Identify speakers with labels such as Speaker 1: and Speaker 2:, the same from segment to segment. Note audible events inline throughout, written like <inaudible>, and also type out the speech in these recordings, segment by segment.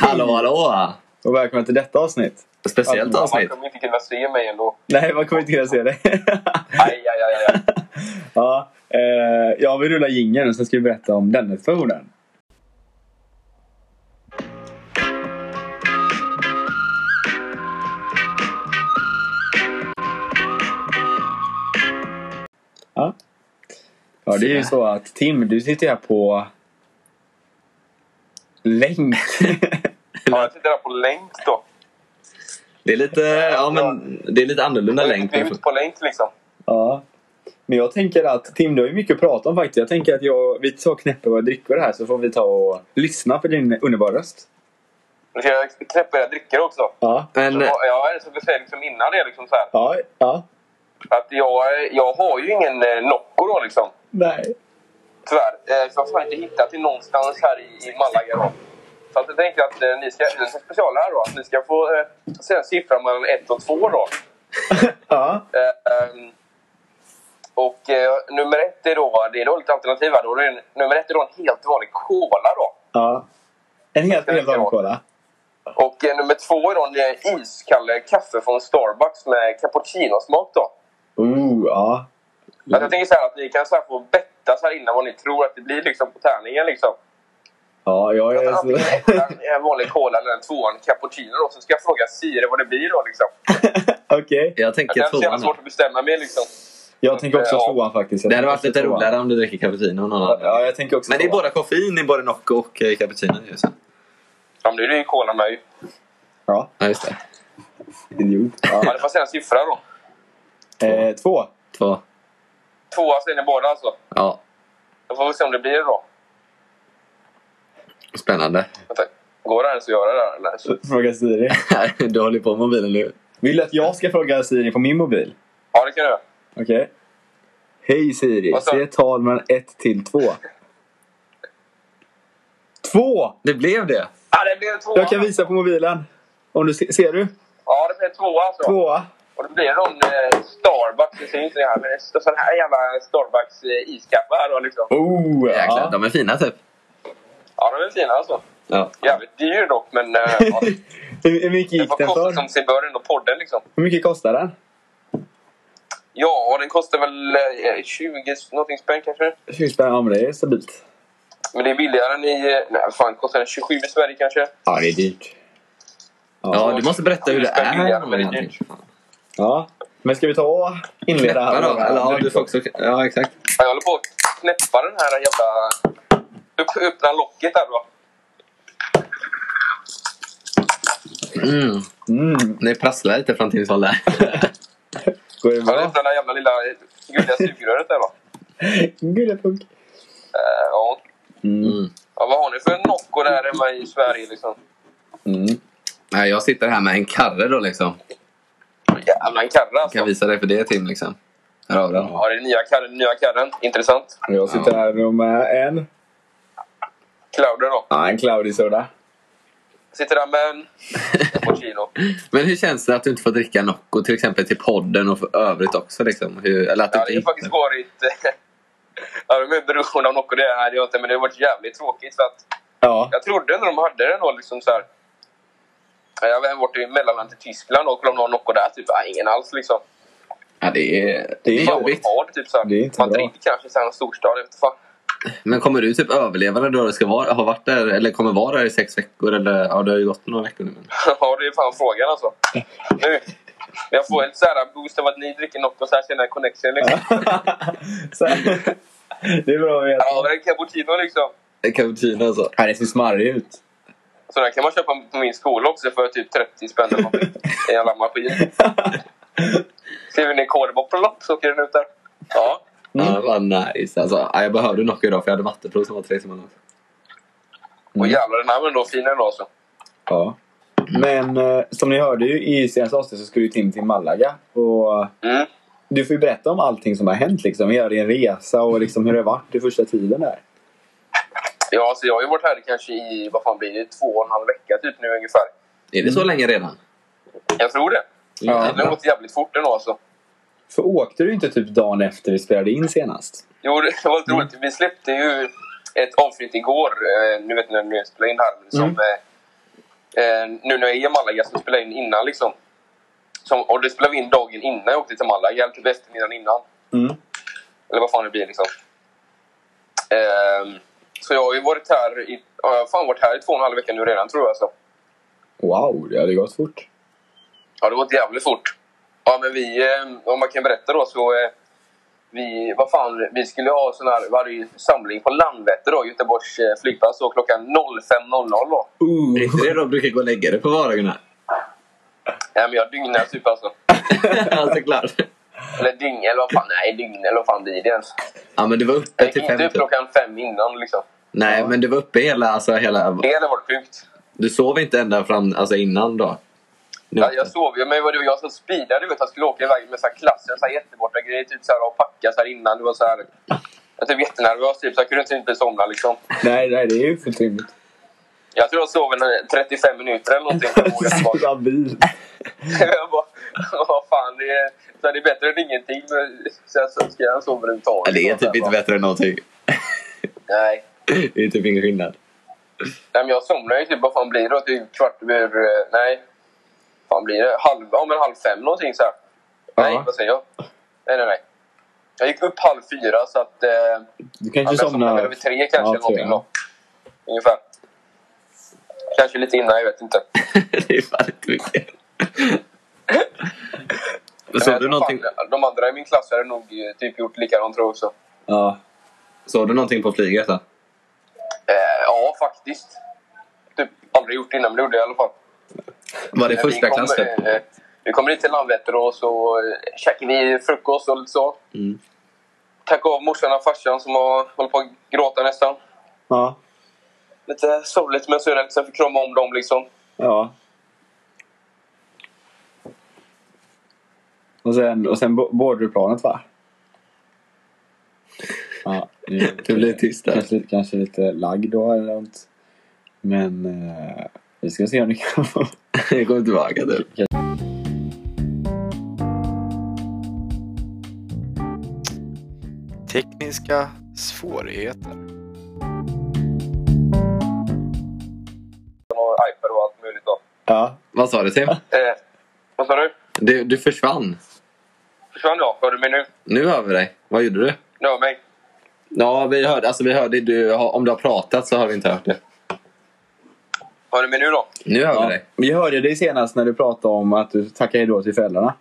Speaker 1: Hallå hallå!
Speaker 2: Och välkomna till detta avsnitt.
Speaker 1: Speciellt
Speaker 2: Ja,
Speaker 1: avsnitt.
Speaker 3: Man kommer inte kunna se mig ändå.
Speaker 2: Nej, man kommer inte kunna se det.
Speaker 3: Aj, aj, aj, aj, aj.
Speaker 2: <laughs> ja, eh, ja, vi rullar jingeln och sen ska vi berätta om denna versionen. Ja. ja, det är ju så att Tim, du sitter här på länk. <laughs>
Speaker 3: Ja, jag sitter här på länk då.
Speaker 1: Det är lite, ja, men, det är lite annorlunda
Speaker 3: Jag är
Speaker 1: länk.
Speaker 3: inte ute på länk liksom.
Speaker 2: Ja. Men jag tänker att Tim, du har ju mycket att prata om faktiskt. Jag tänker att jag, vi tar och knäpper våra drickor här så får vi ta och lyssna på din underbara röst.
Speaker 3: Nu ska jag knäppa era drickor också.
Speaker 2: Ja.
Speaker 1: Men
Speaker 3: Så Jag är så besvärlig som innan det liksom så här.
Speaker 2: Ja. Ja.
Speaker 3: Att jag, jag har ju ingen eh, Nocco då liksom.
Speaker 2: Nej.
Speaker 3: Tyvärr. Eh, Så jag har fan inte hittat det någonstans här i, i Malaga då. Så att jag tänker att eh, ni ska, det är special här då, att ni ska få eh, säga en siffra mellan 1 och 2 då.
Speaker 2: <laughs> Ja.
Speaker 3: Eh, ehm, och eh, nummer ett är då, det är då lite alternativ här då. Det är- Nummer ett är då en helt vanlig Cola då.
Speaker 2: ja. En helt helt annan kola.
Speaker 3: Och eh, nummer två är då en eh, iskall kaffe från Starbucks med cappuccinosmak då.
Speaker 2: Ooh, Oh, ja.
Speaker 3: Alltså
Speaker 2: Mm.
Speaker 3: jag tänker så här att ni kan så här få betta så här innan vad ni tror att det blir liksom på tärningen liksom.
Speaker 2: Ja, jag är
Speaker 3: Alltså,
Speaker 2: så...
Speaker 3: antingen ettan är en vanlig cola eller en tvåan cappuccino då. Så ska jag fråga Siri vad det blir då liksom.
Speaker 2: <laughs> Okej.
Speaker 1: jag
Speaker 3: Det
Speaker 1: tänker
Speaker 3: är så jävla
Speaker 1: tvåan.
Speaker 3: svårt att bestämma mig liksom.
Speaker 2: Jag tänker också
Speaker 3: Ja.
Speaker 2: tvåan faktiskt. Jag
Speaker 1: Det hade varit
Speaker 2: tänker
Speaker 1: lite
Speaker 2: också tvåan.
Speaker 1: roligare om du dricker cappuccino än någon
Speaker 2: Ja,
Speaker 1: annan.
Speaker 2: jag tänker också
Speaker 1: Men det är
Speaker 2: tvåan.
Speaker 1: bara koffein i både Nocco och eh, cappuccino. ju, så.
Speaker 3: Ja men nu är det ju cola med ju.
Speaker 2: Ja,
Speaker 1: Ja, just det.
Speaker 2: idiot.
Speaker 3: Ja,
Speaker 2: Ja.
Speaker 3: det får säga en siffra då.
Speaker 2: eh, två.
Speaker 1: Två.
Speaker 3: Tvåa säger ni båda alltså.
Speaker 1: Ja,
Speaker 3: Då får vi se om det blir det då.
Speaker 1: spännande. <laughs>
Speaker 3: Vänta. Går det ens att göra det här eller?
Speaker 2: Fråga Siri.
Speaker 1: du håller på med mobilen nu.
Speaker 2: Vill du att jag ska fråga Siri på min mobil?
Speaker 3: Ja det kan du göra.
Speaker 2: Okej. Hej Siri,
Speaker 3: Vad sa-
Speaker 2: se tal mellan 1 till 2. 2!
Speaker 1: Det blev det!
Speaker 3: Ja det blir en tvåa.
Speaker 2: Jag kan visa på mobilen. Om du se, ser du?
Speaker 3: Ja det blir en tvåa alltså.
Speaker 2: Tvåa.
Speaker 3: Och det blir någon eh, Starbucks, jag ser inte det här, men det står sån här jävla Starbucks eh, iskaffe här då liksom.
Speaker 2: Oh,
Speaker 1: Jäklar,
Speaker 2: ja.
Speaker 1: de är fina typ.
Speaker 3: Ja, de är fina alltså.
Speaker 1: Ja.
Speaker 3: Jävligt dyr dock, men <laughs> eh, ja,
Speaker 2: hur, hur mycket
Speaker 3: den
Speaker 2: gick
Speaker 3: får
Speaker 2: den
Speaker 3: kosta
Speaker 2: för?
Speaker 3: som sig bör ändå podden liksom.
Speaker 2: Hur mycket kostar den?
Speaker 3: Ja, och den kostar väl eh, 20 någonting spänn kanske.
Speaker 2: 20 spänn. Ja, men det är stabilt.
Speaker 3: Men det är billigare än i... eh, Nej, fan, kostar den 27 i Sverige kanske?
Speaker 2: Ja, det är dyrt. Ja.
Speaker 1: Ja, du måste berätta hur det är. med någonting.
Speaker 2: ja. Men ska vi ta och inleda
Speaker 1: Knäppa
Speaker 2: här?
Speaker 1: då. Eller ja, du får också... Ja, exakt.
Speaker 3: Ja, jag håller på att knäppa den här jävla... Upp- Öppna locket där då.
Speaker 1: Mm.
Speaker 2: Mm,
Speaker 1: Det prasslar lite från Tims håll <laughs> där.
Speaker 2: går det
Speaker 3: Ja,
Speaker 2: bra?
Speaker 3: öppna det där jävla lilla eh, gulliga sugröret där då.
Speaker 2: Gulliga punk.
Speaker 3: Eh, ja.
Speaker 2: Mm.
Speaker 1: Mm.
Speaker 3: ja, vad har ni för Nocco där hemma i Sverige liksom?
Speaker 2: Mm.
Speaker 1: Nej, jag sitter här med en karre då liksom.
Speaker 3: Jävlar, en karre
Speaker 1: Jag
Speaker 3: alltså.
Speaker 1: kan visa dig för det Tim liksom. Här har vi den.
Speaker 3: Ja, det är nya karren, nya karren. Intressant.
Speaker 2: Och Jag sitter
Speaker 1: Ja.
Speaker 2: här med en...
Speaker 3: Clouder då.
Speaker 2: Ja, en cloudy soda.
Speaker 3: Sitter där med en cappuccino.
Speaker 1: Men hur känns det att du inte får dricka Nocco till exempel till podden och för övrigt också? Liksom? Hur, eller att du
Speaker 3: Ja, det har
Speaker 1: inte...
Speaker 3: faktiskt varit... <laughs> Ja, de är beroende av Nocco, det är jag inte, men det har varit jävligt tråkigt. Så att
Speaker 2: Ja. <laughs>
Speaker 3: jag trodde när de hade den då liksom så här... Ja, Jag har även varit i mellanland till Tyskland och kollade om de har Nocco där. Typ, ja, ingen alls liksom.
Speaker 1: ja, det är, det är
Speaker 2: Det är
Speaker 3: Och de
Speaker 1: jobbigt.
Speaker 3: har det, typ så här.
Speaker 2: Det är inte bra.
Speaker 3: Madrid kanske, så här, en storstad. Jag vet inte fan.
Speaker 1: Men kommer du typ överleva när du ska vara, ha varit där eller kommer vara där i sex veckor? Eller, ja, det har ju gått några veckor nu. Men...
Speaker 3: <laughs> Ja, det är fan frågan alltså. Nu, jag får en så här boost av att ni dricker Nocco, så här känner jag connection liksom.
Speaker 2: Så här. Det är bra att veta.
Speaker 3: Ja, men en cappuccino liksom.
Speaker 1: En Cappuccino alltså.
Speaker 2: Ja, det ser smarrig ut.
Speaker 3: Så den kan man köpa på min skola också för typ 30 spänn eller någonting. En jävla maskin. Skriver ni kodbopplopp så åker den ut där. Ja. Mm.
Speaker 1: Ja, vad nice alltså. Ja, jag behövde Nocco idag för jag hade vattenprov som var tre timmar långt.
Speaker 2: Mm.
Speaker 3: Och jävlar den här var ändå fin ändå alltså.
Speaker 2: Ja. Men eh, som ni hörde ju i senaste avsnittet så skulle ju Tim till Malaga. Och eh,
Speaker 3: Mm.
Speaker 2: du får ju berätta om allting som har hänt liksom. Hela din resa
Speaker 3: Mm.
Speaker 2: och liksom hur det har varit den första tiden där.
Speaker 3: Ja, så jag har ju varit här kanske i, vad fan blir det, två och en halv vecka typ nu ungefär.
Speaker 1: Är det så länge redan?
Speaker 3: Jag tror det.
Speaker 2: Ja.
Speaker 3: Mm. Det har gått jävligt fort ändå alltså.
Speaker 2: För åkte du inte typ dagen efter vi spelade in senast?
Speaker 3: Jo, det var lite roligt. Vi släppte ju ett avsnitt igår, eh, nu vet ni när ni spelar in här, som
Speaker 2: Mm.
Speaker 3: eh, eh, nu när jag är i Malaga så spelar jag in innan liksom. Som, och det spelade vi in dagen innan jag åkte till Malaga, eller typ eftermiddagen innan.
Speaker 2: Mm.
Speaker 3: Eller vad fan det blir liksom. Ehm, så jag har ju varit här i, ja, jag har fan varit här i två och en halv vecka nu redan tror jag. Alltså.
Speaker 2: Wow, det hade gått fort.
Speaker 3: Ja, det har gått jävligt fort. Ja, men vi, eh, om man kan berätta då så... eh, Vi, vad fan, vi skulle ha sån här varje samling på Landvetter då, Göteborgs eh, flygplats, så klockan 05.00 då.
Speaker 2: Uh.
Speaker 1: Det är inte det de brukar gå och lägga det
Speaker 3: <laughs>
Speaker 1: på vardagarna?
Speaker 3: Nej, men jag dygnar typ alltså.
Speaker 1: ja, såklart.
Speaker 3: Eller dygn, eller vad fan, nej dygn, eller vad fan blir det ens?
Speaker 1: Ja, men det var uppe
Speaker 3: Jag
Speaker 1: till
Speaker 3: gick
Speaker 1: fem.
Speaker 3: inte upp
Speaker 1: typ.
Speaker 3: klockan fem innan liksom.
Speaker 1: Nej, men det var uppe hela, alltså hela...
Speaker 3: Det hade varit sjukt.
Speaker 1: Du sov inte ända fram, alltså innan då? Nu.
Speaker 3: Ja, jag sov ju, men vad det var jag som speedade. Du vet, jag skulle åka iväg med så här klassen, så här jätteborta grejer. Typ så här, och packa så här innan. Det var så här, jag var typ jättenervös, typ, så jag kunde typ inte somna liksom.
Speaker 2: <laughs> Nej, nej, det är ju fullt rimligt.
Speaker 3: Jag tror jag sov en eh, 35 minuter eller någonting. Jag vågar inte
Speaker 2: <laughs>
Speaker 1: <laughs>
Speaker 3: vara-
Speaker 2: Stabil.
Speaker 3: jag bara, vad fan, det är, så här, det är bättre än ingenting. Men sen så ska jag sova
Speaker 1: Ja,
Speaker 3: överhuvudtaget.
Speaker 1: det är typ inte bättre än någonting.
Speaker 3: Nej.
Speaker 1: Det är typ ingen skillnad. <laughs>
Speaker 3: Nej, men jag somnar ju typ, vad fan blir det? Typ kvart över... eh, Nej. Vad fan blir det? Halv, ja, men halv fem någonting så här. Nej,
Speaker 2: Ja.
Speaker 3: vad säger jag? Nej, nej, nej. Jag gick upp halv fyra så att... Eh, ja,
Speaker 2: Du
Speaker 3: men
Speaker 2: kanske
Speaker 3: jag somnade väl
Speaker 2: somnar...
Speaker 3: över tre kanske
Speaker 2: Ja,
Speaker 3: eller någonting
Speaker 2: tre,
Speaker 3: då.
Speaker 2: ja.
Speaker 3: Ungefär. Kanske lite innan, jag vet inte.
Speaker 1: det är fan inte mycket.
Speaker 3: Men
Speaker 1: Såg
Speaker 3: jag
Speaker 1: du,
Speaker 3: tror Eh, fan
Speaker 1: någonting,
Speaker 3: de andra i min klass hade nog eh, typ gjort likadant tror jag också.
Speaker 2: Ja.
Speaker 1: såg du någonting på flyget? Då?
Speaker 3: Eh, ja, faktiskt. Typ aldrig gjort innan, men det gjorde jag i alla fall.
Speaker 1: Var det
Speaker 3: Men vi
Speaker 1: första
Speaker 3: kom,
Speaker 1: klass? <laughs> Typ?
Speaker 3: eh, Vi kommer hit till Landvetter och så eh, käkar vi frukost och lite så.
Speaker 1: Mm.
Speaker 3: Tackar av morsan och farsan som har håller på att gråta nästan.
Speaker 2: Ja.
Speaker 3: Lite sorgligt men så är det så jag fick krama om dem liksom.
Speaker 2: Ja. Och sen, och sen bo- boardplanet va? Ja,
Speaker 1: Det blir tyst där.
Speaker 2: Kanske, kanske lite lagg då eller något. Men eh, vi ska se om ni kan få...
Speaker 1: Jag kommer tillbaka typ.
Speaker 4: Tekniska svårigheter.
Speaker 3: Och Ipad och allt möjligt då.
Speaker 2: Ja.
Speaker 1: Vad sa du Tim?
Speaker 3: Eh, vad sa du?
Speaker 1: Du, du försvann.
Speaker 3: Försvann jag? Hör du mig nu?
Speaker 1: Nu hör vi dig. Vad gjorde du?
Speaker 3: Du hör mig?
Speaker 1: Ja, vi hörde, alltså vi hörde du, har- om du har pratat så har vi inte hört det.
Speaker 3: Hör du mig nu då?
Speaker 1: Nu hör vi
Speaker 2: ja.
Speaker 1: dig.
Speaker 2: Vi hörde dig senast när du pratade om att du tackar hejdå till föräldrarna.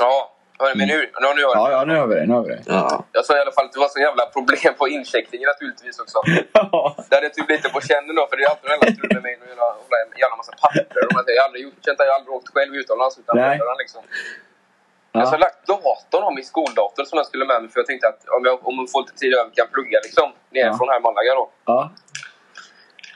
Speaker 3: Ja, hör du mig nu? Ja, nu hör jag.
Speaker 2: Ja, ja, nu hör vi dig. Nu hör vi
Speaker 1: <laughs>
Speaker 2: dig.
Speaker 1: Ja.
Speaker 3: Jag sa i alla fall att det var så jävla problem på incheckningen naturligtvis också.
Speaker 2: Ja.
Speaker 3: Det hade jag typ lite på känn då, för det är alltid en jävla strul med mig och jävla, hålla en jävla massa papper. Och man säger, jag har aldrig gjort sånt där, jag har aldrig åkt själv utomlands utan
Speaker 2: Nej.
Speaker 3: föräldrarna liksom. Jag har lagt datorn om min skoldator som jag skulle med mig för jag tänkte att om jag, om jag får lite tid över kan jag plugga liksom. Nerifrån här i Malaga då.
Speaker 2: ja.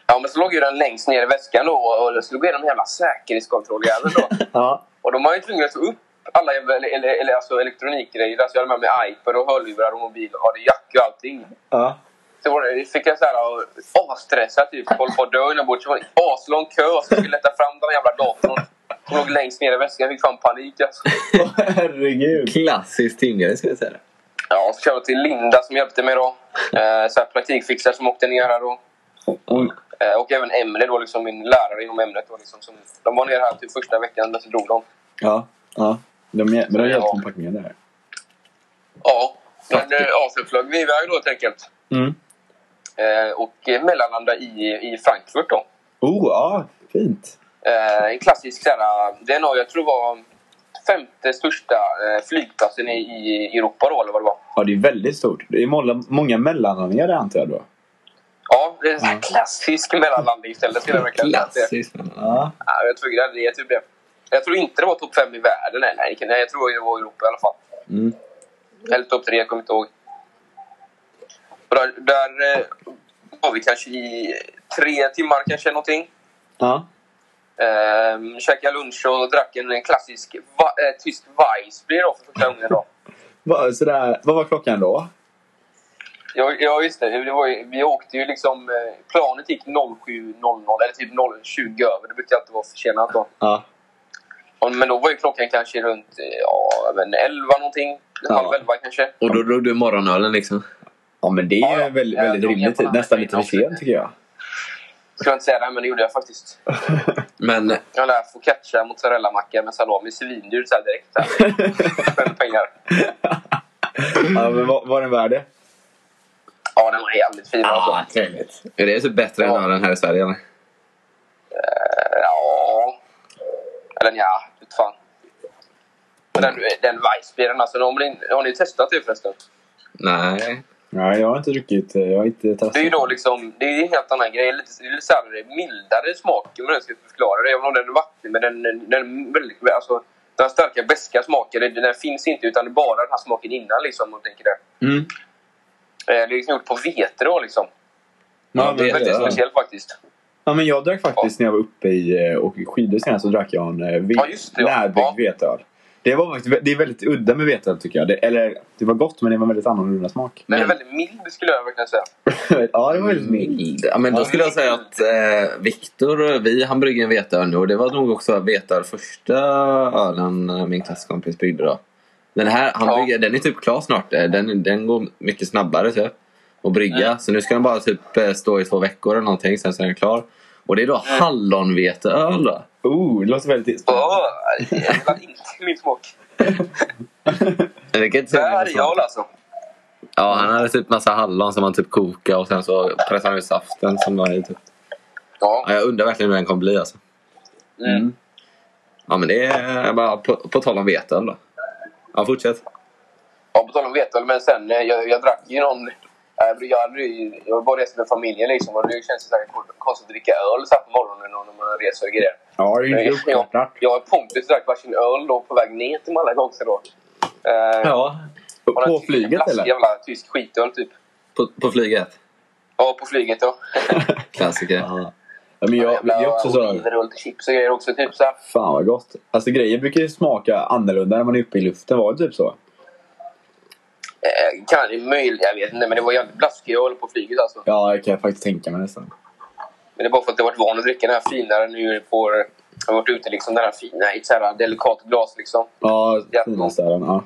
Speaker 3: Ja men så låg ju den längst ner i väskan då och och jag skulle gå igenom hela säkerhetskontrolljäveln då.
Speaker 2: ja.
Speaker 3: Och de var ju tvungna att ta upp alla jävla, eller, eller, eller, alltså, elektronikgrejer. Alltså, jag hade med mig iPad och hörlurar och mobil och hade jack och allting.
Speaker 2: ja.
Speaker 3: Så var det, fick jag så här och asstressad typ. Håller på att dö inombords. Det var en aslång kö och så skulle jag leta fram den jävla datorn. Som låg längst ner i väskan. Jag fick fan panik alltså.
Speaker 2: Åh, herregud.
Speaker 1: Klassiskt timgrej skulle jag säga.
Speaker 3: Ja, och så körde jag till Linda som hjälpte mig då. Eh, så här praktikfixare som åkte ner här då.
Speaker 2: Oj.
Speaker 3: Eh, och även Emre då, liksom min lärare inom ämnet. Då, liksom, som, de var ner här typ första veckan, men så drog de.
Speaker 2: Ja. ja. De, men de har hjälpt med packningen där.
Speaker 3: Ja, men eh, ja, sen flög vi iväg då helt enkelt.
Speaker 2: Mm.
Speaker 3: Eh, och eh, mellanlandade i, i Frankfurt då.
Speaker 2: Oh, ja. Fint.
Speaker 3: Eh, en klassisk så här, det är nog, jag tror var femte största eh, flygplatsen i, i Europa då, eller vad det var.
Speaker 2: Ja, det är väldigt stort. Det är många, många mellanlandningar där antar jag då.
Speaker 3: Ja, det är en sån här
Speaker 2: Ja.
Speaker 3: klassisk mellanlandning istället. skulle jag verkligen säga att det är.
Speaker 1: Klassiskt.
Speaker 2: Ja.
Speaker 3: Ja, jag tror det. det är typ det. Jag tror inte det var topp fem i världen. Nej, nej, nej, jag tror det var i Europa i alla fall.
Speaker 2: Mm.
Speaker 3: Eller topp tre, jag kommer inte ihåg. Och där, där eh, var vi kanske i tre timmar kanske någonting.
Speaker 2: Ja.
Speaker 3: Ehm, käkade lunch och drack en klassisk va, eh, tysk Weissbier då för första gången. Då.
Speaker 2: Vad, sådär, vad var klockan då?
Speaker 3: Ja, ja, just det. det var ju, vi åkte ju liksom... eh, Planet gick 07.00 eller typ 0.20 över. Det brukade alltid vara försenat då.
Speaker 2: Ja.
Speaker 3: Och- Men då var ju klockan kanske runt eh, ja, även 11 någonting.
Speaker 2: Ja.
Speaker 3: Halv 11 kanske.
Speaker 1: Och då drog du morgonölen liksom.
Speaker 2: Ja, men det är
Speaker 3: Ja,
Speaker 2: ju
Speaker 3: ja.
Speaker 2: väl,
Speaker 3: Ja,
Speaker 2: väldigt
Speaker 3: de är
Speaker 2: rimligt.
Speaker 3: på den här
Speaker 2: Nästan lite för
Speaker 3: tiden också.
Speaker 2: sent tycker jag.
Speaker 3: Skulle jag inte säga det, men det gjorde jag faktiskt.
Speaker 1: Men
Speaker 3: Jag lär focaccia, mozzarellamacka med salami, svindyrt så här direkt. så här. Spände pengar.
Speaker 2: <laughs> Ja, men var, var den värd det?
Speaker 3: Ja, den var jävligt fin alltså.
Speaker 2: trevligt.
Speaker 1: Ah. är det typ bättre
Speaker 3: Ja.
Speaker 1: än ölen här i Sverige eller?
Speaker 3: Eh, Ja. Eller nja, vet fan. Men Den, den Weissbieren alltså, har ni, har ni testat det förresten?
Speaker 1: Nej.
Speaker 2: Nej, jag har inte druckit. eh, Jag har inte testat.
Speaker 3: Det är ju då liksom, det är ju en helt annan grej. Lite, det är lite så här mildare smak om jag ska förklara det. Även om den är vattnig men den, den, den, väldigt- alltså, den starka beska smaken den, den finns inte utan det är bara den här smaken innan liksom. Om man tänker det.
Speaker 2: Mm.
Speaker 3: Eh, Det är liksom gjort på vete då liksom.
Speaker 1: Ja,
Speaker 2: Ja,
Speaker 3: Det
Speaker 1: det
Speaker 3: är
Speaker 2: men,
Speaker 1: vet
Speaker 3: väldigt
Speaker 1: jag.
Speaker 3: speciellt faktiskt.
Speaker 2: ja, men jag drack faktiskt när jag var uppe i eh, och skidor senast så drack jag en eh, ve-
Speaker 3: Ja, just det, ja.
Speaker 2: närbyggd
Speaker 3: Ja.
Speaker 2: veteöl. Det, var, faktiskt vä- det är väldigt udda med veteöl tycker jag. Det, eller det var gott men det var en väldigt annorlunda smak.
Speaker 3: Den är
Speaker 1: Men-
Speaker 3: väldigt mild skulle jag verkligen säga.
Speaker 2: <laughs> ja, det var väldigt mild.
Speaker 1: Ja, men då
Speaker 3: Ja.
Speaker 1: skulle jag säga att eh, Viktor, vi, han bryggde en veteöl nu och det var nog också veteöl första ölen eh, min klasskompis bryggde då. Den här, han
Speaker 3: Ja.
Speaker 1: brygger, den är typ klar snart. eh, Den, den går mycket snabbare typ att brygga. Så nu ska den bara typ eh, stå i två veckor eller någonting sen så är den klar. Och det är då hallonveteöl då.
Speaker 2: Oh, det låter väldigt
Speaker 3: Åh, det är inte min smak.
Speaker 1: Men det kan inte
Speaker 3: Det
Speaker 1: säga
Speaker 3: här är
Speaker 1: något sånt.
Speaker 3: jag alltså.
Speaker 1: Ja, han hade typ massa hallon som han typ kokade och sen så pressade han ut saften som var i typ.
Speaker 3: Ja.
Speaker 1: Ja, jag undrar verkligen hur den kommer bli alltså.
Speaker 3: Mm.
Speaker 1: Ja, men det är eh, bara på, på tal om veteöl då. Ja, fortsätt.
Speaker 3: Ja, på tal om veteöl, men sen eh, jag, jag drack ju någon... Jag, jag, hade ju- jag var bara reste med familjen liksom och det känns ju säkert konstigt att dricka öl så här på morgonen och när man reser och grejer.
Speaker 2: Ja, det är ju
Speaker 3: Jag,
Speaker 2: inte
Speaker 3: jag,
Speaker 2: uppkopplat.
Speaker 3: jag och Pontus drack varsin öl då på väg ner till Malagonser då. Eh,
Speaker 1: Ja.
Speaker 3: och den
Speaker 2: På
Speaker 3: tyska
Speaker 2: flyget
Speaker 3: blask-
Speaker 2: eller?
Speaker 3: Jävla tysk skitöl typ.
Speaker 1: På, på flyget.
Speaker 3: Ja, på flyget då.
Speaker 1: Klassiker.
Speaker 2: Ja, men jag, det är också så.
Speaker 3: Oliver och lite chips och grejer också typ så här.
Speaker 2: Fan vad gott. Alltså grejer brukar ju smaka annorlunda när man är uppe i luften. Var det typ så?
Speaker 3: Eh, kan det möjligt, jag vet inte men det var jävligt blaskig öl på flyget alltså.
Speaker 2: Ja, det kan jag faktiskt tänka mig nästan.
Speaker 3: Men det är bara för att jag varit van att dricka den här finare nu på... Jag har varit ute liksom den här fina i ett så här delikat glas liksom.
Speaker 2: Ja,
Speaker 3: Ja.
Speaker 2: finaste ölen. Ja.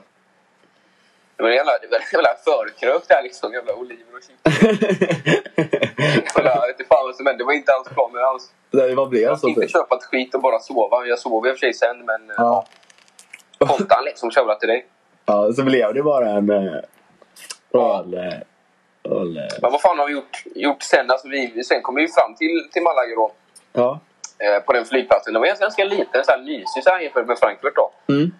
Speaker 3: Det var en jävla, det var en jävla förkrök där liksom. Jävla oliver och chips. Jävla, jag vet inte fan vad som hände. Det var inte alls planen alls.
Speaker 2: Nej, vad blev
Speaker 3: Jag
Speaker 2: så?
Speaker 3: ska inte
Speaker 2: Typ?
Speaker 3: köpa ett skit och bara sova. Jag sov i och för sig sen men... Ja.
Speaker 2: Ja.
Speaker 3: Kontan liksom köra till dig.
Speaker 2: ja, så blev det bara en eh,
Speaker 3: Ja.
Speaker 2: öl... eh, öl eh,
Speaker 3: Men vad fan har vi gjort, gjort sen? Alltså vi, sen kom vi ju fram till, till Malaga då.
Speaker 2: ja.
Speaker 3: Eh, på den flygplatsen. Den var ganska- ganska liten, så här mysig så här jämfört med Frankfurt då.
Speaker 2: Mm.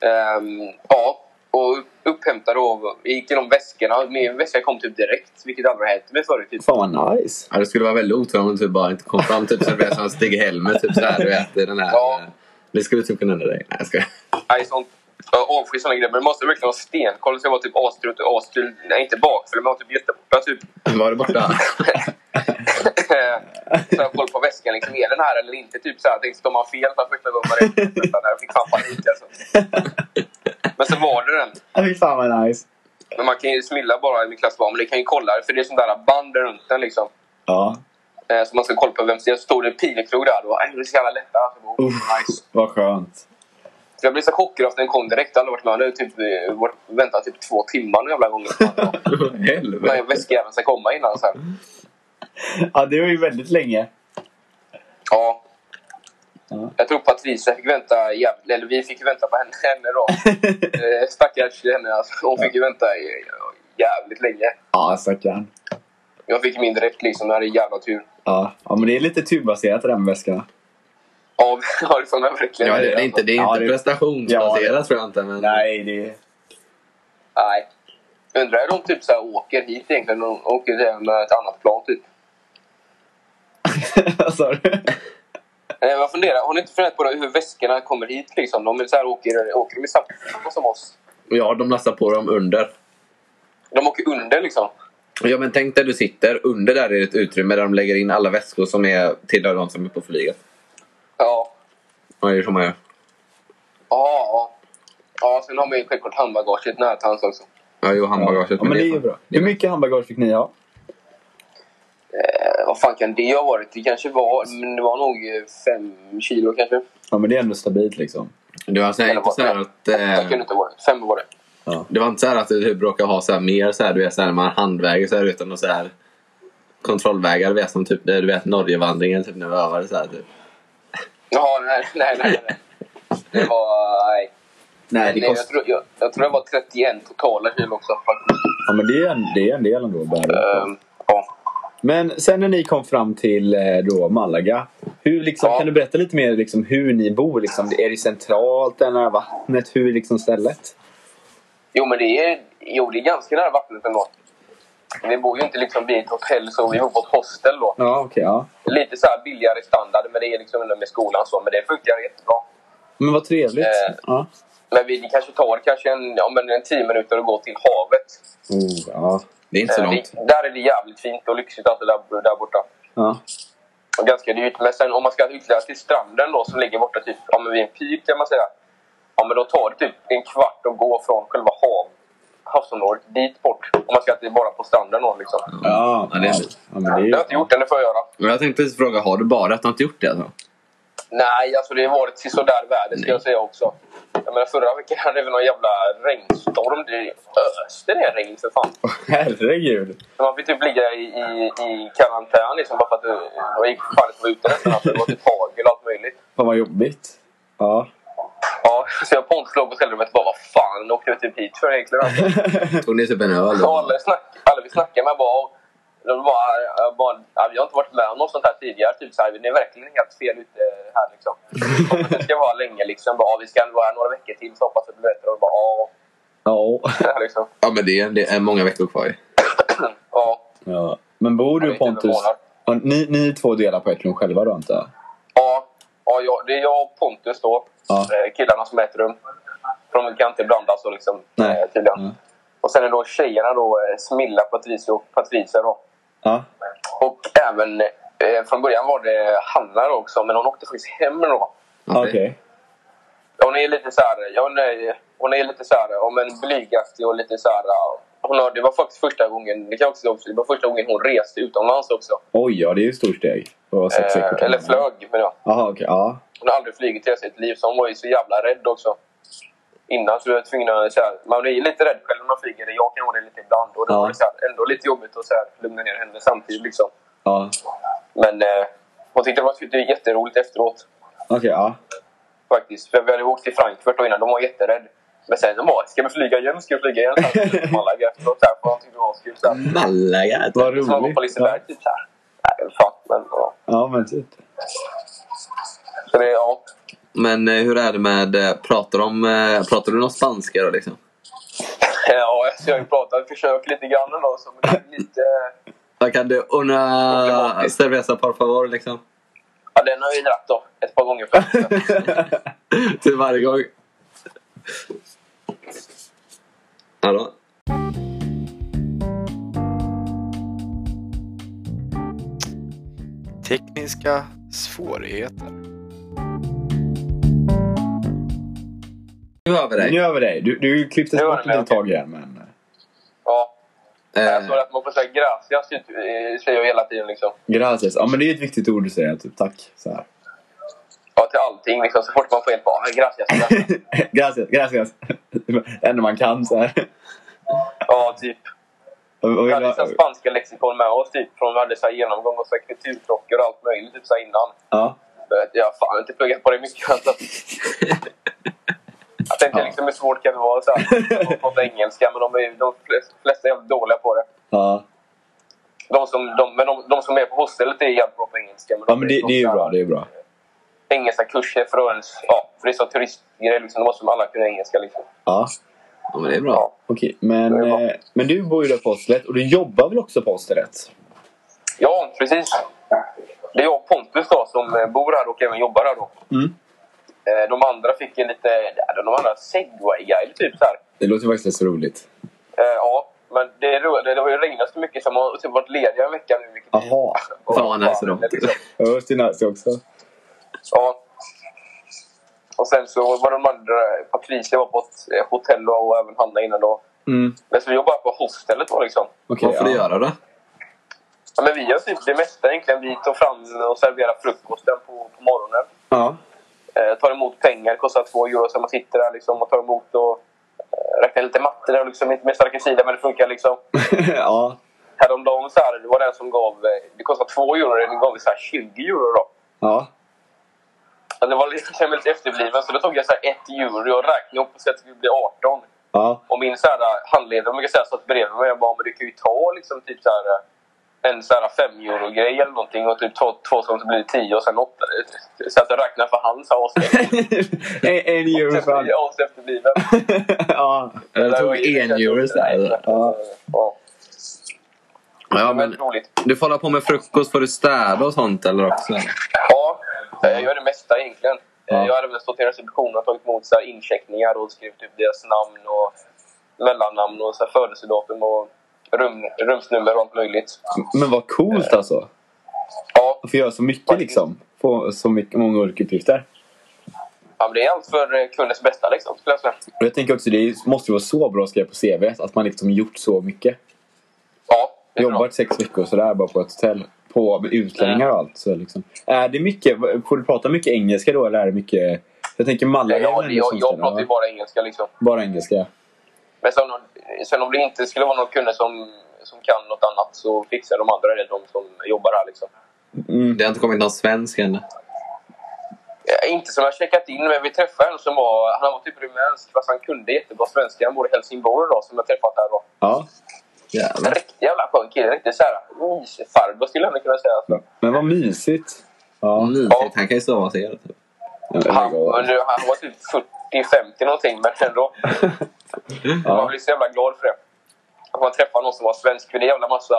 Speaker 3: Ehm, ja, och upphämtade då. Vi gick igenom väskorna. Min väska kom typ direkt, vilket aldrig hänt mig förut. Typ.
Speaker 2: Fan vad nice. <laughs>
Speaker 1: Ja, det skulle vara väldigt otur om du typ bara inte kom fram typ, så det blev som Stig-Helmer. Typ så här, du vet, i den här.
Speaker 3: Ja.
Speaker 1: eh, Det skulle typ kunna hända dig. Nej, jag skojar. <laughs>
Speaker 3: Nej, sånt. Jag avskyr såna grejer. Men det måste verkligen vara stenkoll. Så jag var typ astrut och astrul. Nej, inte bakfull, men jag var typ jätteborta typ. <laughs> eh,
Speaker 1: Var du
Speaker 2: <laughs>
Speaker 1: borta?
Speaker 3: så jag har koll på väskan. Liksom, är den här eller inte? Typ så här. Jag tänkte, står man fel den första gången man räknar upp den där? Jag fick fan panik alltså. Men så var det den.
Speaker 2: Ja, Fy fan vad nice.
Speaker 3: Men man kan ju smilla bara i min klass var, men det kan ju kolla för det är sånt där band runt den liksom.
Speaker 2: Ja,
Speaker 3: Eh, så man ska kolla på vem som stod det pilkrog där då. Äh, Det är så jävla lätt. Alltså, oh, nice.
Speaker 2: vad skönt.
Speaker 3: Så jag blev så chockad att den kom direkt. Jag hade varit med om det. Typ, eh, varit- väntat typ två timmar den jävla
Speaker 1: <laughs>
Speaker 3: gången.
Speaker 1: Helvete.
Speaker 3: Men väskjäveln ska komma innan så här.
Speaker 2: Ja, det var ju väldigt länge.
Speaker 3: Ja.
Speaker 2: Ja.
Speaker 3: Jag tror Patricia fick vänta jävligt, eller vi fick ju vänta på henne, henne då. Eh, stackars henne alltså. Hon fick ju vänta i- jävligt länge.
Speaker 2: <laughs> ja, stackarn.
Speaker 3: Jag fick min direkt liksom. Jag hade jävla tur.
Speaker 2: Ja. ja, men det är lite turbaserat det där med väskorna.
Speaker 3: Ja, <laughs> ja, det får man verkligen
Speaker 1: Ja, det, det
Speaker 3: säga.
Speaker 1: är inte, det är inte
Speaker 2: Ja, det-
Speaker 1: prestationsbaserat tror jag inte. Men...
Speaker 2: Nej, det...
Speaker 3: Nej. Undrar hur de typ så här åker hit egentligen. De åker där med ett annat plan typ.
Speaker 2: <laughs> Vad sa du?
Speaker 3: Eh, Jag funderar, har ni inte funderat på det, hur väskorna kommer hit liksom? De är så här, åker, åker de i samma som oss?
Speaker 1: Ja, de lastar på dem under.
Speaker 3: De åker under liksom.
Speaker 1: Ja, men tänk där du sitter. Under där är det ett utrymme där de lägger in alla väskor som är tillhör de som är på flyget.
Speaker 3: Ja.
Speaker 1: Ja, det är så man gör.
Speaker 3: Ja, ja. Ja, sen har man ju självklart handbagaget nära till hands också.
Speaker 1: Ja, jo, handbagaget.
Speaker 2: Ja, men det är ju bra. Hur mycket handbagage fick ni ha?
Speaker 3: Eh, vad fan kan det ha varit? Det kanske var, men det var nog eh, fem kilo kanske.
Speaker 2: Ja, men det är ändå stabilt liksom.
Speaker 1: Du, alltså, det är inte så här att...
Speaker 3: Det
Speaker 1: Eh...
Speaker 3: kunde inte ha varit. Fem var det.
Speaker 1: Det var inte så här att du typ råkade ha så här mer så här, du vet, så här, man handväger så här utan att så här kontrollvägar. Du vet, som typ, du vet Norgevandringen typ, när vi övade. Så här, typ.
Speaker 3: Jaha, nej, <laughs> nej, nej. nej. Det var... Nej.
Speaker 2: Nej, det
Speaker 3: nej, jag,
Speaker 2: kostar...
Speaker 3: tror, jag, jag tror det var 31 totala kilo också faktiskt.
Speaker 2: Ja, men det är en, det är en del ändå. Bara.
Speaker 3: Ehm, ja.
Speaker 2: Men sen när ni kom fram till eh, då Malaga. Hur, liksom,
Speaker 3: Ja.
Speaker 2: Kan du berätta lite mer liksom, hur ni bor? Liksom, är det centralt, det nära vattnet? Hur är liksom, stället?
Speaker 3: Jo, men det är, jo, det är ganska nära vattnet ändå. Vi bor ju inte liksom vid ett hotell, så vi bor på ett hostel då.
Speaker 2: Ja, okej. ja.
Speaker 3: Lite så här billigare standard, men det är liksom ändå med skolan så. Men det funkar jättebra.
Speaker 2: Men vad trevligt.
Speaker 3: Eh.
Speaker 2: Ja.
Speaker 3: Men vi det kanske tar kanske en, ja, men en 10 minuter att gå till havet.
Speaker 2: Oh, ja.
Speaker 1: Det är inte så
Speaker 3: Eh,
Speaker 1: långt.
Speaker 3: vi- där är det jävligt fint och lyxigt alltså där, där borta.
Speaker 2: Ja.
Speaker 3: Och ganska dyrt. Men sen om man ska ytterligare till stranden då som ligger borta typ, ja, men vid en pir kan man säga. Ja men då tar det typ en kvart att gå från själva hav, havsområdet dit bort. Om man ska till bara på stranden då liksom.
Speaker 2: Ja,
Speaker 1: Ja, det är
Speaker 2: ja.
Speaker 1: det.
Speaker 2: Ja, men det är
Speaker 3: Det har jag inte gjort än, det får jag göra.
Speaker 1: Men jag tänkte fråga, har du badat? Du har inte gjort det
Speaker 2: <laughs>
Speaker 1: alltså?
Speaker 3: Nej, alltså det har varit till sådär väder ska
Speaker 1: Nej.
Speaker 3: jag säga också. Jag menar förra veckan hade vi någon jävla regnstorm. Det öste ner regn för fan.
Speaker 2: Herregud.
Speaker 3: Så Man fick typ ligga i, i, i karantän liksom bara för att det- det gick fan inte att vara ute nästan. Alltså, det var typ hagel och allt möjligt.
Speaker 2: Fan vad jobbigt. Ja.
Speaker 3: Ja, så jag Pontus låg på hotellrummet och bara vad fan åkte vi typ hit för egentligen? Alltså.
Speaker 1: Tog ni typ en öl?
Speaker 3: Så alla, snack, alla vi snackade med bara, och de bara, jag bara "Ja, vi har inte varit med om något sånt här tidigare. Typ så här, ni är verkligen helt fel ute här liksom. Hoppas det ska vara länge liksom. Bara, "Ja, vi ska vara här några veckor till så hoppas att det blir bättre. Och bara, "Ja."
Speaker 2: Ja.
Speaker 3: liksom.
Speaker 1: Ja, men det är, det är många veckor kvar ju.
Speaker 3: ja.
Speaker 2: ja. Men
Speaker 3: Jag
Speaker 2: bor du
Speaker 3: vet inte
Speaker 2: Pontus...
Speaker 3: vad
Speaker 2: Ja, ni, ni två delar på ett rum själva då antar jag?
Speaker 3: Ja, ja jag, det är jag och Pontus då.
Speaker 2: Ja.
Speaker 3: Eh, Killarna som är i ett rum. För de kan inte blandas och liksom,
Speaker 2: Nej.
Speaker 3: eh, tydligen.
Speaker 2: Mm.
Speaker 3: Och sen är då tjejerna då eh, Smilla, Patricio och Patricia då.
Speaker 2: Ja.
Speaker 3: Och även eh, från början var det Hanna då också, men hon åkte faktiskt hem då.
Speaker 1: Alltså,
Speaker 2: Okej.
Speaker 3: Hon är lite så här, ja, hon är, hon är lite så här, om en blygaktig och lite så här. ja, Hon har, det var faktiskt första gången, det kan jag också säga, det var första gången hon reste utomlands också.
Speaker 2: Oj, ja det är ju ett stort steg. Att vara sex veckor
Speaker 3: Eh, eller
Speaker 2: gammal.
Speaker 3: flög, men ja.
Speaker 2: Jaha, okej. Ja.
Speaker 3: Hon har aldrig flugit hela sitt liv, så hon var ju så jävla rädd också. Innan så var jag tvungen att säga, man blir ju lite rädd själv när man flyger. Jag kan vara det lite ibland. Och det
Speaker 2: Ja.
Speaker 3: var så här, ändå lite jobbigt att så här, lugna ner henne samtidigt. Liksom.
Speaker 2: Ja.
Speaker 3: Men eh, hon tyckte det var det var jätteroligt efteråt.
Speaker 2: Okej, ja.
Speaker 3: Faktiskt. För vi hade åkt till Frankfurt och innan, de var jätterädd. Men sen de bara, ska vi flyga igen? Ska vi flyga igen? Så här, Malaga efteråt. Så här, för de tyckte det var kul. Så här.
Speaker 1: Malaga!
Speaker 2: Vad
Speaker 3: Så man går
Speaker 2: roligt.
Speaker 3: på Liseberg typ så här. Nej, fan. Men, ja.
Speaker 2: Ja,
Speaker 3: <laughs>
Speaker 2: men typ.
Speaker 3: Så det, ja.
Speaker 1: Men eh, hur är det med... eh, Pratar, de, eh, pratar du någon spanska då liksom?
Speaker 3: ja, alltså, jag har ju pratat, försökt lite grann ändå. Så, men det är lite...
Speaker 1: Vad Kan du una
Speaker 3: Problematiskt.
Speaker 1: cerveza por favor liksom?
Speaker 3: Ja, den har vi dratt då ett par gånger förut.
Speaker 1: <laughs> Till varje gång. Hallå?
Speaker 4: Tekniska svårigheter.
Speaker 1: Nu hör vi dig.
Speaker 2: Nu över dig. Du, du klipptes
Speaker 3: Nu var
Speaker 2: bort
Speaker 3: det med,
Speaker 2: ett tag igen. Men... eh,
Speaker 3: Ja. Jag
Speaker 1: Eh,
Speaker 3: tror att man får säga gracias, typ, eh, säger jag hela tiden. Liksom.
Speaker 2: Gracias. Ja, men det är ett viktigt ord att säga. Typ tack. Så här. <laughs>
Speaker 3: Ja, till allting. Liksom. Så fort man får hjälp, bara "Ah, gracias. gracias."
Speaker 2: gracias, gracias. <laughs> Det enda man kan så här.
Speaker 3: ja, typ.
Speaker 2: Och, och,
Speaker 3: Vi hade så här
Speaker 2: och,
Speaker 3: spanska lexikon med oss, typ. Från vi hade så här genomgång och så här kulturkrockar och allt möjligt typ, så här innan.
Speaker 2: ja.
Speaker 3: Jag vet, Jag har fan inte pluggat på det mycket. Alltså. Jag tänkte
Speaker 2: Ja.
Speaker 3: liksom, hur svårt kan det vara? Så här, att prata engelska, men de, är, de flest- flesta är jävligt dåliga på det.
Speaker 2: Ja.
Speaker 3: De som, de, men de, de som är på hostelet är jävligt bra på engelska. Men de
Speaker 2: ja, men det, det är ju
Speaker 3: så här-
Speaker 2: bra. Det är bra.
Speaker 3: engelska kurser för, att ens, ja, för det är så turistgrej. Liksom, då måste man alla kunna engelska. Liksom.
Speaker 2: Ja.
Speaker 1: ja, men det är bra.
Speaker 2: Okej, men,
Speaker 3: Det är bra.
Speaker 2: eh, men du bor ju där på hostelet och du jobbar väl också på hostelet?
Speaker 3: Ja, precis. Det är jag och Pontus då, som eh, bor här och även jobbar här. Då.
Speaker 2: Mm.
Speaker 3: Eh, De andra fick en lite... ja, De andra segway-guide, typ. Så här.
Speaker 2: Det låter faktiskt rätt så roligt.
Speaker 3: Eh, Ja, men det, är ro- det, det har ju regnat så mycket så man har typ varit lediga en vecka nu. Vilket
Speaker 2: Jaha.
Speaker 3: Och-
Speaker 1: Fan vad nice
Speaker 3: ja,
Speaker 1: de
Speaker 3: liksom.
Speaker 2: Ja, det är nice också.
Speaker 3: Ja. Och sen så var de andra... Patricia var på ett eh, hotell och och även Hanna innan då.
Speaker 2: Mm.
Speaker 3: Men så vi jobbar på hostelet då liksom.
Speaker 2: Okej,
Speaker 1: Vad får du
Speaker 2: ja.
Speaker 1: göra då?
Speaker 3: Ja, men vi gör typ det mesta egentligen. Vi tar fram och serverar frukosten på, på morgonen.
Speaker 2: Ja. <laughs>
Speaker 3: Eh, tar emot pengar, kostar två euro. Sen man sitter där liksom och tar emot och eh, räknar lite matte. Där, liksom, inte med starka sidor, men det funkar liksom.
Speaker 2: ja.
Speaker 3: Häromdagen så här, det var den som gav... eh, Det kostade 2 euro, den gav vi så här 20 euro då.
Speaker 2: Ja.
Speaker 3: Men det var lite, jag kände mig lite efterbliven så då tog jag så här 1 euro och räknade upp så att det skulle bli 18.
Speaker 2: Ja. <laughs>
Speaker 3: Och min så här, eh, handledare brukar säga så att bredvid mig. Jag bara, men du kan ju ta liksom typ så här, eh, en så här 5 euro grej eller någonting och typ två, två som så blir det 10 och sen 8. Så att jag räknade för han sa oss.
Speaker 2: en, en euro
Speaker 3: <laughs>
Speaker 2: för allt.
Speaker 3: Oss efterbliven.
Speaker 2: ja.
Speaker 1: Jag tog en euro istället.
Speaker 2: Ja.
Speaker 3: Ja,
Speaker 1: Ja,
Speaker 3: men
Speaker 1: men
Speaker 3: roligt.
Speaker 1: du får hålla på med frukost. Får du städa och sånt eller också? eller?
Speaker 3: Ja, eh, jag gör det mesta egentligen. Eh,
Speaker 2: Ja.
Speaker 3: Jag hade väl stått i receptionen och tagit emot så här incheckningar och skrivit upp deras namn och mellannamn och så här födelsedatum och rum, rumsnummer och allt möjligt.
Speaker 2: Men vad coolt alltså.
Speaker 3: Ja,
Speaker 2: Att få göra så mycket liksom. Få så mycket, många olika uppgifter.
Speaker 3: ja men det är allt för eh, kundens bästa liksom, skulle jag säga.
Speaker 2: Och jag tänker också, det är- måste ju vara så bra att skriva på CV att man liksom gjort så mycket.
Speaker 3: Ja, det är bra.
Speaker 2: Jobbat sex veckor och sådär bara på ett hotell. På med utlänningar och allt. Så liksom. Är det mycket, får du prata mycket engelska då eller är det mycket... Jag tänker Malaga.
Speaker 3: Ja,
Speaker 2: är
Speaker 3: jag,
Speaker 2: väl ändå
Speaker 3: jag,
Speaker 2: sånt
Speaker 3: jag
Speaker 2: ställe,
Speaker 3: pratar ju
Speaker 2: va?
Speaker 3: bara engelska liksom.
Speaker 2: Bara engelska.
Speaker 3: Men sen, om- sen om det inte skulle vara någon kunde som, som kan något annat så fixar de andra det, de som jobbar här liksom.
Speaker 2: Mm.
Speaker 1: Det har inte kommit någon svensk än.
Speaker 3: Ja, Eh, inte som jag checkat in, men vi träffade en som var... Han var typ rumänsk, fast han kunde jättebra svenska. Han bor i Helsingborg då, som jag träffat där då.
Speaker 2: Ja.
Speaker 3: En
Speaker 1: Jävlar.
Speaker 3: riktig jävla skön kille. Riktig såhär mysfarbror skulle jag kunna säga.
Speaker 2: Men vad mysigt.
Speaker 1: Vad
Speaker 2: Ja.
Speaker 1: Mysigt. Han kan ju stava sig. typ. hela tiden.
Speaker 3: Mm. Han, men du, han var typ 40-50 någonting, men ändå. Man
Speaker 2: Ja.
Speaker 3: blir så jävla glad för det. Att man träffar någon som var svensk. För det är jävla massa...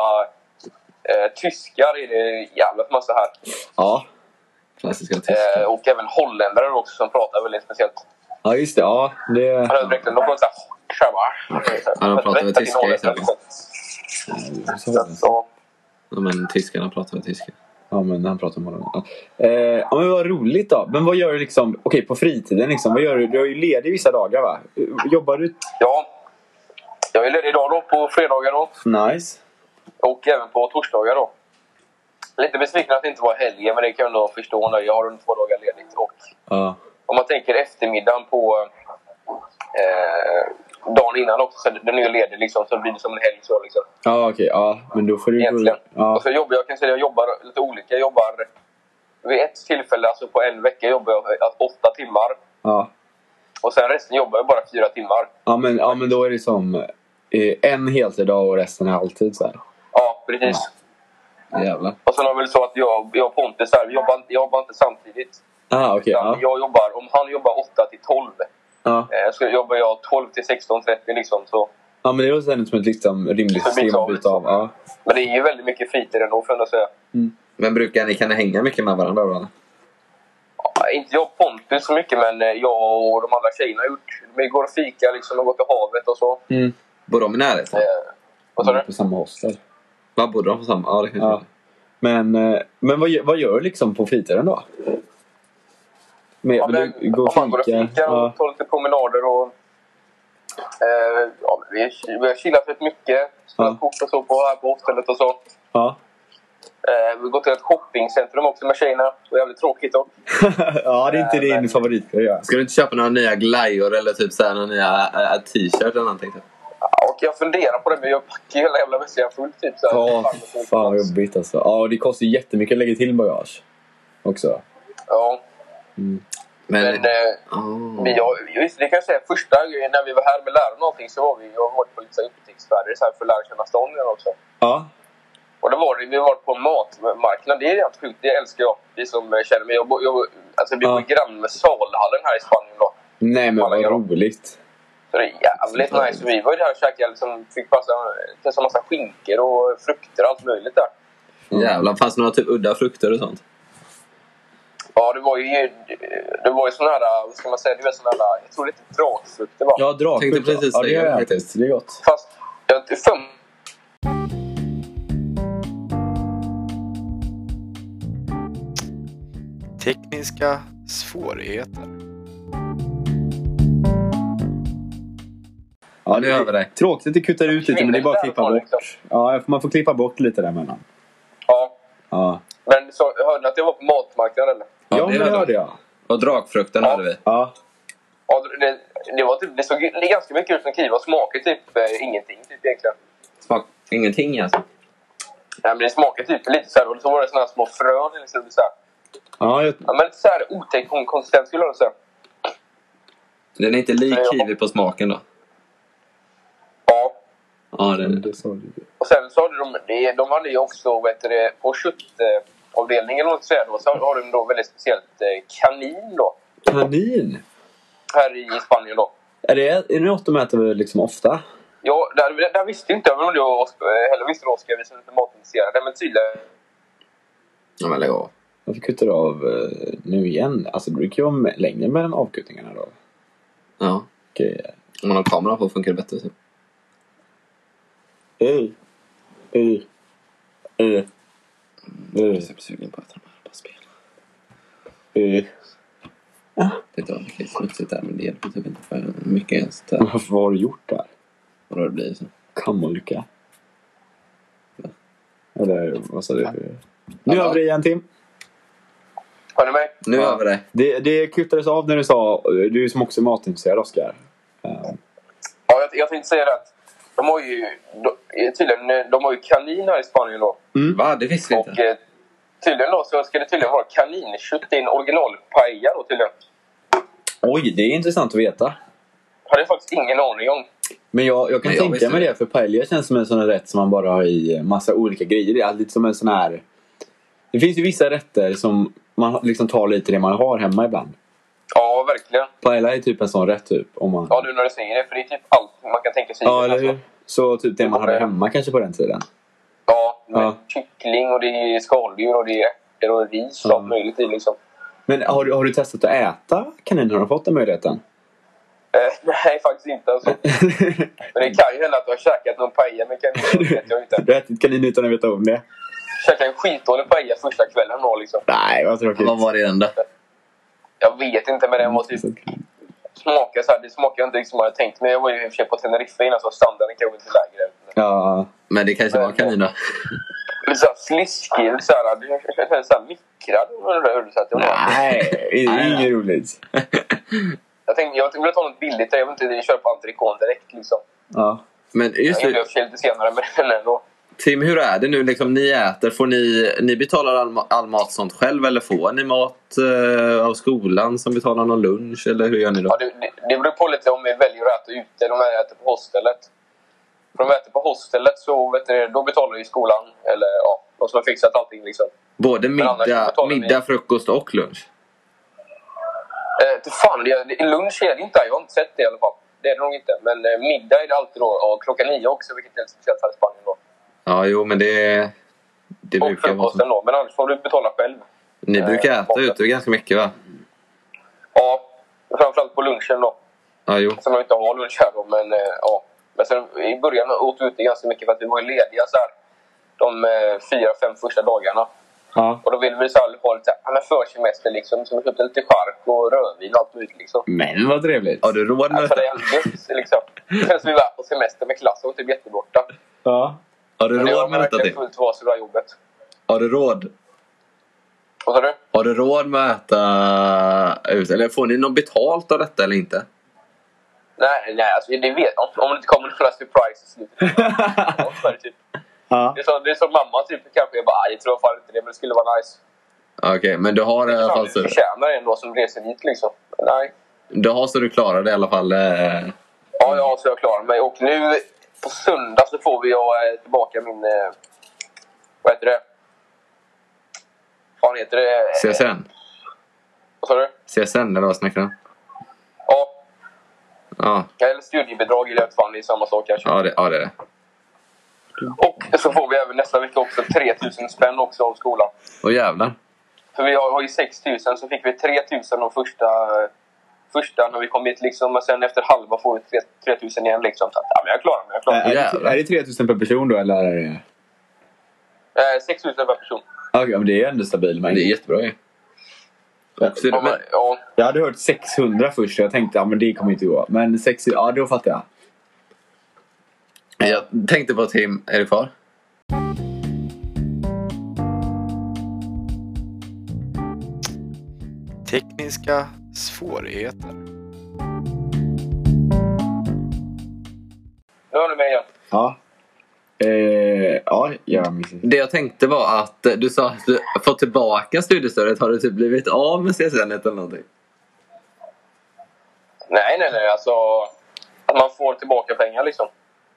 Speaker 3: Eh, tyskar är det jävligt massa här.
Speaker 2: ja.
Speaker 1: Klassiska tyskar.
Speaker 3: Eh, och även holländare också som pratar väldigt speciellt.
Speaker 2: Ja, just det. Ja, det...
Speaker 3: Han hade verkligen... De pratar såhär...
Speaker 1: Ja, Mm. de pratar väl tyska, Mm. gissar jag på.
Speaker 3: Så,
Speaker 1: Ja, men tyskarna pratar väl tyska.
Speaker 2: Ja, men han pratar om honom. Ja. Eh, ja, men vad roligt då. Men vad gör du liksom, okej på fritiden liksom, vad gör du? Du är ju ledig vissa dagar va? Jobbar du?
Speaker 3: Ja. Jag är ledig idag då, på fredagar då.
Speaker 2: Nice.
Speaker 3: Och även på torsdagar då. Lite besviken att det inte var helgen, men det kan jag nog förstå nu. Jag har under två dagar ledigt. Och
Speaker 2: Ja.
Speaker 3: om man tänker eftermiddagen på eh, dagen innan också, så den är ju ledig liksom, så blir det som en helg så liksom.
Speaker 2: Ja, okej. Ja, men då får du...
Speaker 3: Egentligen.
Speaker 2: Ja.
Speaker 3: Och så jobbar jag, kan säga, jag jobbar lite olika. Jag jobbar vid ett tillfälle, alltså på en vecka, jobbar jag alltså, åtta timmar.
Speaker 2: Ja.
Speaker 3: Och sen resten jobbar jag bara fyra timmar.
Speaker 2: Ja, men, ja, men då är det som eh, en heltidsdag och resten är alltid så här.
Speaker 3: Ja, precis.
Speaker 1: Jävlar.
Speaker 3: Och sen har vi väl så att jag, jag och Pontus här, vi jobbar, inte- jag jobbar inte samtidigt.
Speaker 2: Ah, okej.
Speaker 3: Utan
Speaker 2: ja.
Speaker 3: Jag jobbar, om han jobbar 8 till 12
Speaker 2: Ja.
Speaker 3: eh, så jobbar jag 12 till 16.30 liksom. Så.
Speaker 2: ja, men det låter ändå som ett liksom, rimligt
Speaker 3: Så
Speaker 2: system
Speaker 3: byta
Speaker 2: att
Speaker 3: av.
Speaker 2: byta av. Ja.
Speaker 3: Men det är ju väldigt mycket fritid ändå får jag ändå säga.
Speaker 1: Men brukar ni, kan ni hänga mycket med varandra? Då?
Speaker 3: Ja, Inte jag och Pontus så mycket men eh, jag och de andra tjejerna har gjort. Vi går och fika liksom och går till havet och så.
Speaker 2: Mm.
Speaker 1: Bor de i närheten?
Speaker 3: Eh, Vad sa du?
Speaker 2: På samma hostel.
Speaker 1: Vad bor de på samma? Ja, det kanske
Speaker 2: Ja. Men, eh, men vad, gör- vad gör du liksom på fritiden då? Med,
Speaker 3: Ja, men,
Speaker 2: men, du, gå och
Speaker 3: om man går och
Speaker 2: fika?
Speaker 3: fikar
Speaker 2: Ja.
Speaker 3: och tar lite promenader och... Eh, ja, vi, vi har chillat rätt mycket. Spelat
Speaker 2: Ja.
Speaker 3: kort och så på, här på hotellet och så.
Speaker 2: Ja. <laughs>
Speaker 3: Eh, vi har gått till ett shoppingcentrum också med tjejerna. Det var jävligt tråkigt dock.
Speaker 2: ja, det är inte
Speaker 3: Äh, men-
Speaker 2: din favoritgrej att göra.
Speaker 1: Ska du inte köpa några nya glajjor eller typ så här, några nya ä, ä, t-shirt eller någonting? Typ?
Speaker 3: Ja, och jag funderar på det, men jag packar ju hela jävla väskan full. Typ, så här.
Speaker 2: Ja,
Speaker 3: Fan,
Speaker 2: fan vad jobbigt alltså. Ja, och det kostar ju jättemycket att lägga till bagage. Också.
Speaker 3: Ja,
Speaker 1: Men,
Speaker 3: men eh,
Speaker 1: Ah.
Speaker 3: vi har, just, det kan jag säga, första gången när vi var här med lärarna och allting så var vi jag har varit på lite så här upptäcktsfärder så här för att lära känna stan igen också.
Speaker 2: Ja.
Speaker 3: Och då var det, vi har varit på en matmarknad. Det är helt sjukt, det älskar jag. Vi som eh, känner mig. Jag, bor- jag, bor- alltså, vi
Speaker 2: Ja.
Speaker 3: bor grann med Salhallen här i Spanien då.
Speaker 2: Nej men vad
Speaker 3: Malaga då.
Speaker 2: roligt.
Speaker 3: Så det är jävligt
Speaker 2: Mm.
Speaker 3: nice. Vi var ju där och käkade, liksom, fick passa, testa massa skinkor och frukter och allt möjligt där.
Speaker 1: Jävlar, fanns det några typ udda frukter och sånt?
Speaker 3: Ja, det var ju, det var ju sån här, vad ska man säga, det var sån här, jag tror det heter drakfrukt det var.
Speaker 2: Ja, draksjuka.
Speaker 1: Tänkte precis
Speaker 2: ja, det
Speaker 1: säga
Speaker 2: har jag
Speaker 1: det.
Speaker 2: ätit. Det är gott.
Speaker 3: Fast, jag är fem.
Speaker 4: Tekniska svårigheter.
Speaker 1: Ja, nu är jag över dig.
Speaker 2: Tråkigt att det kuttar ut lite men det är bara att klippa bort. Ja, man får klippa bort lite där mellan.
Speaker 3: Ja,
Speaker 2: Ja,
Speaker 3: men så, hörde ni att jag var på matmarknaden eller?
Speaker 1: Ja,
Speaker 2: ja,
Speaker 1: det
Speaker 2: men det
Speaker 1: hörde
Speaker 2: hörde
Speaker 1: jag.
Speaker 2: jag.
Speaker 1: Och dragfrukten
Speaker 3: Ja.
Speaker 1: hade vi.
Speaker 2: Ja.
Speaker 3: Ja, det, det, var typ, det såg ju- det är ganska mycket ut som kiva och smakade typ eh, ingenting typ egentligen.
Speaker 1: Smak. Ingenting alltså.
Speaker 3: Nej, men det smakar typ lite så här, och så var det såna här små frön. Liksom, så här.
Speaker 2: Ja, jag,
Speaker 3: Ja, men lite så här otäck konsistens skulle jag säga.
Speaker 1: Den är inte lik
Speaker 3: Ja.
Speaker 1: kiwi på smaken då?
Speaker 3: Ja.
Speaker 1: Ja, den
Speaker 2: det sa du.
Speaker 3: Och sen så hade de, det- de hade ju också vet du, det, på köttavdelningen eller vad man ska säga då, så har de då väldigt speciellt eh, kanin då.
Speaker 2: Kanin?
Speaker 3: Här i Spanien då.
Speaker 2: Är det, är det något de äter liksom ofta?
Speaker 3: Ja, där, där visste inte jag, men det var Oskar, eh, heller visste det Oskar, vi som är lite matintresserade. Men tydligen,
Speaker 1: Ja, men lägg av.
Speaker 2: Varför kuttar du av eh, nu igen? Alltså det brukar ju vara med- längre mellan avkuttningarna då.
Speaker 1: Ja.
Speaker 2: Grejer.
Speaker 1: Om man har kameran på funkar det bättre. typ. Så.
Speaker 2: Ey. Ey. Ey.
Speaker 1: Jag är
Speaker 2: Ey.
Speaker 1: så sugen på att äta de här. Bara spela.
Speaker 2: Ey.
Speaker 1: Det var mycket smutsigt där, men det hjälper typ inte för mycket ens.
Speaker 3: Mm.
Speaker 1: Där.
Speaker 2: Vad har du gjort där?
Speaker 1: Och då det blir så.
Speaker 2: Kammolycka? Eller vad sa du? Nu
Speaker 1: Ja.
Speaker 2: har vi det igen Tim.
Speaker 3: hör ni mig?
Speaker 1: Nu
Speaker 2: Ja.
Speaker 1: över det.
Speaker 2: Det, det kuttades av när du sa, du som också är matintresserad Oskar. Ehm,
Speaker 3: Ja, jag, jag tänkte säga det att de har ju de, eh, tydligen eh, de har ju kanin här i Spanien då.
Speaker 1: Va? Det visste vi
Speaker 3: Och
Speaker 1: inte.
Speaker 3: eh, tydligen då så ska det tydligen vara kaninkött i en originalpaella då tydligen.
Speaker 2: Oj, det är intressant att veta.
Speaker 3: Hade jag faktiskt ingen aning om.
Speaker 2: Men jag, jag kan
Speaker 1: Men jag
Speaker 2: tänka
Speaker 1: visste
Speaker 2: mig
Speaker 1: det.
Speaker 2: det, för paella känns som en sån här rätt som man bara har i massa olika grejer. Det är lite som en sån här... Det finns ju vissa rätter som man liksom tar lite det man har hemma ibland.
Speaker 3: Ja, verkligen.
Speaker 2: Paella är typ en sån rätt typ. Om man...
Speaker 3: Ja, nu när du säger det. För det är typ allt man kan tänka sig.
Speaker 2: Ja, eller hur? Så typ det man hade
Speaker 3: Ja.
Speaker 2: hemma kanske på den tiden.
Speaker 3: Ja, med
Speaker 2: Ja.
Speaker 3: kyckling och det är skaldjur och det är ärtor och ris och
Speaker 2: Mm.
Speaker 3: allt möjligt i liksom.
Speaker 2: Men har du, har du testat att äta kanin? Har du fått den möjligheten?
Speaker 3: Eh, <laughs> nej, faktiskt inte. Alltså. Men det kan ju hända att du har käkat någon paella med kanin. Det vet jag
Speaker 2: <laughs>
Speaker 3: inte.
Speaker 2: du har ätit kanin utan att veta om det?
Speaker 3: Käkade en skitdålig paella första kvällen då liksom.
Speaker 2: Nej, vad tråkigt.
Speaker 1: Vad var det den där?
Speaker 3: Jag vet inte, men den var typ smakade så här. Det smakade inte riktigt som jag hade tänkt mig. Jag var ju i och för sig på Teneriffa innan så standarden kanske inte är lägre.
Speaker 2: Ja,
Speaker 1: Men det kanske var kanin då?
Speaker 3: Lite såhär sliskig. lite Så här, det kändes såhär mikrad. undrar hur du sa att det var.
Speaker 2: nej, det är inget roligt.
Speaker 3: Jag tänkte jag ville ta något billigt. där. Jag vill inte köra på entrecote direkt. Liksom.
Speaker 2: Ja.
Speaker 1: Men
Speaker 3: Jag
Speaker 1: just
Speaker 3: gjorde det i
Speaker 1: det,
Speaker 3: och för sig lite senare, men ändå.
Speaker 1: Tim, hur är det nu? Liksom, ni äter, får ni, ni betalar all, ma- all mat sånt själv eller får ni mat eh, av skolan som betalar någon lunch? Eller hur gör ni
Speaker 3: Ja,
Speaker 1: då?
Speaker 3: det, det, det beror på lite om vi väljer att äta ute eller om vi äter på hostellet. För om vi äter på hostellet så vet du, då betalar ju skolan, eller ja, de som har fixat allting. Liksom.
Speaker 1: Både
Speaker 3: annars
Speaker 1: middag,
Speaker 3: betalar ni-
Speaker 1: middag, frukost och lunch?
Speaker 3: Eh, till fan, det, det, lunch är det inte. Jag har inte sett det i alla fall. Det är det nog inte. Men eh, middag är det alltid då, och klockan nio också, vilket är lite speciellt här i Spanien. Då.
Speaker 1: Ja, jo, men det, det
Speaker 3: Och
Speaker 1: brukar vara
Speaker 3: frukosten
Speaker 1: så.
Speaker 3: då. Men annars får du betala själv.
Speaker 1: Ni brukar äta
Speaker 3: maten.
Speaker 1: ute ganska mycket, va?
Speaker 3: Ja, framförallt på lunchen då.
Speaker 1: Ja, jo.
Speaker 3: Som jag inte har lunch här då, men eh, ja. Men sen i början åt vi ute ganska mycket för att vi var ju lediga så här. De eh, fyra, fem första dagarna.
Speaker 2: ja.
Speaker 3: Och då ville vi så här, ha lite ja, men försemester liksom. Så vi köpte lite chark och rödvin och allt möjligt liksom.
Speaker 2: Men vad trevligt.
Speaker 1: Har du råd med
Speaker 3: Ja, för det
Speaker 1: detta?
Speaker 3: är jävligt gött, liksom. Det känns som vi var på semester med klassen och typ jätteborta.
Speaker 2: Ja.
Speaker 1: Har du
Speaker 3: Men det var
Speaker 1: råd med detta,
Speaker 3: verkligen
Speaker 1: Tim?
Speaker 3: fullt var så bra jobbet.
Speaker 1: Har du råd?
Speaker 3: Vad sa du?
Speaker 1: Har du råd med att äta ute? Eller får ni något betalt av detta eller inte?
Speaker 3: Nej, nej alltså, det vet om, om det inte kommer några surprise i slutet. Ja, så är det typ.
Speaker 2: ja.
Speaker 3: Det är så- Det är som mamma typ kanske. Jag bara, "Aj, jag tror fan inte det, men det skulle vara nice.
Speaker 1: Okej, men du har i alla fall
Speaker 3: Du
Speaker 1: så,
Speaker 3: förtjänar en då som reser dit liksom. Nej.
Speaker 1: du, har så du klarar det i alla fall. Eh,
Speaker 3: Ja, ja, så jag klarar mig. Och nu på söndag så får vi jag eh, tillbaka min... eh, Vad heter det? Vad heter det? Eh,
Speaker 1: CSN?
Speaker 3: Vad sa du?
Speaker 1: CSN eller vad snackar du om?
Speaker 3: Ja,
Speaker 1: Ja,
Speaker 3: eller studiebidrag eller vad fan, det är samma sak kanske.
Speaker 1: ja, det, ja, det är det.
Speaker 3: Och så får vi även nästa vecka också 3000 spänn också av skolan.
Speaker 1: Åh jävlar.
Speaker 3: För vi har, har ju 6000 så fick vi 3000 de första... eh, Första när vi kom hit liksom. Men sen efter halva får vi 3 3000 igen liksom. Så att, ja, men jag klarar mig. Jag klarar mig.
Speaker 2: Är, är, det,
Speaker 1: Jävlar.
Speaker 2: är det 3000 per person då eller? Är det...
Speaker 3: Eh, 6000 per person.
Speaker 2: Ja, Okej, men det är ändå stabil
Speaker 1: Det
Speaker 2: mängd.
Speaker 1: är jättebra ju. Också,
Speaker 3: Ja,
Speaker 1: men,
Speaker 3: men, ja.
Speaker 2: Jag hade hört 600 först och jag tänkte ja men det kommer inte gå. Men 600, ja då fattar jag.
Speaker 1: jag tänkte på Tim, är du kvar?
Speaker 4: Tekniska svårigheter.
Speaker 3: Nu hör ni mig igen.
Speaker 2: Ja. Eh, ja, jag minns inte.
Speaker 1: Det jag tänkte var att eh, du sa att du fått tillbaka studiestödet. Har du typ blivit av med CSN eller någonting?
Speaker 3: Nej, nej, nej. Alltså, att man får tillbaka pengar liksom.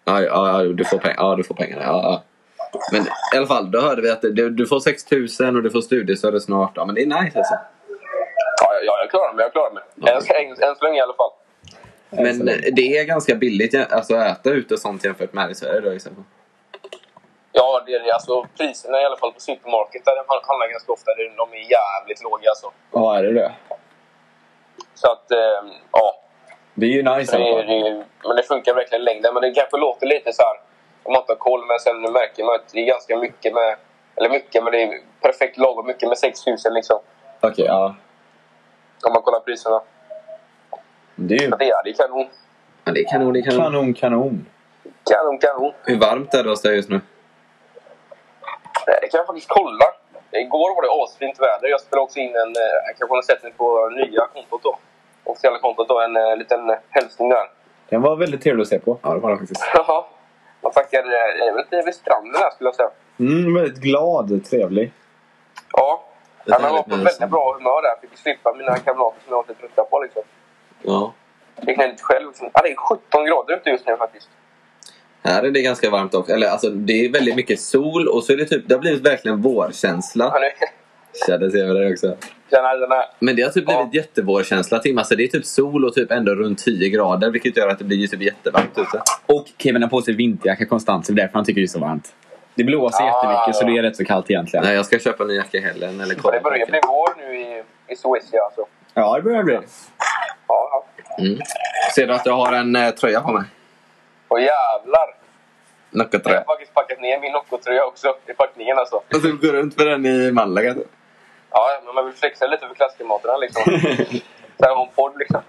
Speaker 1: Ja, ja, ja, du får pengar. Ja, du får pengarna. Ja, ja. Men i alla fall, då hörde vi att du, du får 6 000 och du får studiestödet snart. Ja, men det är nice alltså.
Speaker 3: Ja, ja, jag klarar mig. Jag klarar mig. Än, så- än, än så länge i alla fall.
Speaker 1: Men eh, det är ganska billigt ja, alltså, att äta ute och sånt jämfört med här i Sverige då exempel.
Speaker 3: Ja, det är det. Alltså, priserna i alla fall på supermarket där de handlar ganska ofta, de är jävligt låga alltså.
Speaker 2: Ja, är det det?
Speaker 3: Så att, eh, ja.
Speaker 2: Det är ju nice
Speaker 3: Så
Speaker 2: i
Speaker 3: det, är-
Speaker 2: alla
Speaker 3: det,
Speaker 2: fall.
Speaker 3: är- men det funkar verkligen i längden. Men det kanske låter lite så här, om man inte har koll, men sen märker man att det är ganska mycket med, eller mycket, men det är perfekt lagom mycket med 6000 liksom.
Speaker 2: Okej, ja.
Speaker 3: Om man kollar priserna.
Speaker 2: Det är ju
Speaker 3: Så det är det är kanon.
Speaker 1: Ja, det är kanon, det är kanon.
Speaker 2: kanon, kanon.
Speaker 3: Kanon, kanon.
Speaker 1: Hur varmt är det hos dig just nu?
Speaker 3: Nej, Eh, Det kan jag faktiskt kolla. Igår var det asfint väder. Jag spelade också in en, eh, kanske har sett den på nya kontot då. Officiella kontot då, en eh, liten hälsning där. <laughs>
Speaker 2: Den var väldigt trevlig att se på.
Speaker 1: Ja, det var det faktiskt.
Speaker 3: Jaha. Man tackar, eh, jag vet inte, vid stranden här skulle jag säga.
Speaker 2: Mm, väldigt glad, trevlig.
Speaker 3: Ja.
Speaker 1: Det är
Speaker 3: Han var
Speaker 1: härligt
Speaker 3: på
Speaker 1: med
Speaker 3: väldigt
Speaker 1: sån-
Speaker 3: bra humör där. Fick slippa mina kamrater som jag var lite trötta på. Liksom.
Speaker 1: Ja.
Speaker 3: Fick ner lite själv. Liksom. Ja, det är 17 grader ute just nu faktiskt. <laughs>
Speaker 1: Här är det ganska varmt också. Eller alltså, det är väldigt mycket sol och så är det typ, det har blivit verkligen
Speaker 3: Ja,
Speaker 1: vårkänsla.
Speaker 3: nu
Speaker 1: Kändes över det också.
Speaker 3: den här, den här.
Speaker 1: Men det har typ
Speaker 3: Ja.
Speaker 1: blivit jättevårkänsla Tim. Alltså det är typ sol och typ ändå runt 10 grader vilket gör att det blir typ jättevarmt ute.
Speaker 2: Och Kevin har på sig vinterjacka konstant, så det är därför han tycker det är så varmt. Det blåser
Speaker 3: Ah.
Speaker 2: jättemycket, så det är rätt så kallt egentligen.
Speaker 1: Nej, jag ska köpa en ny jacka i helgen. Eller
Speaker 3: Det börjar bli vår nu i, i Suecia alltså.
Speaker 2: Ja, det börjar bli.
Speaker 3: Ja, ja.
Speaker 1: mm. Ser du att jag har en eh, tröja på mig?
Speaker 3: Och jävlar! Jag har
Speaker 1: Noccotröja.
Speaker 3: faktiskt packat ner min Nocco-tröja också i packningen alltså.
Speaker 1: Jag typ går runt med den i Malaga. typ.
Speaker 3: Ja, ja, men man vill flexa lite för klassklimaterna
Speaker 2: <laughs>
Speaker 3: liksom. Så här har en podd liksom.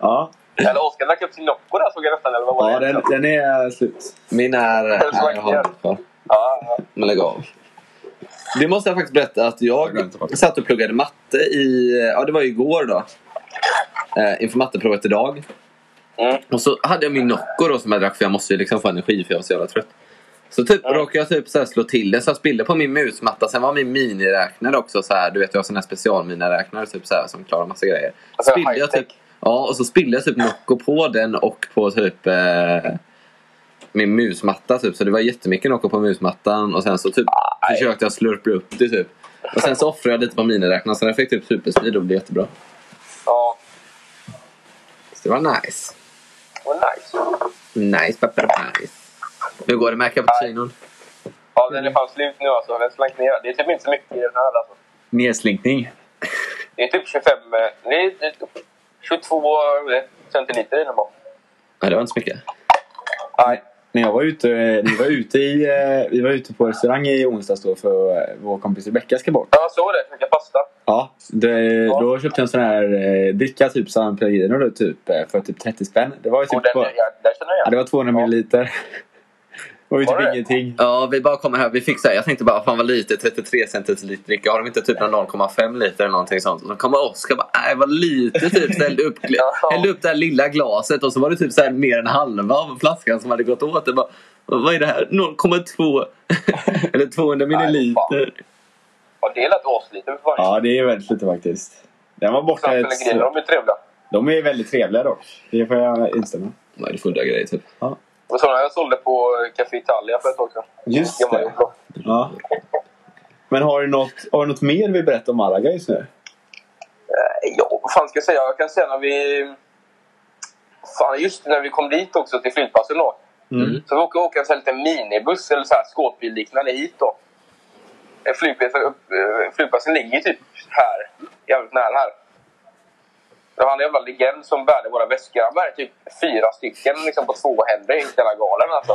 Speaker 2: Ja,
Speaker 3: Eller Oskar drack upp sin Nocco där såg jag nästan, eller vad var
Speaker 2: ja
Speaker 3: det?
Speaker 2: den, den är äh, slut.
Speaker 1: Min är... eh, Nej, jag har inte kvar.
Speaker 3: Ja, ja.
Speaker 1: Men lägg av. Det måste jag faktiskt berätta att jag satt och pluggade matte i... Ja, det var ju igår då. Eh, inför matteprovet idag.
Speaker 3: Mm.
Speaker 1: Och så hade jag min Nocco då som jag drack för jag måste ju liksom få energi för jag var så jävla trött. Så typ
Speaker 3: Mm.
Speaker 1: råkade jag typ så här slå till den så jag spillde på min musmatta. Sen var min miniräknare också så här. Du vet jag har sån här specialminiräknare typ så här, som klarar massa grejer.
Speaker 3: Alltså,
Speaker 1: Spillde jag
Speaker 3: high-tech.
Speaker 1: typ, ja, och så spillde jag typ Nocco på den och på typ eh, min musmatta typ. Så det var jättemycket Nocco på musmattan och sen så typ försökte jag slurpa upp det typ. Och sen så offrade jag lite på miniräknaren så den fick typ superspeed och blev jättebra.
Speaker 3: ja.
Speaker 1: Så det var nice.
Speaker 3: Vad nice.
Speaker 1: Nice, papper, nice. Hur går det med cappuccinon?
Speaker 3: Ja,
Speaker 2: Mm.
Speaker 3: den är fan slut nu alltså. Den slank ner. Det är typ inte så mycket i den här alltså.
Speaker 2: Nedslinkning.
Speaker 3: Det är typ 25... eh, Det är typ 22 centiliter i den bara.
Speaker 1: Ja, det var inte så mycket.
Speaker 3: Nej.
Speaker 2: När jag var ute, vi, var ute i, eh, vi var ute på restaurang i onsdags då för eh, vår kompis Rebecka ska bort.
Speaker 3: Ja, Jag såg det. Käka pasta.
Speaker 2: Ja, det, då köpte jag en sån här eh, dricka, typ San Pellegrino då, typ, eh, för typ 30 spänn. Det var ju
Speaker 3: Och
Speaker 2: typ
Speaker 3: den,
Speaker 2: på,
Speaker 3: ja, där känner jag igen.
Speaker 2: ja, det var 200
Speaker 3: Ja.
Speaker 2: milliliter. Och vi
Speaker 3: Var
Speaker 2: typ
Speaker 3: det?
Speaker 2: ingenting.
Speaker 1: Ja, vi bara kommer här. Vi fick så här, jag tänkte bara, fan vad lite 33 centiliter dricka. Har de inte typ någon 0,5 liter eller någonting sånt? Och Då kommer Oskar bara, nej vad lite typ. Så hällde upp, gla-
Speaker 3: Ja.
Speaker 1: hällde upp det här lilla glaset och så var det typ så här mer än halva av flaskan som hade gått åt. Det bara, vad är det här? 0,2 <laughs> eller 200 milliliter.
Speaker 3: Ja, det lät aslite för fan.
Speaker 2: Ja, det är väldigt lite faktiskt. Den var borta
Speaker 3: San
Speaker 2: ett...
Speaker 3: Pellegrino, de är trevliga.
Speaker 2: De är väldigt trevliga dock. Det får jag instämma.
Speaker 1: Vad är det för udda grej typ?
Speaker 3: Och sådana jag sålde på Café Italia för ett tag sedan.
Speaker 2: Just
Speaker 3: Gamla
Speaker 2: det.
Speaker 3: Jordbro.
Speaker 2: Ja. Men har du, något, har du något mer vi berättar om Malaga just nu?
Speaker 3: Eh, Ja, vad fan ska jag säga? Jag kan säga när vi... Fan, just när vi kom dit också till flygplatsen då.
Speaker 2: Mm.
Speaker 3: Så vi åker, åker en sån här liten minibuss eller så här skåpbil liknande hit då. Eh, Flygplatsen, upp- eh, flygplatsen ligger ju typ här. Jävligt nära här. Det var en jävla legend som bärde våra väskor. Han bärde typ fyra stycken liksom, på två händer. i hela galen alltså.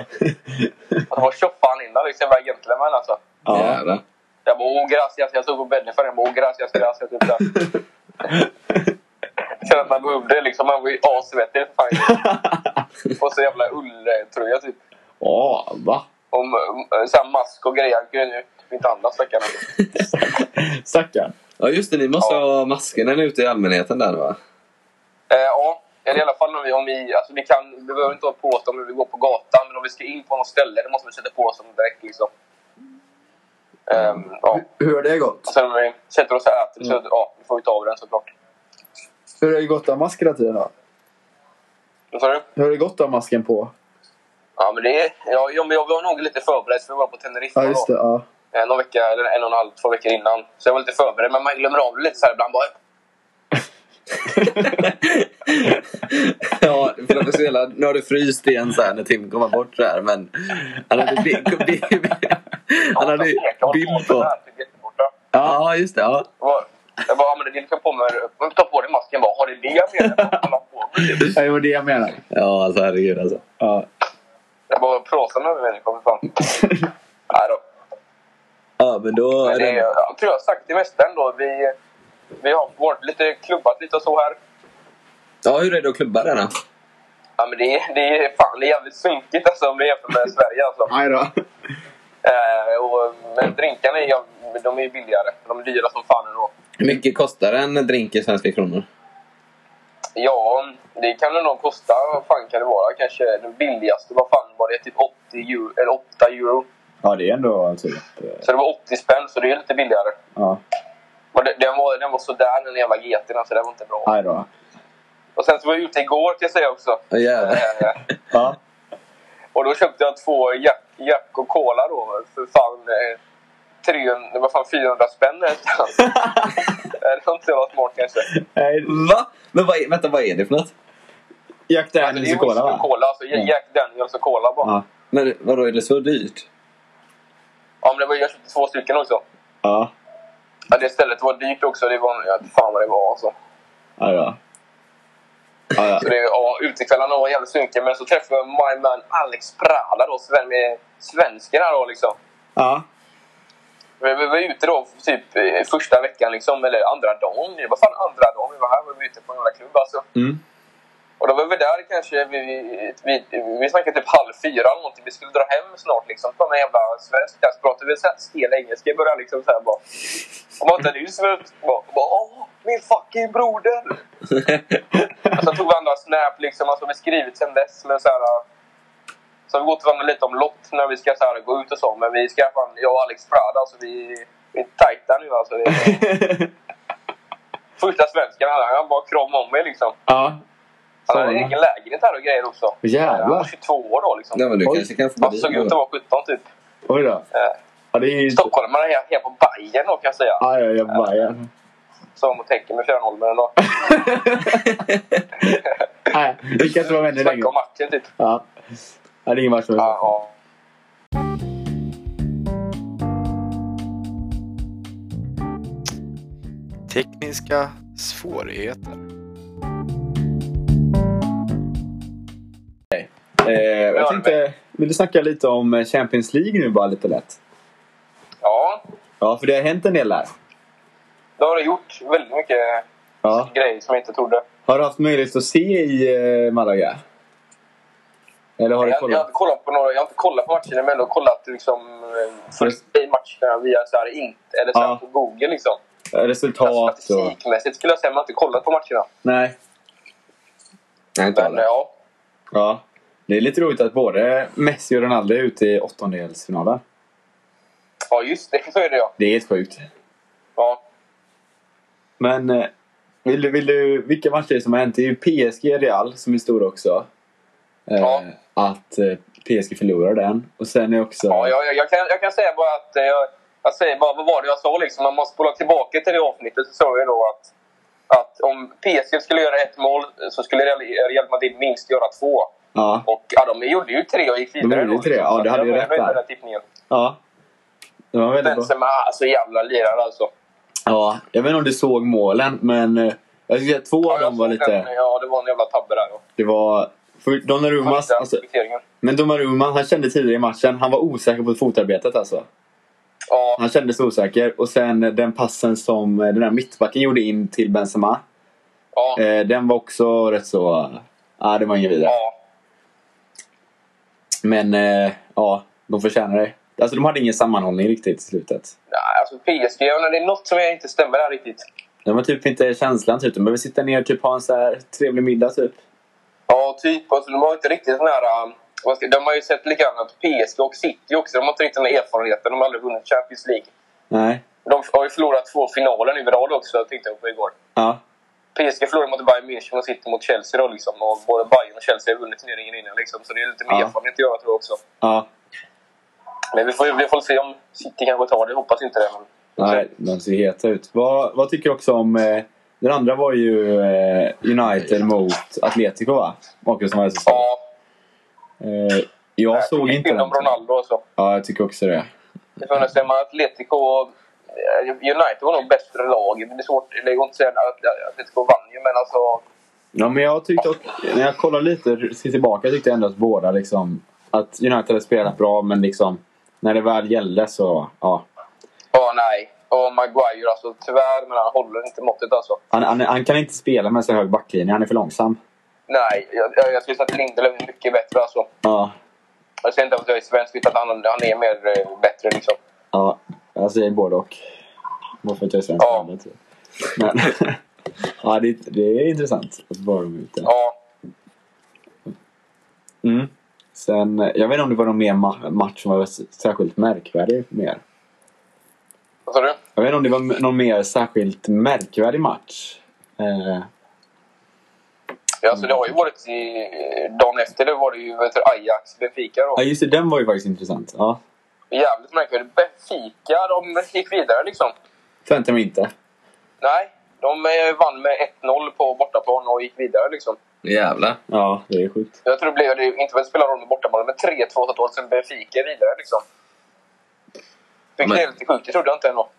Speaker 3: Och det var tjoffa han innan liksom. Jag var gentleman alltså.
Speaker 2: Ja.
Speaker 1: Jävlar.
Speaker 3: Jag bara åh gracias. Jag stod på bädden för den. Jag bara åh gracias, gracias. Typ där. Sen att man behövde liksom. Man var ju assvettig. för fan. Och så jävla ulltröja typ.
Speaker 2: Ja, va?
Speaker 3: Om eh, så här mask och grejer. Han kunde ju typ inte andas stackarna.
Speaker 2: Stackarn.
Speaker 1: Ja, just det. Ni måste
Speaker 3: Ja.
Speaker 1: ha maskerna ute i allmänheten där va?
Speaker 3: Eh, ja, Eller i alla fall om vi, om vi, alltså vi kan, vi behöver inte ha på oss dem när vi går på gatan, men om vi ska in på något ställe, då måste vi sätta på oss dem direkt liksom. Ehm, ja.
Speaker 2: Hur har det gått?
Speaker 3: Sen när vi sätter oss och äter, så ja, vi får vi ta av den såklart.
Speaker 2: Hur har det gått av masken hela tiden då?
Speaker 3: Vad sa du?
Speaker 2: Hur har det gått av masken på?
Speaker 3: Ja, men det är, ja, ja, men jag var nog lite förberedd, för jag var på Teneriffa
Speaker 2: Ja, just det. Ja.
Speaker 3: då. Eh, Någon vecka, eller en och en halv, två veckor innan. Så jag var lite förberedd, men man glömmer av det lite så här ibland bara.
Speaker 1: Ja, för de är så jävla, nu har du fryst igen så här när Tim kommer bort så här men han hade, bi- <laughs> bi- bi- han hade bild på. Ja, just det. Ja.
Speaker 3: Vad- Jag bara, ja, men det är liksom på mig. Men ta på dig masken bara. Har det det jag menar? Vad håller på med?
Speaker 2: Ja, det var det jag menar.
Speaker 1: ja, alltså herregud alltså.
Speaker 2: Ja.
Speaker 3: Jag bara pratar med människor för fan. Nej då.
Speaker 1: Ja, men då är
Speaker 3: Men det,
Speaker 1: det...
Speaker 3: jag tror jag har sagt det mesta ändå. Vi, vi har varit lite klubbat lite och så här.
Speaker 1: Ja, hur är det att klubba den då?
Speaker 3: Ja, men det, är- det är fan det är jävligt sunkigt alltså, om vi jämför med Sverige. Alltså.
Speaker 2: Nej då.
Speaker 3: Eh, och, men drinkarna är, jäv- de är ju billigare. De är dyra som fan ändå.
Speaker 1: Hur mycket kostar en drink i svenska kronor?
Speaker 3: Ja, det kan det nog kosta. Vad fan kan det vara? Kanske den billigaste. Vad fan var det? Typ 80 euro, eller 8 euro.
Speaker 2: Ja, det är ändå typ... eh,
Speaker 3: Så det var 80 spänn, så det är lite billigare.
Speaker 2: Ja.
Speaker 3: Men det- den, var, den var sådär, den jävla geten. Alltså, den var inte bra.
Speaker 2: Nej då.
Speaker 3: Och sen så var jag ute igår, kan jag säga också.
Speaker 1: Oh, jävlar.
Speaker 3: Eh,
Speaker 2: Ja.
Speaker 3: och då köpte jag två Jack, Jack och Cola då. För fan, eh, 300, vad fan 400 spänn någonstans. <laughs> det var inte så smart kanske.
Speaker 2: Nej,
Speaker 1: Va? Men vad är, vänta, vad är det för något?
Speaker 2: Jack
Speaker 3: Men det är
Speaker 2: Daniels
Speaker 3: ju
Speaker 2: och Cola
Speaker 3: whisky och
Speaker 2: va?
Speaker 3: cola. Alltså,
Speaker 2: Mm.
Speaker 3: Jack Daniels och cola bara. Ja.
Speaker 2: Ja.
Speaker 1: Men vadå, är det så dyrt?
Speaker 3: men det var, jag köpte två stycken också.
Speaker 2: Ja.
Speaker 3: Ja, det stället var dyrt också. Det var, ja, fan vad det var alltså.
Speaker 2: Ja då. Ja,
Speaker 3: Så
Speaker 2: ja.
Speaker 3: det, ja, utekvällarna var jävligt sunkiga. Men så träffade jag my man Alex Prala då. Sven med svensken här då liksom.
Speaker 2: ja.
Speaker 3: Vi vi var ute då typ eh, första veckan liksom, eller andra dagen. Det var fan andra dagen vi var här. Vi var ute på en jävla klubb alltså.
Speaker 2: Mm.
Speaker 3: Och då var vi där kanske, vi, vi, vi, vi snackade typ halv fyra eller någonting. Vi skulle dra hem snart liksom. Fan en jävla svensk där så pratade vi så här stel engelska i början liksom såhär bara. Och man inte nyss bara, bara åh, min fucking broder! och så tog vi andra snap liksom, alltså vi skrivit sen dess men såhär. Så har vi gått varandra lite om lott när vi ska så här, gå ut och så. Men vi ska fan, jag och Alex Prada, alltså vi, vi är tajta nu alltså. Vi,
Speaker 2: <laughs>
Speaker 3: första svensken han, han bara kramade om mig liksom.
Speaker 2: ja.
Speaker 3: Han hade egen lägenhet här och grejer också.
Speaker 2: Jävlar.
Speaker 3: Han var 22 år då liksom.
Speaker 1: Nej, men du
Speaker 2: Oj.
Speaker 1: kanske kan få
Speaker 3: Han
Speaker 1: dit
Speaker 3: såg ut
Speaker 1: någon.
Speaker 3: att vara 17 typ.
Speaker 2: Oj då.
Speaker 3: Eh,
Speaker 2: Ja, det är ju...
Speaker 3: Stockholmare här, här på Bajen då kan jag säga.
Speaker 2: Ja, ja, jag bara... Ja.
Speaker 3: Som och täcker med Fjärnholmen ändå.
Speaker 2: Nej, vi kan inte vara vänner längre.
Speaker 3: Snacka om matchen typ.
Speaker 2: Ja. ja, det är ingen match för
Speaker 3: Ja, ja.
Speaker 4: Tekniska svårigheter.
Speaker 2: eh, Jag
Speaker 3: det
Speaker 2: tänkte... Vill du snacka lite om eh, Champions League nu bara lite lätt?
Speaker 3: ja,
Speaker 2: Ja, för det har hänt en del där.
Speaker 3: då har det gjort väldigt mycket
Speaker 2: Ja.
Speaker 3: grejer som jag inte trodde.
Speaker 2: Har du haft möjlighet att se i eh, Malaga? Eller har du
Speaker 3: Jag, jag, har
Speaker 2: kollat?
Speaker 3: inte kollat på några, jag har inte kollat på matcherna men ändå kollat liksom eh, först i matcherna via så här, inte, eller så här,
Speaker 2: Ja.
Speaker 3: på Google liksom. Alltså,
Speaker 2: Resultat och...
Speaker 3: Statistikmässigt skulle jag säga, men jag har inte kollat på matcherna.
Speaker 2: Nej.
Speaker 1: Nej, inte
Speaker 3: Men
Speaker 1: alla.
Speaker 3: ja,
Speaker 2: Ja. Det är lite roligt att både Messi och Ronaldo är ute i åttondelsfinalen.
Speaker 3: ja just det, så är det ja.
Speaker 2: Det är helt sjukt.
Speaker 3: ja.
Speaker 2: Men eh, vill du, vill du, vilka matcher som har hänt? Det är ju PSG Real som är stor också. Eh,
Speaker 3: Ja.
Speaker 2: Att eh, PSG förlorar den. Och sen är också...
Speaker 3: Ja, jag, jag- jag, kan, jag kan säga bara att... eh, Jag, jag säger bara, vad var det jag sa liksom? Om man spolar tillbaka till det avsnittet så sa jag då att... Att om PSG skulle göra ett mål så skulle Real, Real Madrid minst göra två.
Speaker 2: Ja.
Speaker 3: Och ja, de gjorde ju tre och gick vidare.
Speaker 2: gjorde
Speaker 3: då,
Speaker 2: ju tre, ja,
Speaker 3: Så
Speaker 2: du hade
Speaker 3: jag
Speaker 2: ju
Speaker 3: var
Speaker 2: rätt
Speaker 3: nöjd med
Speaker 2: där.
Speaker 3: den tippningen.
Speaker 2: ja. Det var väldigt bra.
Speaker 3: Benzema, alltså jävla lirare alltså.
Speaker 2: Ja, jag vet inte om du såg målen, men eh, jag tycker att två
Speaker 3: Ja, jag
Speaker 2: av dem var
Speaker 3: såg den.
Speaker 2: lite...
Speaker 3: ja, det var en jävla tabbe där. ja.
Speaker 2: Det var... För Donnarumma,
Speaker 3: Faktiskt,
Speaker 2: alltså,
Speaker 3: kvitteringen.
Speaker 2: men Donnarumma, han kände tidigare i matchen, han var osäker på fotarbetet alltså.
Speaker 3: Ja,
Speaker 2: Han kändes osäker. Och sen eh, den passen som eh, den här mittbacken gjorde in till Benzema.
Speaker 3: ja,
Speaker 2: Eh, den var också rätt så... Ja, det var ingen vidare.
Speaker 3: ja.
Speaker 2: Men eh, ja, de förtjänar det. Alltså de hade ingen sammanhållning riktigt i slutet.
Speaker 3: Nej, alltså PSG, jag menar, det är något som jag inte stämmer där riktigt.
Speaker 2: De har typ inte känslan, typ. de behöver sitta ner och typ ha en så här trevlig middag typ.
Speaker 3: Ja, typ. Alltså, de har inte riktigt den här... um, vad ska- De har ju sett likadant PSG och City också. De har inte riktigt den här erfarenheten. De har aldrig vunnit Champions League.
Speaker 2: Nej.
Speaker 3: De har ju förlorat två finaler nu i rad också, tänkte jag på igår.
Speaker 2: Ja.
Speaker 3: PSG förlorade mot Bayern München och City mot Chelsea då liksom. Och både Bayern och Chelsea har vunnit turneringen innan liksom. Så det är lite mer
Speaker 2: Ja.
Speaker 3: erfarenhet att göra tror jag också.
Speaker 2: Ja.
Speaker 3: Men vi får, vi får se om City kanske tar det. Jag hoppas inte det. Men...
Speaker 2: Nej, de ser heta ut. Vad, vad tycker du också om... Eh, den andra var ju eh, United mot Atletico va? Marcus som var så stark.
Speaker 3: Ja,
Speaker 2: eh, Jag såg
Speaker 3: tycker
Speaker 2: inte
Speaker 3: synd
Speaker 2: den.
Speaker 3: om Ronaldo alltså.
Speaker 2: Ja, jag tycker också det.
Speaker 3: Det får jag nästan säga, men Atletico och eh, United var nog bättre lag. Det är svårt, eller jag går inte säga att Atletico vann ju, men alltså...
Speaker 2: Ja, men jag tyckte att, när jag kollar lite ser tillbaka tyckte jag ändå att båda liksom... Att United hade spelat bra, men liksom... När det väl gällde så... Ja.
Speaker 3: Ja, nej. Och Maguire alltså, tyvärr, men han håller inte måttet alltså.
Speaker 2: Han, han, han kan inte spela med så hög backlinje. Han är för långsam.
Speaker 3: Nej, jag, jag, jag skulle säga att Lindelöf är mycket bättre alltså.
Speaker 2: Ja.
Speaker 3: Jag säger inte att jag är svensk, utan att han, han är mer eh, bättre liksom.
Speaker 2: Ja. Jag säger både och. Bara för att jag är svensk.
Speaker 3: Ja.
Speaker 2: Men, <laughs> ja, det, det är intressant att bara de är ute.
Speaker 3: Ja,
Speaker 2: Mm. Sen, jag vet inte om det var någon mer ma- match som var s- särskilt märkvärdig. Mer.
Speaker 3: vad sa du?
Speaker 2: Jag vet inte om det var m- någon mer särskilt märkvärdig match. Eh,
Speaker 3: Ja, alltså, det har
Speaker 2: Mm.
Speaker 3: ju varit i, dagen efter, det var det ju vet du, Ajax, Benfica då.
Speaker 2: ja, just det. Den var ju faktiskt intressant. Ja.
Speaker 3: Jävligt märkvärdigt. Benfica, de gick vidare liksom.
Speaker 2: Förväntar mig inte.
Speaker 3: Nej, de eh, vann med 1-0 på bortaplan och gick vidare. Liksom.
Speaker 1: Jävlar.
Speaker 2: Ja, det är sjukt.
Speaker 3: Jag tror det blev, det inte väl spelar roll med bortaplan, men 3-2 åt håll sen Benfica är vidare. Liksom. Vilket
Speaker 1: Men-
Speaker 3: är lite sjukt, det trodde jag inte ändå.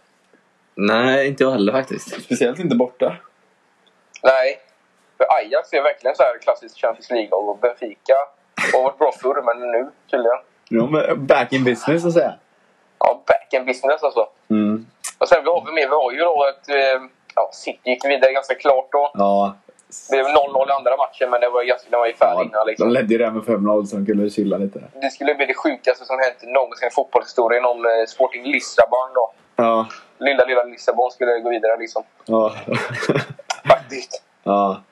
Speaker 1: Nej, inte jag heller faktiskt.
Speaker 2: Speciellt inte borta.
Speaker 3: Nej, för Ajax är verkligen så här klassiskt Champions League och Benfica har varit bra förr, men nu tydligen.
Speaker 2: De är eh, back in business, så att säga.
Speaker 3: Ja, back in business alltså.
Speaker 2: Mm.
Speaker 3: Och sen vad har vi mer? Vi har ju då ett... eh, Ja, City gick vidare ganska klart då.
Speaker 2: Ja.
Speaker 3: Det blev 0-0 i andra matchen, men det var ju ganska, det var ju färdigt innan. Liksom.
Speaker 2: De ledde ju det här med 5-0 så de kunde chilla lite.
Speaker 3: Det skulle bli det sjukaste som hänt någonsin i fotbollshistorien om eh, Sporting Lissabon då.
Speaker 2: Ja.
Speaker 3: Lilla, lilla Lissabon skulle gå vidare liksom.
Speaker 2: Ja.
Speaker 3: Faktiskt.
Speaker 2: <laughs> ja.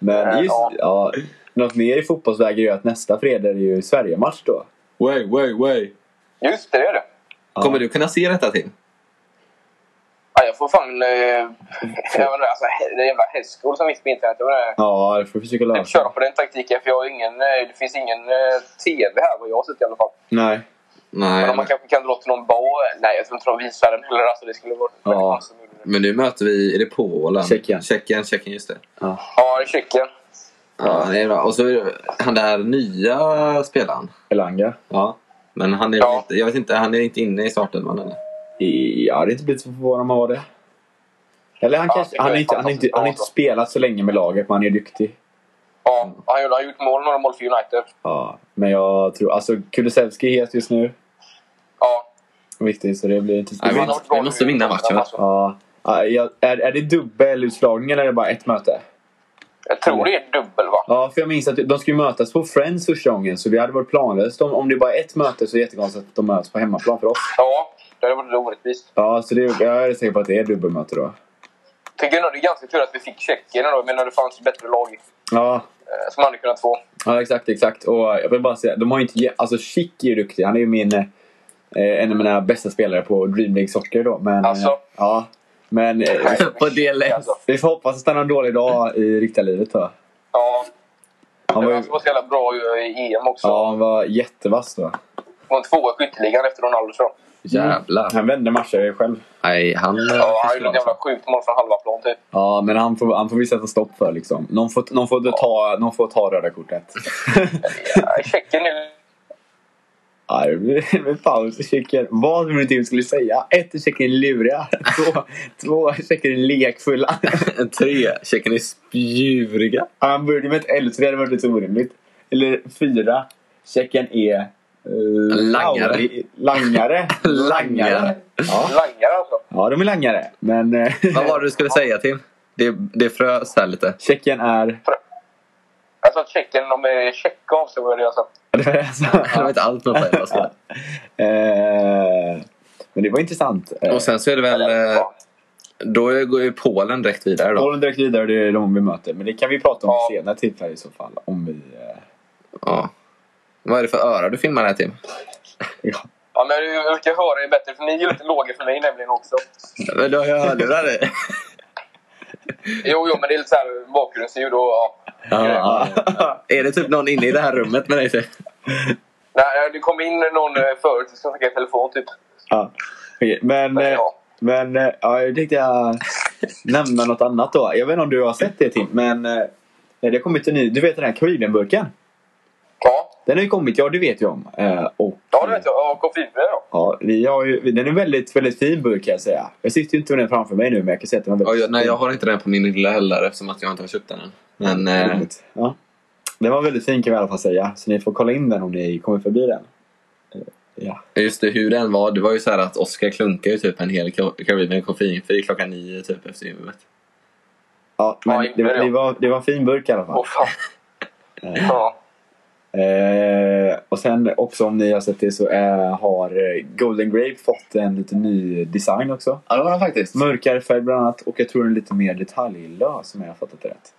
Speaker 2: Men
Speaker 3: Äh,
Speaker 2: just,
Speaker 3: ja.
Speaker 2: Eh, ja. Något mer i fotbollsväg är ju att nästa fredag är det ju Sverige-match då.
Speaker 1: Way, way, way.
Speaker 3: Just det, det är det.
Speaker 2: Ja.
Speaker 1: Kommer du kunna se detta till?
Speaker 3: Ja, jag får fan... Eh, <laughs> jag menar, alltså, he- det är jävla hästskor som finns på internet. Jag menar,
Speaker 2: Ja, det får vi försöka
Speaker 3: jag får
Speaker 2: lösa.
Speaker 3: köra på den taktiken för jag har ju ingen, eh, det finns ingen eh, TV här vad jag har sett i alla fall.
Speaker 2: Nej.
Speaker 1: Nej.
Speaker 3: Men om man kanske kan dra till någon bar. Nej, jag tror inte de visar den heller. Alltså, det skulle vara
Speaker 2: Ja.
Speaker 3: väldigt konstigt om de gjorde det.
Speaker 1: Men nu möter vi... Är det Polen?
Speaker 2: Tjeckien.
Speaker 1: Tjeckien, Tjeckien just det.
Speaker 3: Ja, i Tjeckien.
Speaker 1: Ja, det är bra. Och så är det han där nya spelaren.
Speaker 2: Elanga.
Speaker 1: Ja. Men han är
Speaker 3: Ja.
Speaker 1: inte, jag vet inte, han är inte inne i startelvan eller?
Speaker 2: I- Jag hade inte blivit så förvånad om han var det. Eller han
Speaker 3: Ja,
Speaker 2: kanske...
Speaker 3: det
Speaker 2: Han har
Speaker 3: är
Speaker 2: inte, han har inte, han har inte
Speaker 3: fantastiskt
Speaker 2: spelat så länge med laget, men han är duktig.
Speaker 3: Ja, han gjorde- han har gjort mål, några mål för United.
Speaker 2: Ja. Men jag tror... Alltså, Kulusevski är het just nu.
Speaker 3: Ja,
Speaker 2: Viktigt, så det blir inte...
Speaker 1: Nej,
Speaker 3: han
Speaker 1: vi-
Speaker 3: har varit bra alltså.
Speaker 1: vi måste
Speaker 3: nu.
Speaker 1: vinna matchen, va?
Speaker 2: Ja. Ja, jag- Är, är det dubbelutslagning eller är det bara ett möte?
Speaker 3: Jag tror det är dubbel, va?
Speaker 2: Ja, för jag minns att de skulle mötas på Friends första gången, så det hade varit planlöst. Om, om det bara är ett möte så är det jättekonstigt att de möts på hemmaplan för oss.
Speaker 3: Ja, det hade varit orättvist.
Speaker 2: Ja, så det, jag är säker på att det är dubbelmöte då.
Speaker 3: Tycker nog det är ganska tur att vi fick Tjeckien då. Jag menar, det fanns bättre lag
Speaker 2: Ja,
Speaker 3: eh, som hade kunnat få.
Speaker 2: Ja, exakt, exakt. Och jag vill bara säga, de har ju inte... ge- Alltså, Schick är ju duktig. Han är ju min... eh, En av mina bästa spelare på Dream League Soccer då. Men, eh,
Speaker 3: Alltså?
Speaker 2: Ja. Men eh,
Speaker 1: På DLS.
Speaker 3: Alltså.
Speaker 2: vi får hoppas att han har en dålig dag i riktiga livet då.
Speaker 3: Ja,
Speaker 2: Han var,
Speaker 3: men
Speaker 2: ju,
Speaker 3: han var så jävla bra ju i EM också.
Speaker 2: ja, han var jättevass då.
Speaker 3: Var tvåa i skytteligan efter Ronaldo, tror jag.
Speaker 1: Jävlar.
Speaker 2: Han vände matcher själv.
Speaker 1: Nej, han... eh,
Speaker 3: Ja, han gjorde ett jävla sjukt mål från halva plan, typ.
Speaker 2: Ja, men han får, han får vi sätta stopp för liksom. Någon får, någon får, ta, någon får ta röda kortet.
Speaker 3: Ja, Tjeckien är...
Speaker 2: Ja, det blir det blir paus i Tjeckien. Vad trodde du Tim skulle säga? Ett, är Tjeckien är luriga. Två, två Tjeckien är lekfulla.
Speaker 1: <laughs> Tre. Tjeckien är spjuriga.
Speaker 2: Ja, Han började med ett L, så det hade varit lite orimligt. Eller fyra. Tjeckien är... eh,
Speaker 1: Langare.
Speaker 2: lauri- <laughs> Langare.
Speaker 1: Langare.
Speaker 2: Ja.
Speaker 3: Langare, alltså.
Speaker 2: ja, de är langare. Men eh,
Speaker 1: Vad var det du skulle säga Tim? Det, det frös här lite.
Speaker 2: Tjeckien är... <laughs>
Speaker 3: Alltså, Tjeckien, de är tjecka av sig, vad det är, alltså.
Speaker 2: Ja, det var det jag sa.
Speaker 1: Det var inte allt man själv alltså.
Speaker 2: Eh, Men det var intressant. Eh,
Speaker 1: Och sen så är det väl...
Speaker 3: Eller,
Speaker 1: eh,
Speaker 3: fan.
Speaker 1: Då går ju Polen direkt vidare då.
Speaker 2: Bollen direkt vidare, det är de vi möter. Men det kan vi prata om
Speaker 3: Ja.
Speaker 2: vid senare tillfälle i så fall. Om vi... eh,
Speaker 1: Ja. Vad är det för öra du filmar här Tim?
Speaker 2: Ja.
Speaker 3: Ja, men jag jag ska höra er bättre, för ni är ju lite låga för mig nämligen också.
Speaker 1: Men du har ju hörlurar i.
Speaker 3: Jo, jo, men det är lite så här bakgrundsljud och... Ja.
Speaker 1: Ja. <laughs> Är det typ någon inne i det här rummet med dig? Tim?
Speaker 3: Nej, det kom in någon eh, förut som snackade i telefon, typ.
Speaker 2: Ja. Okej, Men,
Speaker 3: Men
Speaker 2: eh,
Speaker 3: ja.
Speaker 2: men eh, ja, jag tänkte <laughs> jag nämna något annat då. Jag vet inte om du har sett det Tim, men eh, det har kommit en ny. Du vet den här Kvidenburken?
Speaker 3: Ja,
Speaker 2: Den har ju kommit, ja det vet jag om. Eh, Och,
Speaker 3: ja det vet jag. Ja, koffeinfria då.
Speaker 2: Ja, vi har ju, den är väldigt, väldigt fin burk kan jag säga. Jag sitter ju inte med den framför mig nu men jag kan säga att den är väldigt
Speaker 1: Ja, jag, nej, jag har inte den på min lilla heller eftersom att jag inte har köpt den än. Men eh,
Speaker 2: Roligt. Ja. Den var väldigt fin kan vi i alla fall säga. Så ni får kolla in den om ni kommer förbi den. Eh,
Speaker 1: just det, hur den var. Det var ju så här att Oskar klunkade ju typ en hel ka- karib med koffeinfri klockan nio typ efter gymmet.
Speaker 2: Ja,
Speaker 3: Ja,
Speaker 2: men
Speaker 3: inte
Speaker 2: det, var,
Speaker 3: det.
Speaker 2: det, var, det var en fin burk i alla fall.
Speaker 3: Åh, fan.
Speaker 2: Eh,
Speaker 3: Ja.
Speaker 2: Eh, och sen också om ni har sett det så eh, har eh, Golden Grape fått en lite ny design också.
Speaker 1: Ja, det var den faktiskt.
Speaker 2: Mörkare färg bland annat och jag tror den är lite mer detaljlös om jag har fattat det rätt. Eh,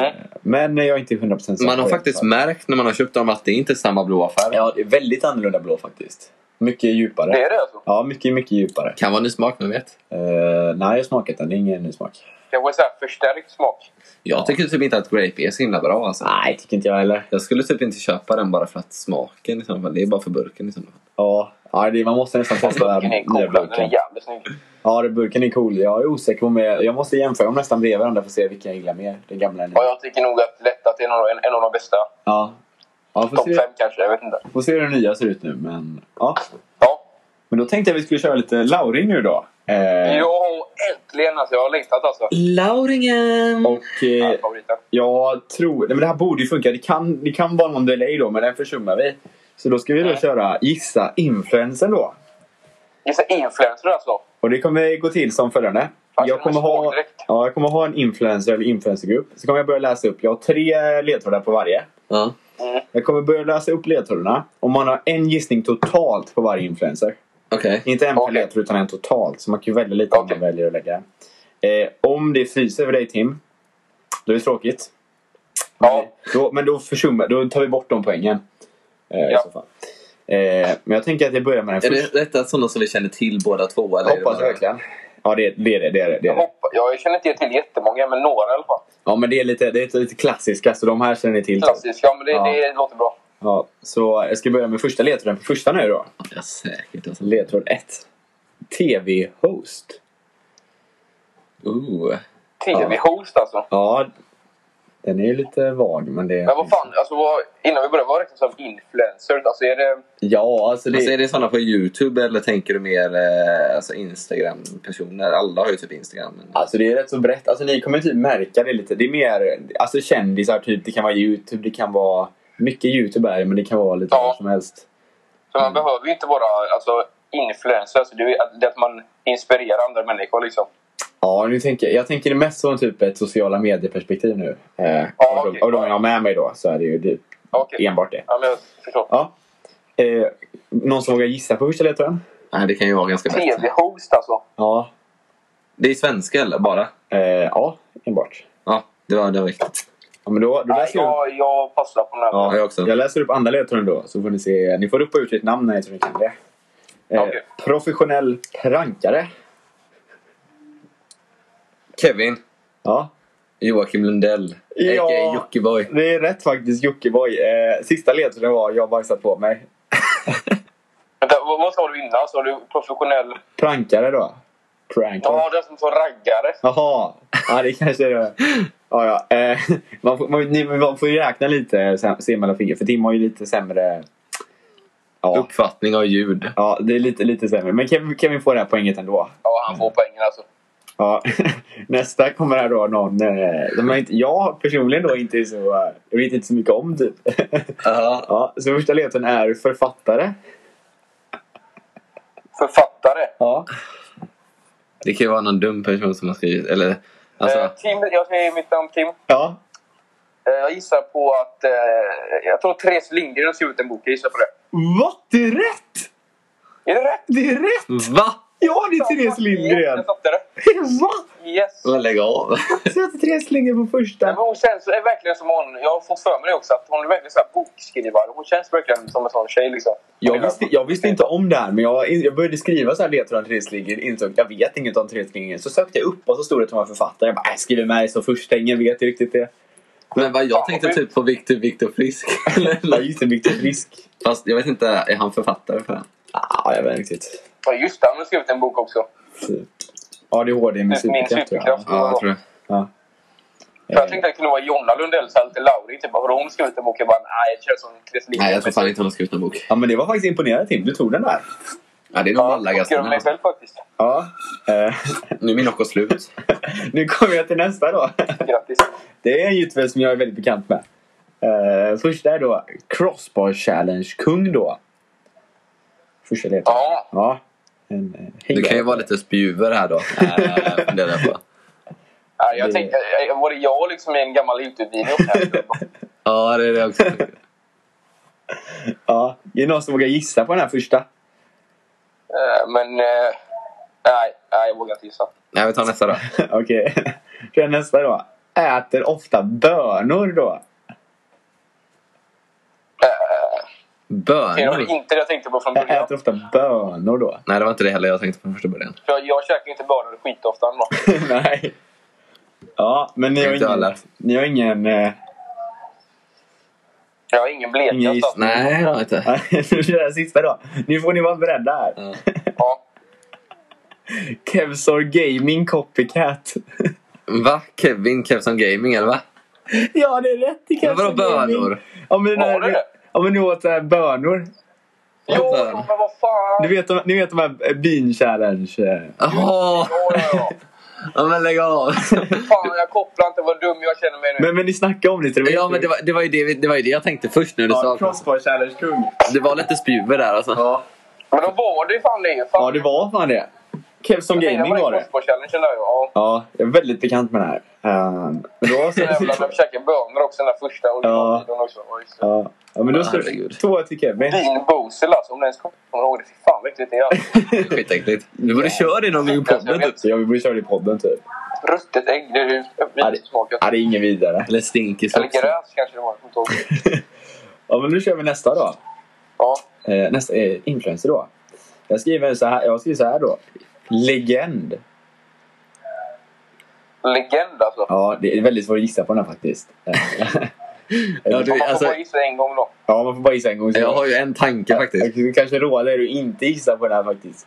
Speaker 3: Mm.
Speaker 2: Men jag är inte 100% säker.
Speaker 1: Man har
Speaker 2: på det.
Speaker 1: faktiskt märkt när man har köpt dem att det inte är samma blåa färg.
Speaker 2: Ja, det är väldigt annorlunda blå faktiskt. Mycket djupare.
Speaker 3: Det är det alltså.
Speaker 2: Ja, mycket, mycket djupare.
Speaker 1: Kan vara ny smak, men vet.
Speaker 2: Eh, nej, jag har smakat den. Det är ingen ny smak.
Speaker 3: Kanske så här förstärkt smak.
Speaker 1: Jag tycker typ inte att grape är så himla bra alltså.
Speaker 2: Nej, tycker inte jag heller.
Speaker 1: Jag skulle typ inte köpa den bara för att smaken i så fall. Det är bara för burken i så fall.
Speaker 2: Ja, ja, det, man måste nästan testa den
Speaker 3: Burken är
Speaker 2: nya
Speaker 3: cool. Den
Speaker 2: burken.
Speaker 3: är jävligt snygg.
Speaker 2: Ja, det- burken är cool. Jag är osäker på om jag, jag måste jämföra dem nästan bredvid varandra för att se vilken jag gillar mer. Den gamla eller
Speaker 3: Ja, jag tycker nog att lätt att det är någon, en, en av de bästa.
Speaker 2: Ja. Ja, får
Speaker 3: Topp
Speaker 2: se,
Speaker 3: fem kanske, jag vet inte.
Speaker 2: får se hur den nya ser ut nu. Men, ja.
Speaker 3: Ja.
Speaker 2: men då tänkte jag att vi skulle köra lite Lauring nu då. Eh,
Speaker 3: Jo, äntligen alltså. Jag har längtat alltså.
Speaker 1: Lauringen!
Speaker 2: Och eh,
Speaker 3: Ja, favoriten.
Speaker 2: jag tror... Nej, men det här borde ju funka. Det kan, det kan vara någon delay då, men den försummar vi. Så då ska vi då
Speaker 3: Mm.
Speaker 2: köra Gissa influensen då.
Speaker 3: Gissa influencer alltså.
Speaker 2: Och det kommer gå till som följande.
Speaker 3: Fan,
Speaker 2: Jag kommer,
Speaker 3: känner mig svag
Speaker 2: ha,
Speaker 3: direkt.
Speaker 2: ja, jag kommer ha en influencer eller influencergrupp. Så kommer jag börja läsa upp. Jag har tre ledtrådar på varje.
Speaker 1: Ja.
Speaker 2: Jag kommer börja läsa upp ledtrådarna. Och man har en gissning totalt på varje influencer.
Speaker 1: Okej.
Speaker 2: Inte en per
Speaker 3: Okej.
Speaker 2: ledtråd utan en totalt. Så man kan ju välja lite om
Speaker 3: Okej.
Speaker 2: man väljer att lägga. Eh, om det fryser för dig Tim. Då är det tråkigt.
Speaker 3: Ja.
Speaker 2: Då, men då försummar, då tar vi bort de poängen. Eh, i
Speaker 3: Ja.
Speaker 2: så fall. Eh, men jag tänker att jag börjar med den
Speaker 1: Är
Speaker 2: första.
Speaker 1: det detta sådana som vi känner till båda två? Eller är det
Speaker 2: Hoppas jag
Speaker 1: bara-
Speaker 2: verkligen. Ja det är det. Är det, det, är det, det, är
Speaker 3: Jag,
Speaker 2: det.
Speaker 3: hoppa, jag känner inte till jättemånga, men några i alla fall.
Speaker 2: Ja, men det är lite, det är lite klassiska, så de här känner ni till.
Speaker 3: Klassiska, men det,
Speaker 2: Ja.
Speaker 3: det låter bra.
Speaker 2: Ja, så jag ska börja med första ledtråden. För första nu då.
Speaker 1: Ja, säkert. Alltså.
Speaker 2: Ledtråd 1. TV-host.
Speaker 1: Ooh.
Speaker 3: TV-host alltså.
Speaker 2: Ja, den är ju lite vag, men det...
Speaker 3: Men vad fan, alltså, vad, innan vi börjar, vad räknas som influencer? Alltså är det...
Speaker 2: Ja, alltså det...
Speaker 1: Alltså, är det sådana på Youtube eller tänker du mer eh, alltså Instagram-personer? Alla har ju typ Instagram. Men...
Speaker 2: Alltså det är rätt så brett. Alltså ni kommer typ märka det lite. Det är mer alltså kändisar typ. Det kan vara Youtube, det kan vara... Mycket Youtube är det, men det kan vara lite
Speaker 3: Ja.
Speaker 2: vad som helst.
Speaker 3: Så man behöver ju inte vara alltså, influencer. Alltså, det, är, ju att- det är att man inspirerar andra människor liksom.
Speaker 2: Ja, nu tänker, jag tänker det mest som typ ett sociala medieperspektiv nu. Eh,
Speaker 3: Ja,
Speaker 2: av, de,
Speaker 3: okej.
Speaker 2: av de jag har med mig då, så är det ju det,
Speaker 3: Okej.
Speaker 2: enbart det.
Speaker 3: Ja, men jag förstår.
Speaker 2: Ja. Eh, någon som vågar gissa på första ledtråden?
Speaker 1: Nej, det kan ju vara ganska brett.
Speaker 3: TV-host alltså.
Speaker 2: Ja.
Speaker 1: Det är svenska eller bara?
Speaker 2: Eh, ja, enbart.
Speaker 1: Ja, det var, det var viktigt.
Speaker 2: Ja, men då, då
Speaker 3: Nej,
Speaker 2: läser jag,
Speaker 3: jag, jag passar på den här.
Speaker 1: Ja, jag också.
Speaker 2: jag läser upp andra ledtråden då. Så får ni se. Ni får ropa ut ert namn när jag tror ni kan det. Eh,
Speaker 3: Okej.
Speaker 2: Professionell prankare.
Speaker 1: Kevin.
Speaker 2: Ja.
Speaker 1: Joakim Lundell.
Speaker 2: Ja.
Speaker 1: A.k.a. Jockiboi.
Speaker 2: Det är rätt faktiskt Jockiboi. Eh, sista ledtråden var jag har bajsat på mig.
Speaker 3: Vänta, vad, vad sa du innan? Sa du professionell?
Speaker 2: Prankare då. Prankare.
Speaker 3: Ja, den som tar raggare.
Speaker 2: Jaha, ja det kanske är det. Ja, ja. Eh, man, får, man, ni- man får ju räkna lite sen- se mellan fingrar för Tim har ju lite sämre... Ja,
Speaker 1: Uppfattning av ljud.
Speaker 2: ja det är lite, lite sämre. Men kan, kan vi få det här poänget ändå?
Speaker 3: Ja, han får poängen alltså.
Speaker 2: Ja. <laughs> Nästa kommer här då någon eh, som jag, inte, jag personligen då inte är så... eh, Jag vet inte så mycket om typ. <laughs>
Speaker 1: Ja.
Speaker 2: Ja, så första ledtråden är författare.
Speaker 3: Författare.
Speaker 2: Ja.
Speaker 1: Det kan ju vara någon dum person som har skrivit. Eller,
Speaker 3: Eh,
Speaker 1: alltså,
Speaker 3: Tim, jag säger mitt namn Tim.
Speaker 2: Ja,
Speaker 3: Eh, jag gissar på att... Eh, jag tror Therese Lindgren har skrivit en bok. Jag gissar på det.
Speaker 2: vad? Det är rätt!
Speaker 3: Är det rätt?
Speaker 2: Det är rätt!
Speaker 1: va?
Speaker 2: Ja, det är Therese Lindgren!
Speaker 3: Jag fattar det.
Speaker 2: <laughs> Va?
Speaker 3: Yes.
Speaker 1: Men lägg av.
Speaker 2: Så jag Therese Lindgren på
Speaker 3: Men
Speaker 2: första?
Speaker 3: hon känns är verkligen som hon. Jag har fått för mig det också. Att hon är verkligen så här bokskrivare. Hon känns verkligen som en sån tjej liksom.
Speaker 2: Jag visste, jag visste inte om det här, men jag, jag började skriva så här ledtrådar om Therese Lindgren. Insåg jag vet inget om Therese Lindgren. Så sökte jag upp och så stod det att hon var författare. Jag bara, äh, skriver med så första, ingen vet ju riktigt det. <laughs>
Speaker 1: Men vad jag tänkte typ på Victor, Victor Frisk.
Speaker 2: Ja, just det, Viktor Frisk.
Speaker 1: Fast jag vet inte, är han författare för den?
Speaker 2: Ah, jag vet inte riktigt.
Speaker 3: Ja, just det. Hon har skrivit en bok också.
Speaker 2: ADHD med
Speaker 3: Typ min
Speaker 2: superkraft tror jag.
Speaker 3: superkraft.
Speaker 1: Ja, jag tror det.
Speaker 3: För
Speaker 2: Eh.
Speaker 3: jag tänkte att det kunde vara Jonna Lundell så här lite Lauri. Typ. Har hon skrivit en bok? Jag bara, nej, det känns som Therese Lindgren.
Speaker 1: Nej, jag tror fan inte hon har skrivit någon bok.
Speaker 2: Ja, men det var faktiskt imponerande Tim. Du tog den där.
Speaker 1: Ja, det är nog
Speaker 3: Ja,
Speaker 1: alla
Speaker 3: jag tolkar mig
Speaker 1: gastarna.
Speaker 3: själv faktiskt.
Speaker 2: Ja. Eh, <laughs>
Speaker 1: Nu är min Nocco slut.
Speaker 2: nu kommer jag till nästa då.
Speaker 3: Grattis.
Speaker 2: Det är en youtuber som jag är väldigt bekant med. Eh, första är då Crossbar Challenge Kung då. Första ledtråden.
Speaker 3: Ja,
Speaker 2: Ja. En, eh,
Speaker 1: Du kan ju
Speaker 2: hejare.
Speaker 1: vara lite spjuver här då. Äh, funderar jag på.
Speaker 3: nej, jag
Speaker 2: Det-
Speaker 3: tänkte, eh, var det jag liksom i en gammal
Speaker 2: <laughs>
Speaker 3: Youtube-video?
Speaker 1: Ja, det är det också.
Speaker 2: Ja. Är det någon som vågar gissa på den här första? <laughs>
Speaker 3: Eh, Men eh, nej, nej, jag vågar inte gissa.
Speaker 1: Nej, vi tar nästa då.
Speaker 2: Okej. Okay. nästa då. Äter ofta bönor då.
Speaker 3: Det var
Speaker 1: Bönor.
Speaker 3: inte det jag tänkte på från
Speaker 2: <laughs> Jag
Speaker 3: början.
Speaker 2: äter ofta bönor då.
Speaker 1: Nej, det var inte det heller jag tänkte på från första början.
Speaker 3: För jag, jag käkar inte bönor skitofta ändå.
Speaker 2: <laughs> Nej. Ja, men ni har
Speaker 1: Inte
Speaker 2: ingen...
Speaker 1: alla.
Speaker 2: Ni har ingen... eh, <laughs>
Speaker 3: Jag har ingen blekning.
Speaker 2: Ingen
Speaker 3: alltså.
Speaker 2: gissning.
Speaker 1: Nej, det har jag inte.
Speaker 2: Nej, Nu kör jag sista då. Nu får ni vara beredda här.
Speaker 1: Ja.
Speaker 3: Ja.
Speaker 2: Kevsor Gaming Copycat. <laughs>
Speaker 1: Va? Kevin Kevson Gaming, eller va?
Speaker 2: Ja, det är rätt. Det
Speaker 1: Men vadå bönor?
Speaker 2: Ja, men,
Speaker 3: Var det det?
Speaker 2: ja, men du åt äh, bönor.
Speaker 3: Jo,
Speaker 1: Vänta.
Speaker 3: men vad fan!
Speaker 2: Du vet, de- ni vet de här eh, Bean Challenge. eh.
Speaker 1: Jaha!
Speaker 3: Ja, ja, ja.
Speaker 1: Ja, men lägg av.
Speaker 3: Fan, jag kopplar inte vad dum jag känner mig nu.
Speaker 2: Men, men ni snackade om lite.
Speaker 1: Ja, men det var, det, var ju det, vi- det var ju det jag tänkte först nu du
Speaker 2: Ja,
Speaker 1: sa.
Speaker 2: Crossbar Challenge Kung.
Speaker 1: Det var lite spjuver där alltså.
Speaker 2: Ja.
Speaker 3: Men då var det ju fan det ju. Fan.
Speaker 2: ja, det var fan det. Kevson
Speaker 3: Jag tänkte,
Speaker 2: Gaming var det.
Speaker 3: Det var challengen där ju. Ja.
Speaker 2: Ja, jag är väldigt bekant med det här. Ehm, men då
Speaker 3: Så jävlar,
Speaker 2: så...
Speaker 3: de käkar bönor också den där första originalvideon också. Ja, just det.
Speaker 2: <laughs> Ja, ja men då så...
Speaker 1: Herregud.
Speaker 2: Två till Kevin.
Speaker 3: Din Bosel alltså, om den ens kommer ihåg det. Fy fan vad äckligt det är. alltså.
Speaker 1: Skitäckligt. Du borde köra det någon gång i podden typ.
Speaker 2: Så jag vill köra det i podden typ.
Speaker 3: Ruttet ägg, det är ju
Speaker 2: Ja, det-
Speaker 3: vinsmakat.
Speaker 2: Ja, det är inget vidare.
Speaker 1: Eller stinkig
Speaker 3: Eller
Speaker 1: slags.
Speaker 3: gräs kanske det var. jag kommer inte ihåg.
Speaker 2: Ja, men nu kör vi nästa då.
Speaker 3: Ja.
Speaker 2: Eh, nästa eh, influencer då. Jag skriver så här, jag skriver så här då. Legend.
Speaker 3: Legend alltså.
Speaker 2: Ja, det är väldigt svårt att gissa på den här faktiskt. Eh,
Speaker 1: Ja, du,
Speaker 3: Om man får
Speaker 1: alltså,
Speaker 3: bara gissa en gång då.
Speaker 2: ja, man får bara gissa en gång.
Speaker 1: jag har ju en tanke faktiskt.
Speaker 2: Jag, jag kanske råda er att inte gissa på den här faktiskt.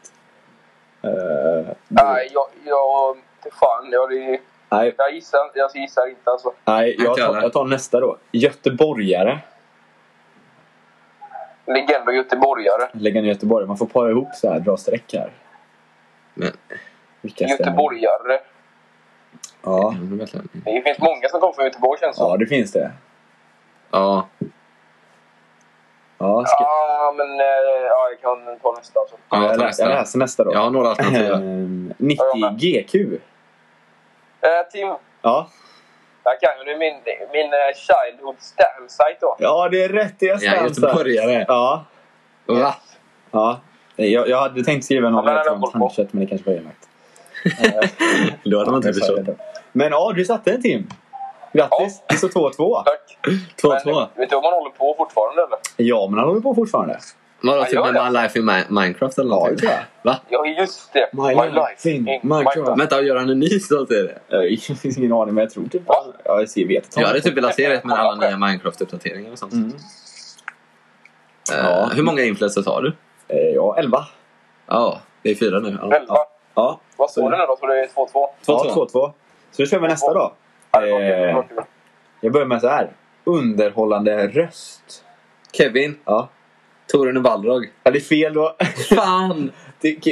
Speaker 2: Eh,
Speaker 3: Nej, jag... jag fan, jag, det-
Speaker 2: nej,
Speaker 3: jag gissar, jag gissar inte alltså.
Speaker 2: nej jag,
Speaker 1: Inte jag
Speaker 2: tar,
Speaker 1: heller.
Speaker 2: jag tar nästa då. Göteborgare.
Speaker 3: Legend och göteborgare.
Speaker 2: Legend i Göteborg. Man får para ihop så här, dra streck här.
Speaker 1: Men-
Speaker 2: Vilka stämmer?
Speaker 3: Göteborgare.
Speaker 2: Ja.
Speaker 3: Det finns många som kommer från Göteborg känns det som.
Speaker 2: ja, det finns det.
Speaker 1: Ja.
Speaker 2: Ja, ska,
Speaker 3: Ja, men eh, ja, jag kan ta nästa alltså.
Speaker 1: Ja, jag
Speaker 2: jag,
Speaker 1: tar
Speaker 2: lä- jag
Speaker 1: nästa.
Speaker 2: läser nästa då.
Speaker 1: Jag har några <laughs> alternativ.
Speaker 2: Ehm,
Speaker 3: Ja, jag
Speaker 2: 90
Speaker 3: med.
Speaker 2: GQ.
Speaker 3: Eh, Tim,
Speaker 2: Ja.
Speaker 3: jag kan ju nu min, min eh, Childhood Stamp site då.
Speaker 2: ja, det är rätt. Det är
Speaker 1: Jag är
Speaker 2: Stansa.
Speaker 1: göteborgare.
Speaker 2: Ja.
Speaker 1: Va?
Speaker 2: ja. Nej, Jag, jag hade tänkt skriva något
Speaker 3: Ja, men
Speaker 2: rätt
Speaker 3: den
Speaker 2: om
Speaker 3: har jag koll på.
Speaker 2: tandkött, men det kanske var elakt.
Speaker 1: Då hade man inte
Speaker 2: Jag sa det
Speaker 1: förstått.
Speaker 2: då. Men ja, du satte en Tim. Grattis! Det står 2-2.
Speaker 3: Tack.
Speaker 2: 2-2.
Speaker 3: Men, vet du om man håller på fortfarande eller?
Speaker 2: Ja, men han håller på fortfarande.
Speaker 1: Vadå,
Speaker 3: Ja,
Speaker 1: typ
Speaker 3: gör
Speaker 1: med
Speaker 3: det.
Speaker 1: My Life in Mi- Minecraft eller
Speaker 2: Ja,
Speaker 1: någonting?
Speaker 2: det tror jag.
Speaker 1: Va?
Speaker 3: Ja, just det.
Speaker 2: My life in Minecraft.
Speaker 1: Vänta, gör han en ny låt till det?
Speaker 2: Jag finns ingen aning, men jag tror typ
Speaker 3: Va?
Speaker 2: Ja, jag ser, vet inte.
Speaker 1: Jag hade typ velat se det med alla nya Minecraft-uppdateringar och sånt.
Speaker 2: Mm.
Speaker 1: Eh,
Speaker 2: Ja.
Speaker 1: Hur många influencers har du?
Speaker 2: Eh, Ja, 11.
Speaker 1: Ja, det är fyra nu. Ja.
Speaker 3: Elva.
Speaker 2: Ja,
Speaker 3: Vad står det nu då? Så det är 2-2?
Speaker 2: ja, 2-2. Så då kör vi nästa då.
Speaker 3: Ja, det var
Speaker 2: Eh,
Speaker 3: kul, det var kul.
Speaker 2: Jag börjar med så här. Underhållande röst.
Speaker 1: Kevin,
Speaker 2: Ja.
Speaker 1: Torun och Balrog.
Speaker 2: Ja, det är fel då.
Speaker 1: Fan!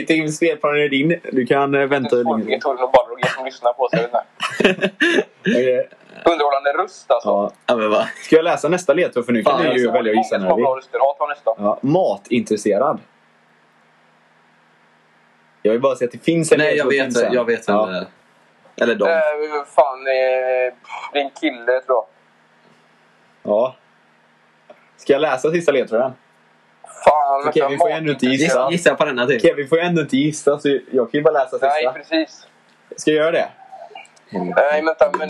Speaker 2: Tim, spelplanen är din. Du kan eh,
Speaker 3: Det
Speaker 2: vänta
Speaker 3: är
Speaker 2: hur
Speaker 3: svårt
Speaker 2: länge
Speaker 3: med Torun och Balrog som lyssnar på sig.
Speaker 2: Okej.
Speaker 3: Underhållande röst alltså.
Speaker 2: Eh, Ja.
Speaker 1: Ja, men va?
Speaker 2: Ska jag läsa nästa ledtråd? För nu kan
Speaker 1: Fan,
Speaker 2: du ju
Speaker 1: alltså,
Speaker 2: välja att gissa
Speaker 3: Många som
Speaker 2: när
Speaker 3: har
Speaker 2: du
Speaker 3: bra
Speaker 2: vill.
Speaker 3: röster. Ja, ta nästa.
Speaker 2: Ja, matintresserad. Jag vill bara säga att det finns en
Speaker 1: Nej, jag
Speaker 2: ledtråd
Speaker 1: vet,
Speaker 2: till sen.
Speaker 1: jag vet vem det
Speaker 2: Ja.
Speaker 1: är. Eller dem.
Speaker 3: Eh, fan, eh, det är en kille tror jag.
Speaker 2: ja. Ska jag läsa sista ledtråden?
Speaker 3: Fan,
Speaker 2: Okej, vi får ju ändå inte
Speaker 1: Gissa,
Speaker 2: gissa.
Speaker 1: gissa på denna typ.
Speaker 2: Okej, vi får ju ändå inte gissa så jag kan ju bara läsa
Speaker 3: Nej,
Speaker 2: sista.
Speaker 3: precis.
Speaker 2: Ska jag göra det?
Speaker 3: Nej, vänta. Men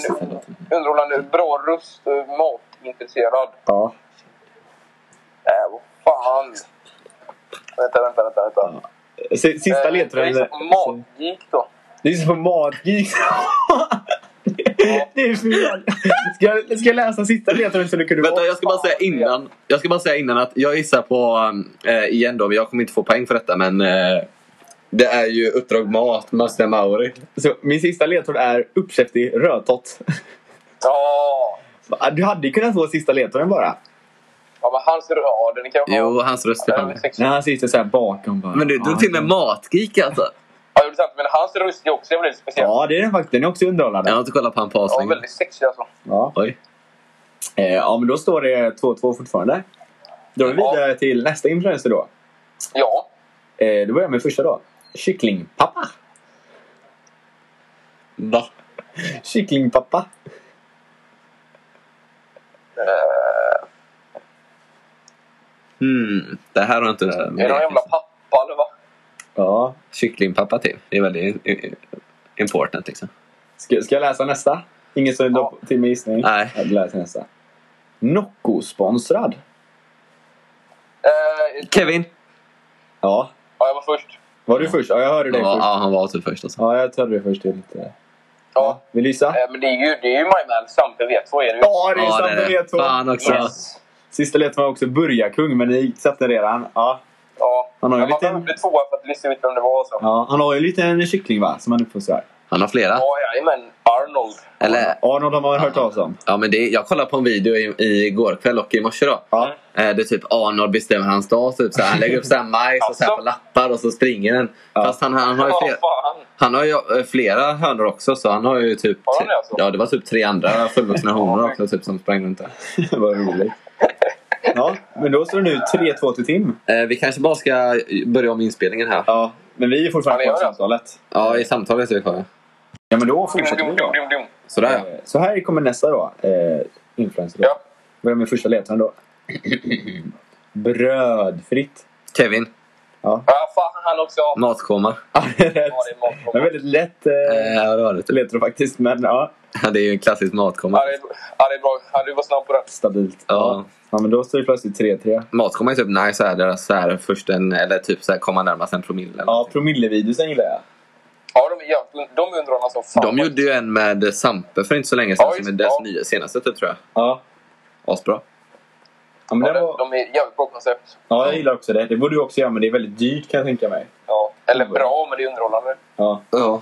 Speaker 3: underhållande. Bra röst. eh, Matintresserad.
Speaker 2: Ja.
Speaker 3: Nej, vad fan. Vänta, vänta, vänta. vänta.
Speaker 2: S- Sista
Speaker 3: Eh,
Speaker 2: ledtråden.
Speaker 3: jag gissar på Matgeek då.
Speaker 2: Du gissar på matgeek. <laughs> Det är fel. Ska jag, ska jag läsa sista ledtråden så det kunde
Speaker 1: Vänta, jag ska bara säga innan. Jag ska bara säga innan att jag gissar på, eh, igen då, men jag kommer inte få poäng för detta, men eh, det är ju Uppdrag Mat, Master Mauri.
Speaker 2: Så min sista ledtråd är uppkäftig rödtott.
Speaker 3: Ja.
Speaker 2: <laughs> Du hade ju kunnat få sista ledtråden bara.
Speaker 3: Ja, men hans rad, den kan vara...
Speaker 1: Jo, hans röst är
Speaker 3: Ja,
Speaker 1: fan
Speaker 3: den är
Speaker 1: med.
Speaker 3: sexig.
Speaker 2: När han sitter så här bakom bara.
Speaker 1: Men du drog till med Matgeek alltså.
Speaker 3: Ja, det är sant. Men hans röst är också jävligt speciell.
Speaker 2: Ja, det är den faktiskt. Den är också underhållande.
Speaker 1: Jag har
Speaker 2: Ja.
Speaker 1: inte kollat på han på
Speaker 3: Ja,
Speaker 1: aslänge.
Speaker 3: väldigt sexig alltså.
Speaker 1: Oj.
Speaker 2: Eh, ja, men då står det 2-2 fortfarande. Då går vi
Speaker 3: Ja.
Speaker 2: vidare till nästa influencer då.
Speaker 3: Ja.
Speaker 2: Eh, då börjar jag med första då. Kycklingpappa.
Speaker 1: Va?
Speaker 2: Kycklingpappa.
Speaker 1: Hmm, det här har jag inte...
Speaker 3: Är det någon jävla pappa eller vad?
Speaker 2: Ja.
Speaker 1: Kycklingpappa typ. Det är väldigt eh, important liksom.
Speaker 2: Ska, ska jag läsa nästa? Ingen som
Speaker 3: Ja.
Speaker 2: ja. till med gissning?
Speaker 1: Nej.
Speaker 2: Jag läser nästa. Nocco-sponsrad.
Speaker 3: Eh,
Speaker 1: Kevin!
Speaker 2: Ja.
Speaker 3: ja, jag var först.
Speaker 2: Var du först? Ja, jag hörde dig
Speaker 1: Han var,
Speaker 2: först.
Speaker 1: ja, han var typ först alltså.
Speaker 2: Ja, jag hörde dig först. Det är lite...
Speaker 3: Ja.
Speaker 2: Vill du gissa?
Speaker 3: Eh, men det är ju, det är ju My Man. Sampe vet. Så är det ju.
Speaker 2: Ja, det
Speaker 1: Ja,
Speaker 2: är
Speaker 1: det
Speaker 2: sant.
Speaker 1: är
Speaker 2: alltså, Det är
Speaker 1: det. Fan
Speaker 2: två.
Speaker 1: också.
Speaker 3: Yes.
Speaker 2: Sista ledet var också Burjarkung, men ni satte redan. Ja.
Speaker 3: Ja.
Speaker 2: Han har ju
Speaker 3: Men man
Speaker 2: lite-
Speaker 3: behövde tvåa för att lista ut vem det var. Så.
Speaker 2: ja. Han har ju en liten kyckling, va? Som han uppfostrar.
Speaker 1: Han har flera.
Speaker 3: Ja, jajamän. Arnold.
Speaker 1: Eller?
Speaker 2: Arnold har man hört
Speaker 1: Ja.
Speaker 2: talas om.
Speaker 1: Ja, men det, jag kollade på en video i, i går kväll och i morse då.
Speaker 2: Ja. <laughs>
Speaker 1: Eh, Det är typ Arnold bestämmer hans dag. Typ, så här. han lägger upp så här majs och så här på
Speaker 3: Alltså.
Speaker 1: lappar och så springer den.
Speaker 2: Ja.
Speaker 1: Fast han, han har ju
Speaker 3: Ja,
Speaker 1: flera,
Speaker 3: fan.
Speaker 1: han har ju eh, flera hönor också. Så han har ju typ...
Speaker 3: Har han det alltså?
Speaker 1: Ja, det var typ
Speaker 3: <laughs>
Speaker 1: tre andra fullvuxna honor också typ, som sprang runt där.
Speaker 2: Vad roligt. Ja, men då står det nu 3-2 till Tim.
Speaker 1: Eh, vi kanske bara ska börja om inspelningen här.
Speaker 2: Ja, men vi är fortfarande
Speaker 3: Ja,
Speaker 2: kvar
Speaker 3: det
Speaker 2: i
Speaker 3: gör det.
Speaker 2: samtalet.
Speaker 1: Ja, i samtalet är vi kvar.
Speaker 2: Ja, men då
Speaker 3: Dum,
Speaker 2: fortsätter vi
Speaker 3: dum,
Speaker 2: då.
Speaker 3: dum, dum, dum.
Speaker 1: Sådär ja.
Speaker 2: Eh, Så här kommer nästa då. Eh, influencer då.
Speaker 3: Ja.
Speaker 2: Börjar med första ledtråden då. Brödfritt.
Speaker 1: Kevin,
Speaker 3: Ja, fan han också.
Speaker 1: Mm. matkoma.
Speaker 2: Ja, det är rätt.
Speaker 3: Ja, det är mat.
Speaker 2: Det är väldigt lätt
Speaker 1: Eh,
Speaker 2: eh,
Speaker 1: ja, det var det. Typ.
Speaker 2: ledtråd faktiskt, men ja.
Speaker 1: Ja, det är ju en klassisk matkoma.
Speaker 3: Ja, det är, ja, det är bra. Ja, du var snabb på den.
Speaker 2: Stabilt.
Speaker 1: Ja.
Speaker 2: ja men då står det plötsligt 3-3.
Speaker 1: Matkoma är typ nice så här, deras så här, först en, eller typ så här, komma närmast en promille. eller
Speaker 2: Ja,
Speaker 1: någonting.
Speaker 2: promillevideosen gillar jag.
Speaker 3: Ja, de, är jävligt- de undrar som fan.
Speaker 1: De gjorde ju en med Sampe för inte så länge sedan
Speaker 3: Ja,
Speaker 1: som
Speaker 3: just-
Speaker 1: är deras
Speaker 3: ja.
Speaker 1: nya senaste typ, tror jag.
Speaker 2: Ja.
Speaker 1: Asbra.
Speaker 2: Ja, men
Speaker 3: ja,
Speaker 2: den
Speaker 3: de,
Speaker 2: var,
Speaker 3: de är jävligt bra koncept.
Speaker 2: ja, jag gillar också det. Det borde du också göra, men det är väldigt dyrt kan jag tänka mig.
Speaker 3: Ja. Eller bra, men det är underhållande.
Speaker 2: Ja,
Speaker 1: Ja.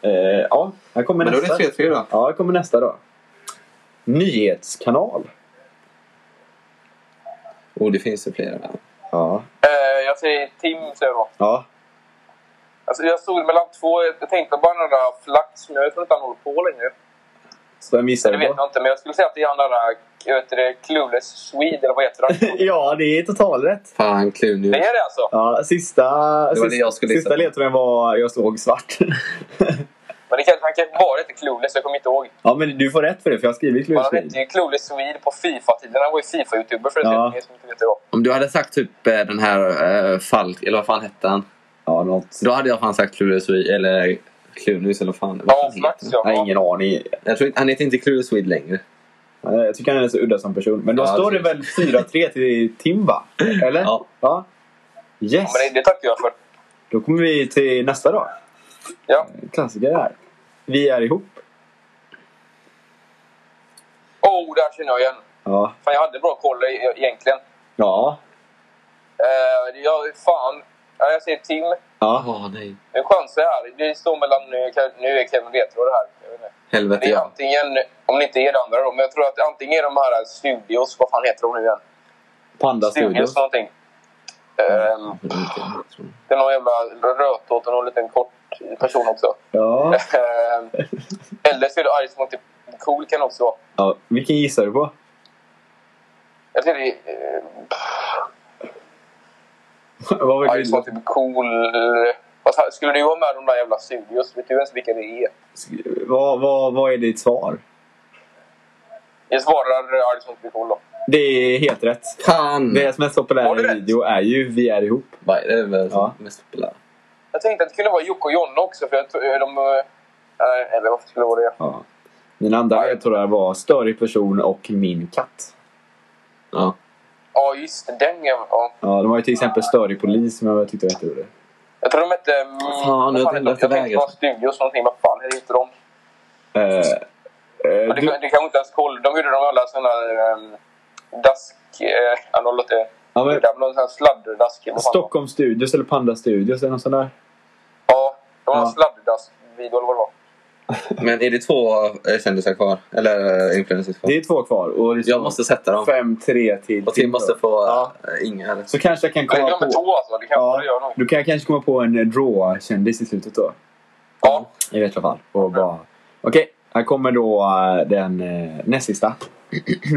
Speaker 2: eh, ja här kommer
Speaker 1: Men då är
Speaker 2: nästa.
Speaker 1: det 3-3 då.
Speaker 2: Ja, här kommer nästa då. Nyhetskanal.
Speaker 1: Oh, det finns ju flera. där.
Speaker 2: Ja.
Speaker 3: Eh, jag säger Tim, säger jag då.
Speaker 2: Ja.
Speaker 3: Alltså, jag stod mellan två. Jag tänkte bara den där Flax, men jag tror inte han håller på längre.
Speaker 2: Så vem gissar
Speaker 3: Det vet
Speaker 2: du på?
Speaker 3: jag inte, men jag skulle säga att det är han där... Jag vet det, Clueless Swede, eller vad heter han?
Speaker 2: <laughs> Ja, det är totalrätt.
Speaker 1: Fan, Cluny.
Speaker 3: Det är det alltså?
Speaker 2: Ja, sista,
Speaker 1: det
Speaker 2: sista,
Speaker 1: jag skulle gissa
Speaker 2: sista
Speaker 1: på.
Speaker 2: ledtråden var jag såg svart. <laughs>
Speaker 3: Men det kan, han kanske bara hette Clueless, jag kommer inte ihåg.
Speaker 2: ja, men du får rätt för det, för jag har skrivit
Speaker 3: Men han
Speaker 2: klurskriv.
Speaker 3: hette ju Clueless Swede på Fifa-tiden. Han var ju Fifa-youtuber för
Speaker 2: Ja.
Speaker 3: det som inte vet idag.
Speaker 1: Om du hade sagt typ eh, den här eh, Falk, eller vad fan hette han?
Speaker 2: Ja, något.
Speaker 1: Då hade jag fan sagt Clueless eller Clunus eller vad fan. vad
Speaker 3: Ja,
Speaker 1: fan heter
Speaker 3: Flax
Speaker 1: han?
Speaker 3: ja.
Speaker 2: Jag har ingen aning.
Speaker 1: jag tror inte, han heter inte Clueless Swede längre.
Speaker 2: Nej, Eh, Jag tycker han är så udda som person. Men då
Speaker 1: Ja,
Speaker 2: står det
Speaker 1: det
Speaker 2: väl 4-3 till Tim, va? Eller?
Speaker 1: Ja.
Speaker 2: ja. Yes!
Speaker 3: Ja, Men det, det tackar jag för.
Speaker 2: Då kommer vi till nästa då.
Speaker 3: Ja.
Speaker 2: Klassiker här. Vi är ihop.
Speaker 3: Oh, där känner jag igen.
Speaker 2: Ja.
Speaker 3: Fan, jag hade bra koll e- egentligen.
Speaker 2: Ja.
Speaker 3: Uh, jag, fan. Ja, jag säger Tim.
Speaker 2: Ja.
Speaker 1: Jaha, nej.
Speaker 3: Nu chansar jag här. Det står mellan... Nu Ke- nu är Kevin Retro det här. Jag vet inte.
Speaker 1: Helvete
Speaker 3: Det är
Speaker 1: ja.
Speaker 3: antingen, om det inte är det andra då, men jag tror att antingen är de här Studios, vad fan heter de nu igen?
Speaker 2: Panda Studios. Mm.
Speaker 3: Studios någonting. Ehm, det är någon jävla rödtåt och någon liten kort person också.
Speaker 2: Ja.
Speaker 3: Ehm, Eller så är det Ice Monty Cool kan det också vara.
Speaker 2: ja. Vilken gissar du på? <laughs>
Speaker 3: Jag tror det är eh,
Speaker 2: Vad
Speaker 3: eh,
Speaker 2: var
Speaker 3: Ice Monty Cool. Vad sa- Skulle du vara med de där jävla Studios? Vet du ens vilka det är? typ-
Speaker 2: det? Vad, vad, vad är ditt svar?
Speaker 3: Jag svarar Ice Monty Cool då.
Speaker 2: Det är helt rätt.
Speaker 1: Fan!
Speaker 2: Deras mest
Speaker 3: Har du
Speaker 2: populära
Speaker 3: Mm. rätt?
Speaker 2: video är ju Vi är ihop.
Speaker 1: Vad är det väl
Speaker 2: Ja.
Speaker 1: mest populära?
Speaker 3: Jag tänkte att det kunde vara Jocke och Jonna också, för jag tror eh, de... eh, nej, Eller varför skulle det vara det?
Speaker 2: Ja. Mina andra
Speaker 3: Ja.
Speaker 2: ledtrådar var Störig person och Min katt.
Speaker 1: Ja.
Speaker 3: Ja, just det, den ja. ja.
Speaker 2: Ja, de har ju till exempel Störig polis som jag tyckte var jätterolig.
Speaker 3: Jag tror de hette... mm,
Speaker 1: Fan, nu har
Speaker 3: vad
Speaker 1: jag
Speaker 3: hette de?
Speaker 1: inte
Speaker 3: Jag tänkte
Speaker 1: vägen.
Speaker 3: på Studios någonting. Vad fan heter de?
Speaker 2: Eh, eh,
Speaker 3: Men det,
Speaker 2: du,
Speaker 3: det kanske inte ens koll. De gjorde de alla såna här... Um, dask... Eh, ja, de låter...
Speaker 2: ja, men,
Speaker 3: Någon sån här sladderdask. vad fan det var.
Speaker 2: Stockholm Studios eller Panda Studios eller något sånt där.
Speaker 3: Ja, det var en
Speaker 2: Ja.
Speaker 3: sladderdask-video eller vad det var.
Speaker 1: Men är det två eh, kändisar kvar? Eller eh, influencers kvar?
Speaker 2: Det är två kvar. Och det står
Speaker 1: Jag måste sätta dem.
Speaker 2: 5-3 till
Speaker 1: Och Tim måste få
Speaker 2: Ja.
Speaker 1: eh, inga. Eller?
Speaker 2: Så kanske jag kan
Speaker 3: Nej,
Speaker 2: komma
Speaker 3: nummer
Speaker 2: på...
Speaker 3: två alltså. Det kanske
Speaker 2: Ja,
Speaker 3: det gör något.
Speaker 2: du kan jag kanske komma på en eh, draw-kändis i slutet då.
Speaker 3: Ja.
Speaker 2: I rätt fall. Och bara... Okej, här kommer då eh, den eh, näst sista.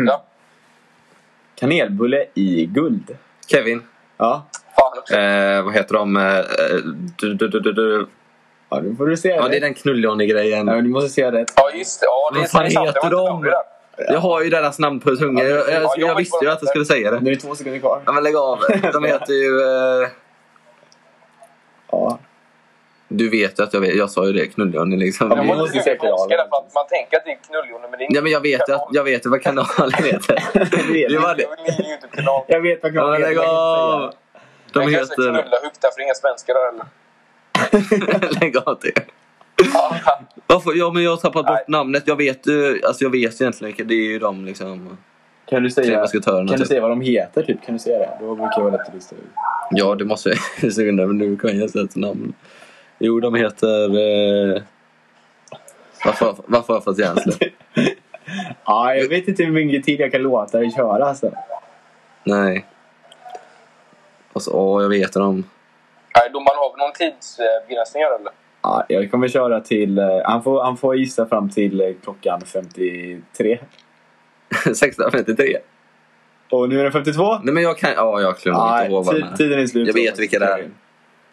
Speaker 3: ja.
Speaker 2: Kanelbulle i guld.
Speaker 1: Kevin.
Speaker 2: Ja,
Speaker 3: Fan också.
Speaker 1: Eh, vad heter de? Eh, eh, du, du, du, du, du.
Speaker 2: ja nu får du se.
Speaker 1: Ja,
Speaker 2: det.
Speaker 1: det är den knulljohnny-grejen.
Speaker 2: Ja, men du måste se rätt.
Speaker 3: Ja, just det. Ja, det
Speaker 1: Vad
Speaker 3: är
Speaker 1: fan
Speaker 3: det är sant. Det var
Speaker 1: heter
Speaker 3: inte
Speaker 1: de?
Speaker 3: det där.
Speaker 1: Jag har ju deras namn på tungan.
Speaker 2: Ja,
Speaker 1: Jag, jag,
Speaker 3: jag
Speaker 1: jag
Speaker 3: vet
Speaker 1: visste
Speaker 3: vad
Speaker 1: ju
Speaker 3: de
Speaker 1: att jag skulle säga det.
Speaker 2: Nu är det två sekunder kvar.
Speaker 1: Ja, men lägg
Speaker 2: <laughs>
Speaker 1: av. De heter ju... Eh,
Speaker 2: Ja.
Speaker 1: du vet ju att jag vet. Jag sa ju det. Knulljohnny liksom.
Speaker 2: Ja,
Speaker 3: Jag
Speaker 2: vi
Speaker 3: var
Speaker 1: Ja,
Speaker 2: måste
Speaker 3: inte
Speaker 2: se
Speaker 3: säker på
Speaker 2: finalen.
Speaker 3: därför att man tänker att det är knulljoner, men det är
Speaker 1: men jag vet ju att, jag vet ju vad
Speaker 2: <laughs>
Speaker 1: kanalen heter. Det var det.
Speaker 3: Det är ju inte knull.
Speaker 2: Jag vet vad
Speaker 1: Ja, men
Speaker 2: klockan
Speaker 1: lägg av.
Speaker 3: De
Speaker 1: De
Speaker 3: kan heter...
Speaker 1: heter...
Speaker 3: knulla högt där, för det är inga svenskar där eller?
Speaker 1: <laughs> Lägg av det.
Speaker 3: Ja,
Speaker 1: Varför? Ja, men jag har tappat
Speaker 3: Nej.
Speaker 1: bort namnet. Jag vet ju... Alltså jag vet ju egentligen. vilka- Det är ju de liksom...
Speaker 2: Kan du
Speaker 1: Tre
Speaker 2: säga,
Speaker 1: musketörerna,
Speaker 2: kan du
Speaker 1: typ.
Speaker 2: säga vad de heter? Typ? Kan du säga det? Då brukar jag vara lätt att lista ut.
Speaker 1: Ja, det måste <laughs> jag så undrar men nu kan jag säga ett namn. Jo, de heter... Eh... Varför, varför har jag fått hjärnsläpp?
Speaker 2: Ja, jag vet inte hur mycket tid jag kan låta dig köra alltså.
Speaker 1: Nej. Och så, åh, jag vet dem. <laughs>
Speaker 3: Nej, domaren har väl någon tidsbegränsning här eller?
Speaker 2: Ja, jag kommer köra till... eh, Han får, han får gissa fram till eh, klockan 53.
Speaker 1: 1653.
Speaker 2: Och nu är det 52?
Speaker 1: Nej, men jag kan... Ja, jag klumpar
Speaker 2: Ja,
Speaker 1: inte ihåg vad de
Speaker 2: ti-
Speaker 1: är.
Speaker 2: tiden är slut.
Speaker 1: Jag vet vilka det är.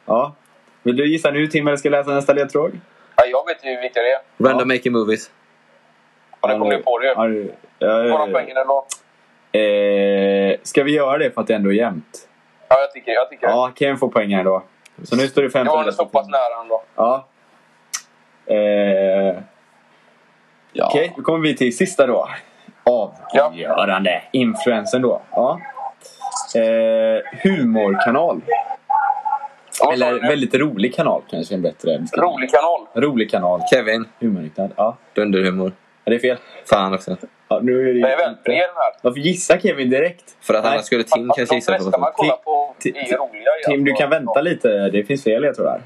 Speaker 2: Ja. Vill du gissa nu Tim eller ska jag läsa nästa ledtråd?
Speaker 3: Nej, jag vet ju vilka det är.
Speaker 1: Random Making Movies.
Speaker 3: Och det kommer ju på det ju.
Speaker 2: Ja, du- ja,
Speaker 3: Får
Speaker 2: ja,
Speaker 3: de
Speaker 2: ja.
Speaker 3: poängen ändå?
Speaker 2: Eh, ska vi göra det för att det ändå är jämnt?
Speaker 3: Ja, jag tycker jag tycker det.
Speaker 2: Ja, Kevin får poäng här då. Så nu står det 15
Speaker 3: Jag var ändå så pass nära ändå.
Speaker 2: Ja. Eh,
Speaker 1: Ja.
Speaker 2: Okej, då kommer vi till sista då. Avgörande. Influensen då. Ja. Eh, humorkanal.
Speaker 3: Ja, vad sa
Speaker 2: Eller
Speaker 3: du nu?
Speaker 2: väldigt rolig kanal kanske är en bättre beskrivning.
Speaker 3: Rolig kanal.
Speaker 2: Rolig kanal.
Speaker 1: Kevin.
Speaker 2: Humorinriktad. Ja.
Speaker 1: Dunderhumor.
Speaker 2: Ja, det är fel.
Speaker 1: Fan också.
Speaker 2: Ja, nu är det...
Speaker 3: Det är väldigt bred den här.
Speaker 2: Varför gissar Kevin direkt?
Speaker 1: För att
Speaker 2: Nej.
Speaker 1: annars skulle Tim
Speaker 3: De
Speaker 1: kanske gissa på
Speaker 3: flesta man
Speaker 1: något.
Speaker 3: kollar på
Speaker 2: Tim-
Speaker 3: är ju roliga.
Speaker 2: Tim, du
Speaker 3: alltså.
Speaker 2: kan vänta lite. Det finns fel jag tror här.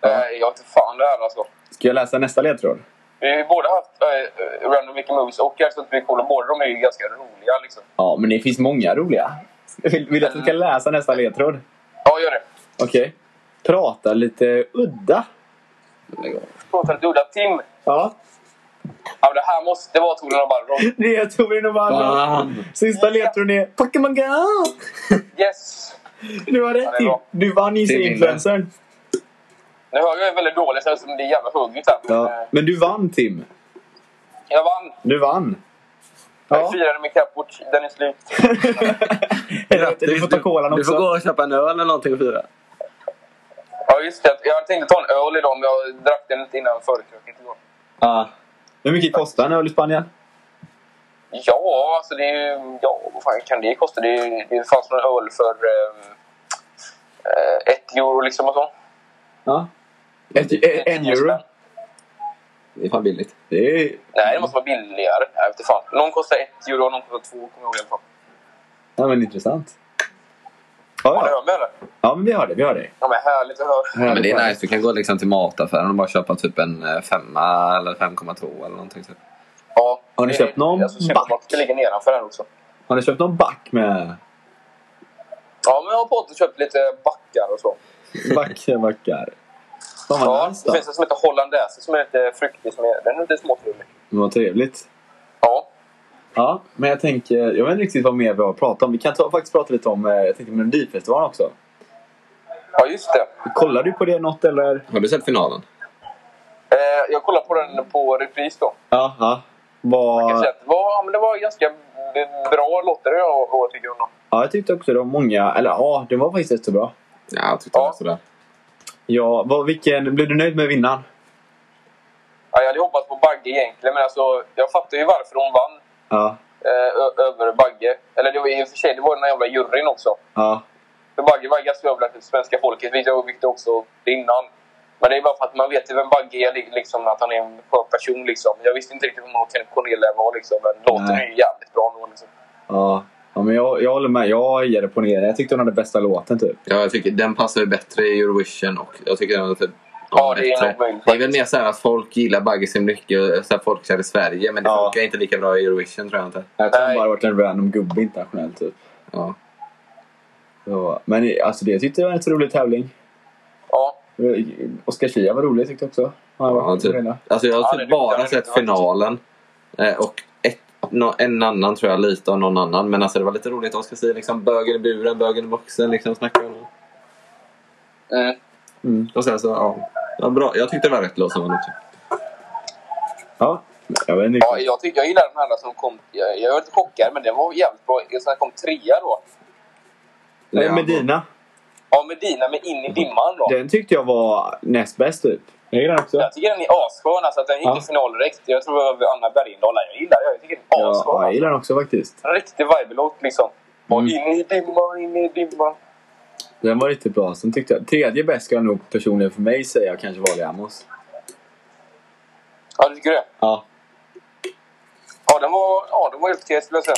Speaker 3: Nej, jag vet inte fan det här alltså.
Speaker 2: Ska jag läsa nästa ledtråd?
Speaker 3: Vi har ju båda haft äh, Random Mickey Movies och Älskar inte Big Cool. Båda de är ju ganska roliga liksom.
Speaker 2: Ja, men det finns många roliga. Vill, vill du att jag ska läsa nästa ledtråd?
Speaker 3: Ja, gör det.
Speaker 2: Okej. Prata lite udda.
Speaker 1: Oh
Speaker 3: Pratar lite udda. Tim,
Speaker 2: Ja,
Speaker 3: ja, men det här måste vara Toren och Barbro.
Speaker 2: det är Torin och Barbro.
Speaker 1: Fan.
Speaker 2: Sista ledtråden är Pokémon Go!
Speaker 3: Yes!
Speaker 2: Du har
Speaker 3: Ja,
Speaker 2: rätt
Speaker 3: det är
Speaker 2: Tim.
Speaker 3: bra.
Speaker 2: Du vann gissa
Speaker 1: Tim vinner.
Speaker 2: influencern.
Speaker 3: Nu hör jag ju väldigt dåligt, så det är jävla hugget här. Men,
Speaker 2: Ja,
Speaker 3: eh,
Speaker 2: men du vann Tim.
Speaker 3: Jag vann.
Speaker 2: Du vann.
Speaker 3: Jag
Speaker 2: Ja.
Speaker 3: firade med Cappucci. Den är slut.
Speaker 2: Helvete, du får ta kolan
Speaker 1: Du får
Speaker 2: också.
Speaker 1: gå och köpa en öl eller någonting och fira.
Speaker 3: Ja, just det. Jag tänkte ta en öl idag, men jag drack den inte innan förkröket igår.
Speaker 2: Ja. Hur mycket kostar en öl i Spanien?
Speaker 3: Ja, alltså det är ju... Ja, vad fan kan det kosta? Det, är ju- det fanns någon öl för ehm, eh, ett euro liksom och så.
Speaker 2: Ja. Ett, e- en euro?
Speaker 1: Det är fan billigt.
Speaker 2: Det är...
Speaker 3: Nej, det måste vara billigare. Jag vet inte fan. Någon kostar ett euro och någon kostar två, kommer jag ihåg i alla fall.
Speaker 2: Ja, men intressant.
Speaker 3: Ja,
Speaker 2: Ja,
Speaker 3: det
Speaker 2: ja.
Speaker 3: hör mig eller?
Speaker 2: ja men vi har det. Vi har det.
Speaker 3: Ja, men härligt att höra.
Speaker 1: Ja, men det är nice. Du kan gå liksom till mataffären och bara köpa typ en eh, femma eller 5,2 eller någonting. Typ.
Speaker 3: Ja,
Speaker 2: Har ni
Speaker 3: det-
Speaker 2: köpt någon
Speaker 3: Alltså, Supermarket ligger nedanför här också.
Speaker 2: Har ni köpt någon back med
Speaker 3: Ja, men jag har på att köpt lite backar och så.
Speaker 2: backar? backar? Fan vad
Speaker 3: Ja,
Speaker 2: nice
Speaker 3: det
Speaker 2: då.
Speaker 3: finns en som heter hollandaise som är lite fruktig. Som är, den är lite småtrevlig.
Speaker 2: Men Vad trevligt.
Speaker 3: Ja.
Speaker 2: Ja, men jag tänker, jag vet inte riktigt vad mer vi har att prata om. Vi kan ta, faktiskt prata lite om, eh, jag tänkte Melodifestivalen också.
Speaker 3: ja, just det.
Speaker 2: Kollar du på det något eller?
Speaker 1: Har du sett finalen?
Speaker 3: Eh, jag kollar på den på repris då.
Speaker 2: Ja. ja. Var...
Speaker 3: Så att, ja, men det var ganska b- bra låtar i år tycker jag. nog.
Speaker 2: Ja, jag tyckte också det var många. Eller ja, det var faktiskt rätt så bra.
Speaker 1: Ja, jag tyckte det var
Speaker 3: Ja.
Speaker 1: sådär.
Speaker 2: Ja, vad, vilken, blev du nöjd med vinnaren?
Speaker 3: Ja, jag hade hoppats på Bagge egentligen, men alltså, jag fattar ju varför hon vann
Speaker 2: Ja,
Speaker 3: eh, ö- över Bagge. Eller det var i och för sig det var den här jävla juryn också.
Speaker 2: ja,
Speaker 3: För Bagge var ganska överlägsen till svenska folket, vilket jag tyckte också innan. Men det är bara för att man vet ju vem Bagge är, li- liksom, att han är en skön person. Liksom. Jag visste inte riktigt vem hon Cornelia var, liksom, men låten
Speaker 2: Nej.
Speaker 3: är ju jävligt bra ändå. Liksom.
Speaker 2: ja. ja men jag, jag håller med. Jag hejade på Nere. Jag tyckte hon hade bästa låten typ.
Speaker 1: Ja, jag tycker den passar ju bättre i Eurovision och jag tycker den är typ...
Speaker 3: Ja, det är
Speaker 1: bättre.
Speaker 3: nog möjligt
Speaker 1: Det är väl mer så här att folk gillar Bagge så mycket, och så här folkkär i Sverige, men det
Speaker 2: Ja.
Speaker 1: funkar inte lika bra i Eurovision tror jag inte.
Speaker 2: Jag tror hon
Speaker 3: Nej.
Speaker 2: bara varit en random gubbe internationellt typ.
Speaker 1: Ja.
Speaker 2: Ja, men alltså det tyckte jag var en så rolig tävling.
Speaker 3: Ja,
Speaker 2: Oskar Schia var rolig tyckte jag också. Han var
Speaker 1: Ja, typ.
Speaker 2: ja,
Speaker 1: Alltså jag
Speaker 3: Ja,
Speaker 1: har
Speaker 3: det
Speaker 1: typ
Speaker 3: tyckte jag
Speaker 1: bara
Speaker 3: var
Speaker 1: sett
Speaker 3: riktigt
Speaker 1: finalen. Eh, Och ett, nå- en annan tror jag, lite av någon annan. Men alltså det var lite roligt. Oskar säger liksom bögen i buren, bögen i boxen. Liksom snackar om.
Speaker 3: mm.
Speaker 2: mm.
Speaker 1: Och sen så, ja. Det var bra. Jag tyckte det var rätt låt som vann också.
Speaker 2: ja, jag vet inte.
Speaker 3: ja jag, tycker, jag gillar den här som kom... Jag, jag var lite chockad, men den var jävligt bra. Jag som kom trea då.
Speaker 2: Nej,
Speaker 1: Ja.
Speaker 2: Medina.
Speaker 3: Ja, Medina med In i dimman då.
Speaker 2: Den tyckte jag var näst bäst typ. Jag gillar den också.
Speaker 3: Jag tycker den är asskön. Alltså, att den gick
Speaker 2: Ja.
Speaker 3: i final direkt. Jag tror det var Anna Bergendahl. där. Jag gillar den. Jag tycker den är
Speaker 2: Ja,
Speaker 3: asskön.
Speaker 2: ja, jag
Speaker 3: alltså.
Speaker 2: gillar den också faktiskt.
Speaker 3: En riktig vibe-låt liksom. Och
Speaker 2: Mm.
Speaker 3: in i dimman, in i dimman.
Speaker 2: Den var riktigt bra. Sen tyckte jag, tredje bäst ska jag nog personligen för mig säga kanske var Lemos.
Speaker 3: Ja, du tycker det?
Speaker 2: Ja.
Speaker 3: Ja, den var, ja, den var helt okej skulle jag säga.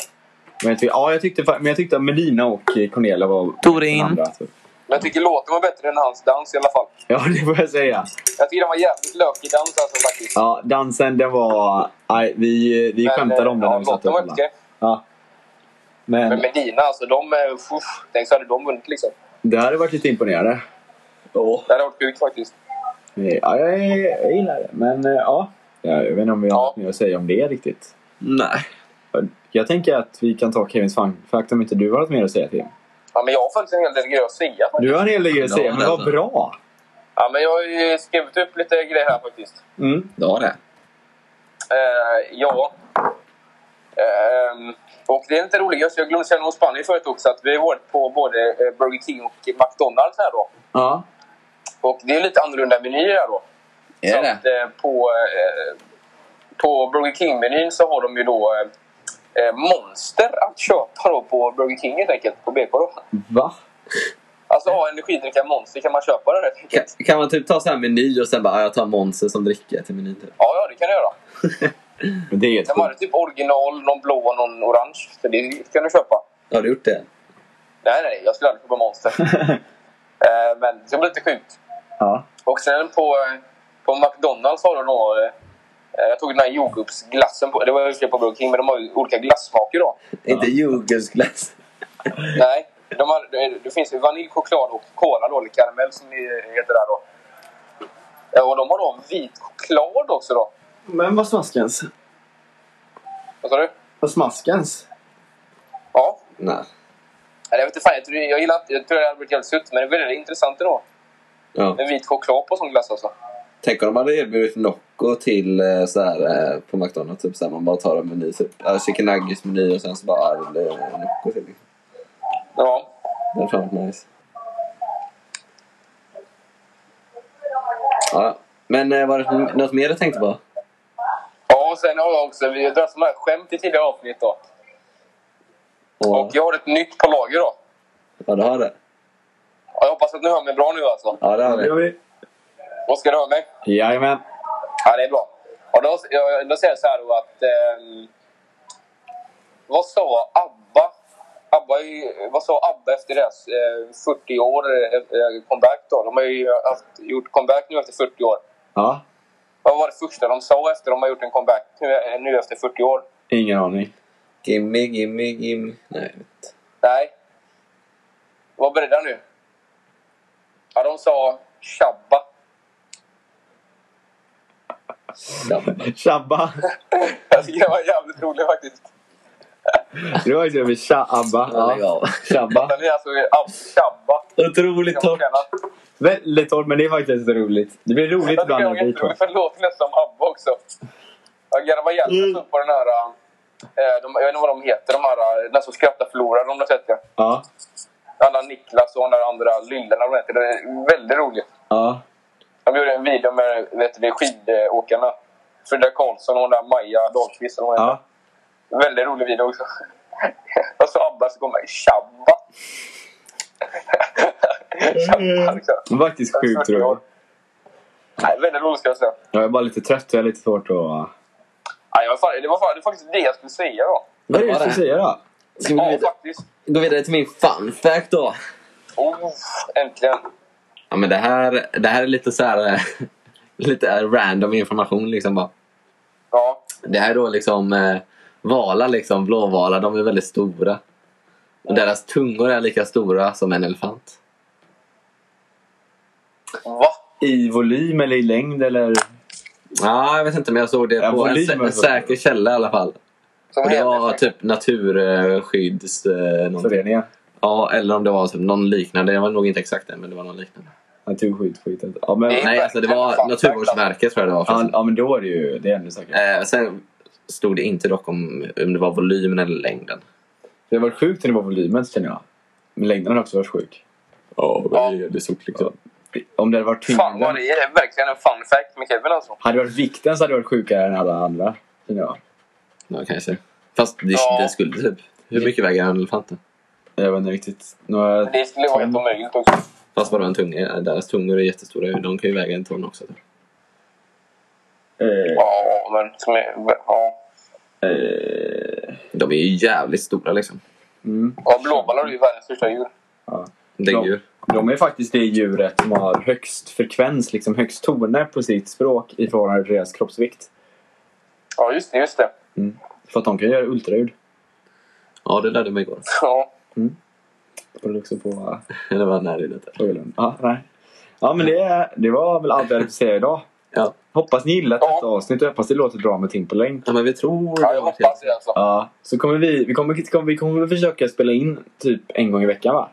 Speaker 2: Men jag tyckte, ja, jag tyckte, fa- men jag tyckte att Melina och Cornelia var
Speaker 1: Torin.
Speaker 2: den andra. Typ.
Speaker 3: Men jag tycker låten var bättre än hans dans i alla fall.
Speaker 2: Ja, det får jag säga.
Speaker 3: Jag tycker den var jävligt lökig dans alltså faktiskt.
Speaker 2: Ja, dansen den var... Nej, vi, vi
Speaker 3: Men,
Speaker 2: skämtade om den
Speaker 3: eh,
Speaker 2: när vi
Speaker 3: ja,
Speaker 2: satt
Speaker 3: låten var
Speaker 2: upp
Speaker 3: helt
Speaker 2: den.
Speaker 3: okej.
Speaker 2: Ja.
Speaker 3: Men
Speaker 2: Men
Speaker 3: Medina alltså, de... eh, Uff, tänk så hade de vunnit liksom.
Speaker 2: det hade varit lite imponerande. Ja.
Speaker 3: Det hade varit sjukt faktiskt.
Speaker 2: Ja, jag, jag gillar det. Men eh, ja, jag vet inte om vi har
Speaker 3: Ja.
Speaker 2: något mer att säga om det riktigt.
Speaker 1: Nej.
Speaker 2: Jag tänker att vi kan ta Kevins fun fact om inte du har något mer att säga till.
Speaker 3: Ja, men jag har faktiskt en hel del grejer att säga.
Speaker 2: Du har en hel del grejer att
Speaker 1: Ja,
Speaker 2: säga, men vad
Speaker 1: alltså.
Speaker 2: bra!
Speaker 3: Ja, men jag har ju skrivit upp lite grejer här faktiskt.
Speaker 2: Mm.
Speaker 1: Det var det.
Speaker 3: Eh, ja. Ehm, och det är inte roligt, just jag glömde säga något om Spanien förut också, att vi har varit på både eh, Burger King och McDonalds här då.
Speaker 2: Ja.
Speaker 3: Och det är lite annorlunda menyer här då. Så att, eh, på, eh, på Burger King-menyn så har de ju då eh, eh, Monster att köpa då på Burger King helt enkelt, på BK då.
Speaker 2: Va?
Speaker 3: Alltså ja, energidricka Monster kan man köpa det helt enkelt.
Speaker 1: Kan, kan man typ ta så här meny och sen bara, "Ja, jag tar Monster som dricka till menyn typ.
Speaker 3: Ja, ja, det kan du göra.
Speaker 2: Men det är helt
Speaker 3: De hade
Speaker 2: sjukt.
Speaker 3: typ original, någon blå och någon orange. Så det kan du köpa.
Speaker 1: Har du gjort det?
Speaker 3: Nej, nej, nej. Jag skulle aldrig köpa Monster. Eh, men det blir lite sjukt.
Speaker 2: <laughs> Ja.
Speaker 3: Och sen på, eh, på McDonalds har de då... eh, Jag tog den här jordgubbsglassen. På, det var ju på Burger King, men de har ju olika glassmaker då.
Speaker 1: Inte jordgubbsglass.
Speaker 3: Nej, de har, det, det finns ju vanilj, choklad och kola då, eller karamell som det heter där då. Eh, Och de har då vit choklad också då.
Speaker 5: Men vad smaskens?
Speaker 3: Vad sa du?
Speaker 5: Vad smaskens?
Speaker 3: Ja.
Speaker 1: Nej.
Speaker 3: Eller Jag vet inte fan, jag tror, jag gillar, inte- jag tror det hade blivit jävligt sött, men det är väldigt intressant ändå.
Speaker 1: Ja.
Speaker 3: Med vit choklad på sån glass alltså.
Speaker 1: Tänk om de hade erbjudit Nocco till eh, så här, eh, på McDonalds. Typ så här, man bara tar en meny. Typ, äh, chicken nuggets meny och sen så bara äh, det är Nocco till. Liksom.
Speaker 3: Ja.
Speaker 1: Det hade fan varit nice. Ja. Men eh, var det något mer du tänkte på?
Speaker 3: Ja, och sen har jag också, vi har dragit sådana här skämt i tidigare avsnitt då.
Speaker 1: Och, Mm.
Speaker 3: Och jag har ett nytt på lager då.
Speaker 1: ja, du har det?
Speaker 3: Ja, jag hoppas att ni hör mig bra nu alltså.
Speaker 1: Ja, det har vi.
Speaker 3: Oskar, hör mig?
Speaker 2: Jajamän.
Speaker 3: Ja, det är bra. Och då, ja, då säger jag så här då att... ehm, vad sa ABBA? ABBA är ju, vad sa ABBA efter deras eh, 40 år eh, eh, comeback då? De har ju haft, gjort comeback nu efter 40 år.
Speaker 2: Ja.
Speaker 3: Vad var det första de sa efter de har gjort en comeback nu, eh, nu efter 40 år?
Speaker 2: Ingen aning.
Speaker 1: Gimme, gimme, gimme. Nej, jag vet inte.
Speaker 3: Nej. Var beredda nu. Ja, de sa Shabba. <laughs>
Speaker 1: Shabba.
Speaker 2: Shabba.
Speaker 3: Jag tycker det var jävligt roligt faktiskt.
Speaker 2: Det var ju typ Shabba.
Speaker 1: Ja, lägg
Speaker 2: Ja.
Speaker 1: av.
Speaker 2: Shabba.
Speaker 3: Den är alltså Ab- Shabba.
Speaker 1: Otroligt torrt.
Speaker 2: Väldigt hårt, men det är faktiskt roligt. Det blir roligt
Speaker 3: Jag tycker
Speaker 2: ibland
Speaker 3: det var
Speaker 2: när det blir torrt.
Speaker 3: jätteroligt för det låter nästan som ABBA också. Jag Järvajelta mm. upp på den här... eh, De, jag vet inte vad de heter, de här, eh, den som skrattar förlorar om du har sett det.
Speaker 2: Ja.
Speaker 3: Alla Niklas och de där andra lillorna de heter. Det är väldigt roligt.
Speaker 2: Ja.
Speaker 3: De gjorde en video med vet du, skidåkarna. Frida Karlsson och hon där Maja Dahlqvist. eller vad hon heter.
Speaker 2: Ja.
Speaker 3: Väldigt rolig video också. <laughs> och så Abba så kommer <laughs> Shabba. Shabba liksom.
Speaker 2: Faktiskt Mm. sjukt roligt.
Speaker 3: Nej, väldigt roligt ska jag säga.
Speaker 2: Jag är bara lite trött och jag är lite svårt att...
Speaker 3: Nej, jag var fan, det, var fan, det var faktiskt det jag skulle säga då.
Speaker 2: Vad är det du ska säga då?
Speaker 1: Ska vi gå
Speaker 3: Ja,
Speaker 1: vidare,
Speaker 3: faktiskt.
Speaker 1: gå vidare till min fun fact då?
Speaker 3: Oh, äntligen.
Speaker 1: Ja, men det här, det här är lite så här... eh, <laughs> lite eh, random information liksom bara.
Speaker 3: Ja.
Speaker 1: Det här är då liksom eh, valar, liksom, blåvalar, de är väldigt stora. Och deras tungor är lika stora som en elefant.
Speaker 3: Va?
Speaker 2: I volym eller i längd eller?
Speaker 1: Ja, jag vet inte, men jag såg det
Speaker 2: Ja,
Speaker 1: på en,
Speaker 2: volym
Speaker 1: sä-
Speaker 2: är
Speaker 1: en
Speaker 2: så-
Speaker 1: säker källa i alla fall.
Speaker 3: Som
Speaker 1: Och det var
Speaker 3: hänvisning.
Speaker 1: typ naturskydds... Eh, någonting.
Speaker 2: Föreningen?
Speaker 1: ja, eller om det var typ någon liknande. Jag var nog inte exakt det, men det var någon liknande.
Speaker 2: Naturskydd, skit. Ja men,
Speaker 3: Nej.
Speaker 1: Nej, alltså det var
Speaker 3: Elefant,
Speaker 1: Naturvårdsverket tror jag det var.
Speaker 2: ja,
Speaker 1: förresten.
Speaker 2: ja men då är det ju... Det är ännu säkrare.
Speaker 1: Eh, sen stod det inte dock om, om det var volymen eller längden.
Speaker 2: Det har varit sjukt när det var volymen känner jag. Men längden har också varit sjuk.
Speaker 1: Ja, det såg liksom.
Speaker 2: Om det hade varit
Speaker 3: Fan vad
Speaker 2: tyngden.
Speaker 3: det är verkligen en fun fact med Kevin alltså.
Speaker 2: Hade det varit vikten så hade det varit sjukare än alla andra. Känner jag.
Speaker 1: Ja, kanske. Fast det,
Speaker 3: Ja.
Speaker 1: det skulle typ... Hur mycket väger en elefant då?
Speaker 2: Jag vet inte riktigt. eh, Några...
Speaker 3: Det skulle vara helt omöjligt också.
Speaker 1: Fast vadå en tunga? eh, Deras tungor är jättestora. ju. De kan ju väga en ton också. Typ.
Speaker 2: Eh,
Speaker 3: Ja, men som är, ja.
Speaker 2: eh,
Speaker 1: De är ju jävligt stora liksom.
Speaker 2: mm.
Speaker 3: ja blåballar är ju världens största djur.
Speaker 1: Däggdjur.
Speaker 2: De är faktiskt det djuret som har högst frekvens, liksom högst toner på sitt språk i förhållande till deras kroppsvikt.
Speaker 3: Ja, just det. Just det.
Speaker 2: För att de kan göra ultraljud.
Speaker 1: Ja, det lärde mig igår. <laughs>
Speaker 3: Ja.
Speaker 2: Det beror också liksom på
Speaker 1: det var närlivet. där.
Speaker 2: fågeln. Ja, nej. Ja, men det, det var väl allt jag hade att säga idag.
Speaker 1: Ja.
Speaker 2: Hoppas ni gillat
Speaker 3: Ja.
Speaker 2: detta avsnitt och hoppas det låter bra med Timberlane.
Speaker 1: Ja, men vi tror...
Speaker 3: ja, jag hoppas det alltså.
Speaker 2: Ja, så kommer vi, vi kommer, kommer, vi kommer försöka spela in typ en gång i veckan va?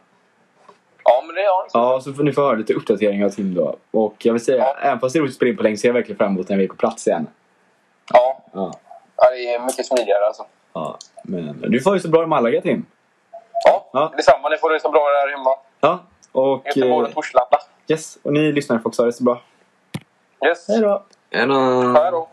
Speaker 3: Ja, men det är jag.
Speaker 2: Ja, så får ni få höra lite uppdateringar av Tim då. Och jag vill säga,
Speaker 3: Ja.
Speaker 2: även fast det är roligt att spela in på länge så är jag verkligen fram emot när vi är på plats igen.
Speaker 3: Ja.
Speaker 2: Ja.
Speaker 3: ja, det är mycket smidigare alltså.
Speaker 2: Ja, men du får ju så bra i Malaga Tim.
Speaker 3: Ja,
Speaker 2: Ja.
Speaker 3: detsamma. Ni får det så bra där hemma.
Speaker 2: Ja, och
Speaker 3: Göteborg
Speaker 2: eh,
Speaker 3: och Torslanda.
Speaker 2: yes, och ni lyssnare får också ha det så bra.
Speaker 3: Yes.
Speaker 2: Hej då!
Speaker 1: En och...
Speaker 3: Hej då.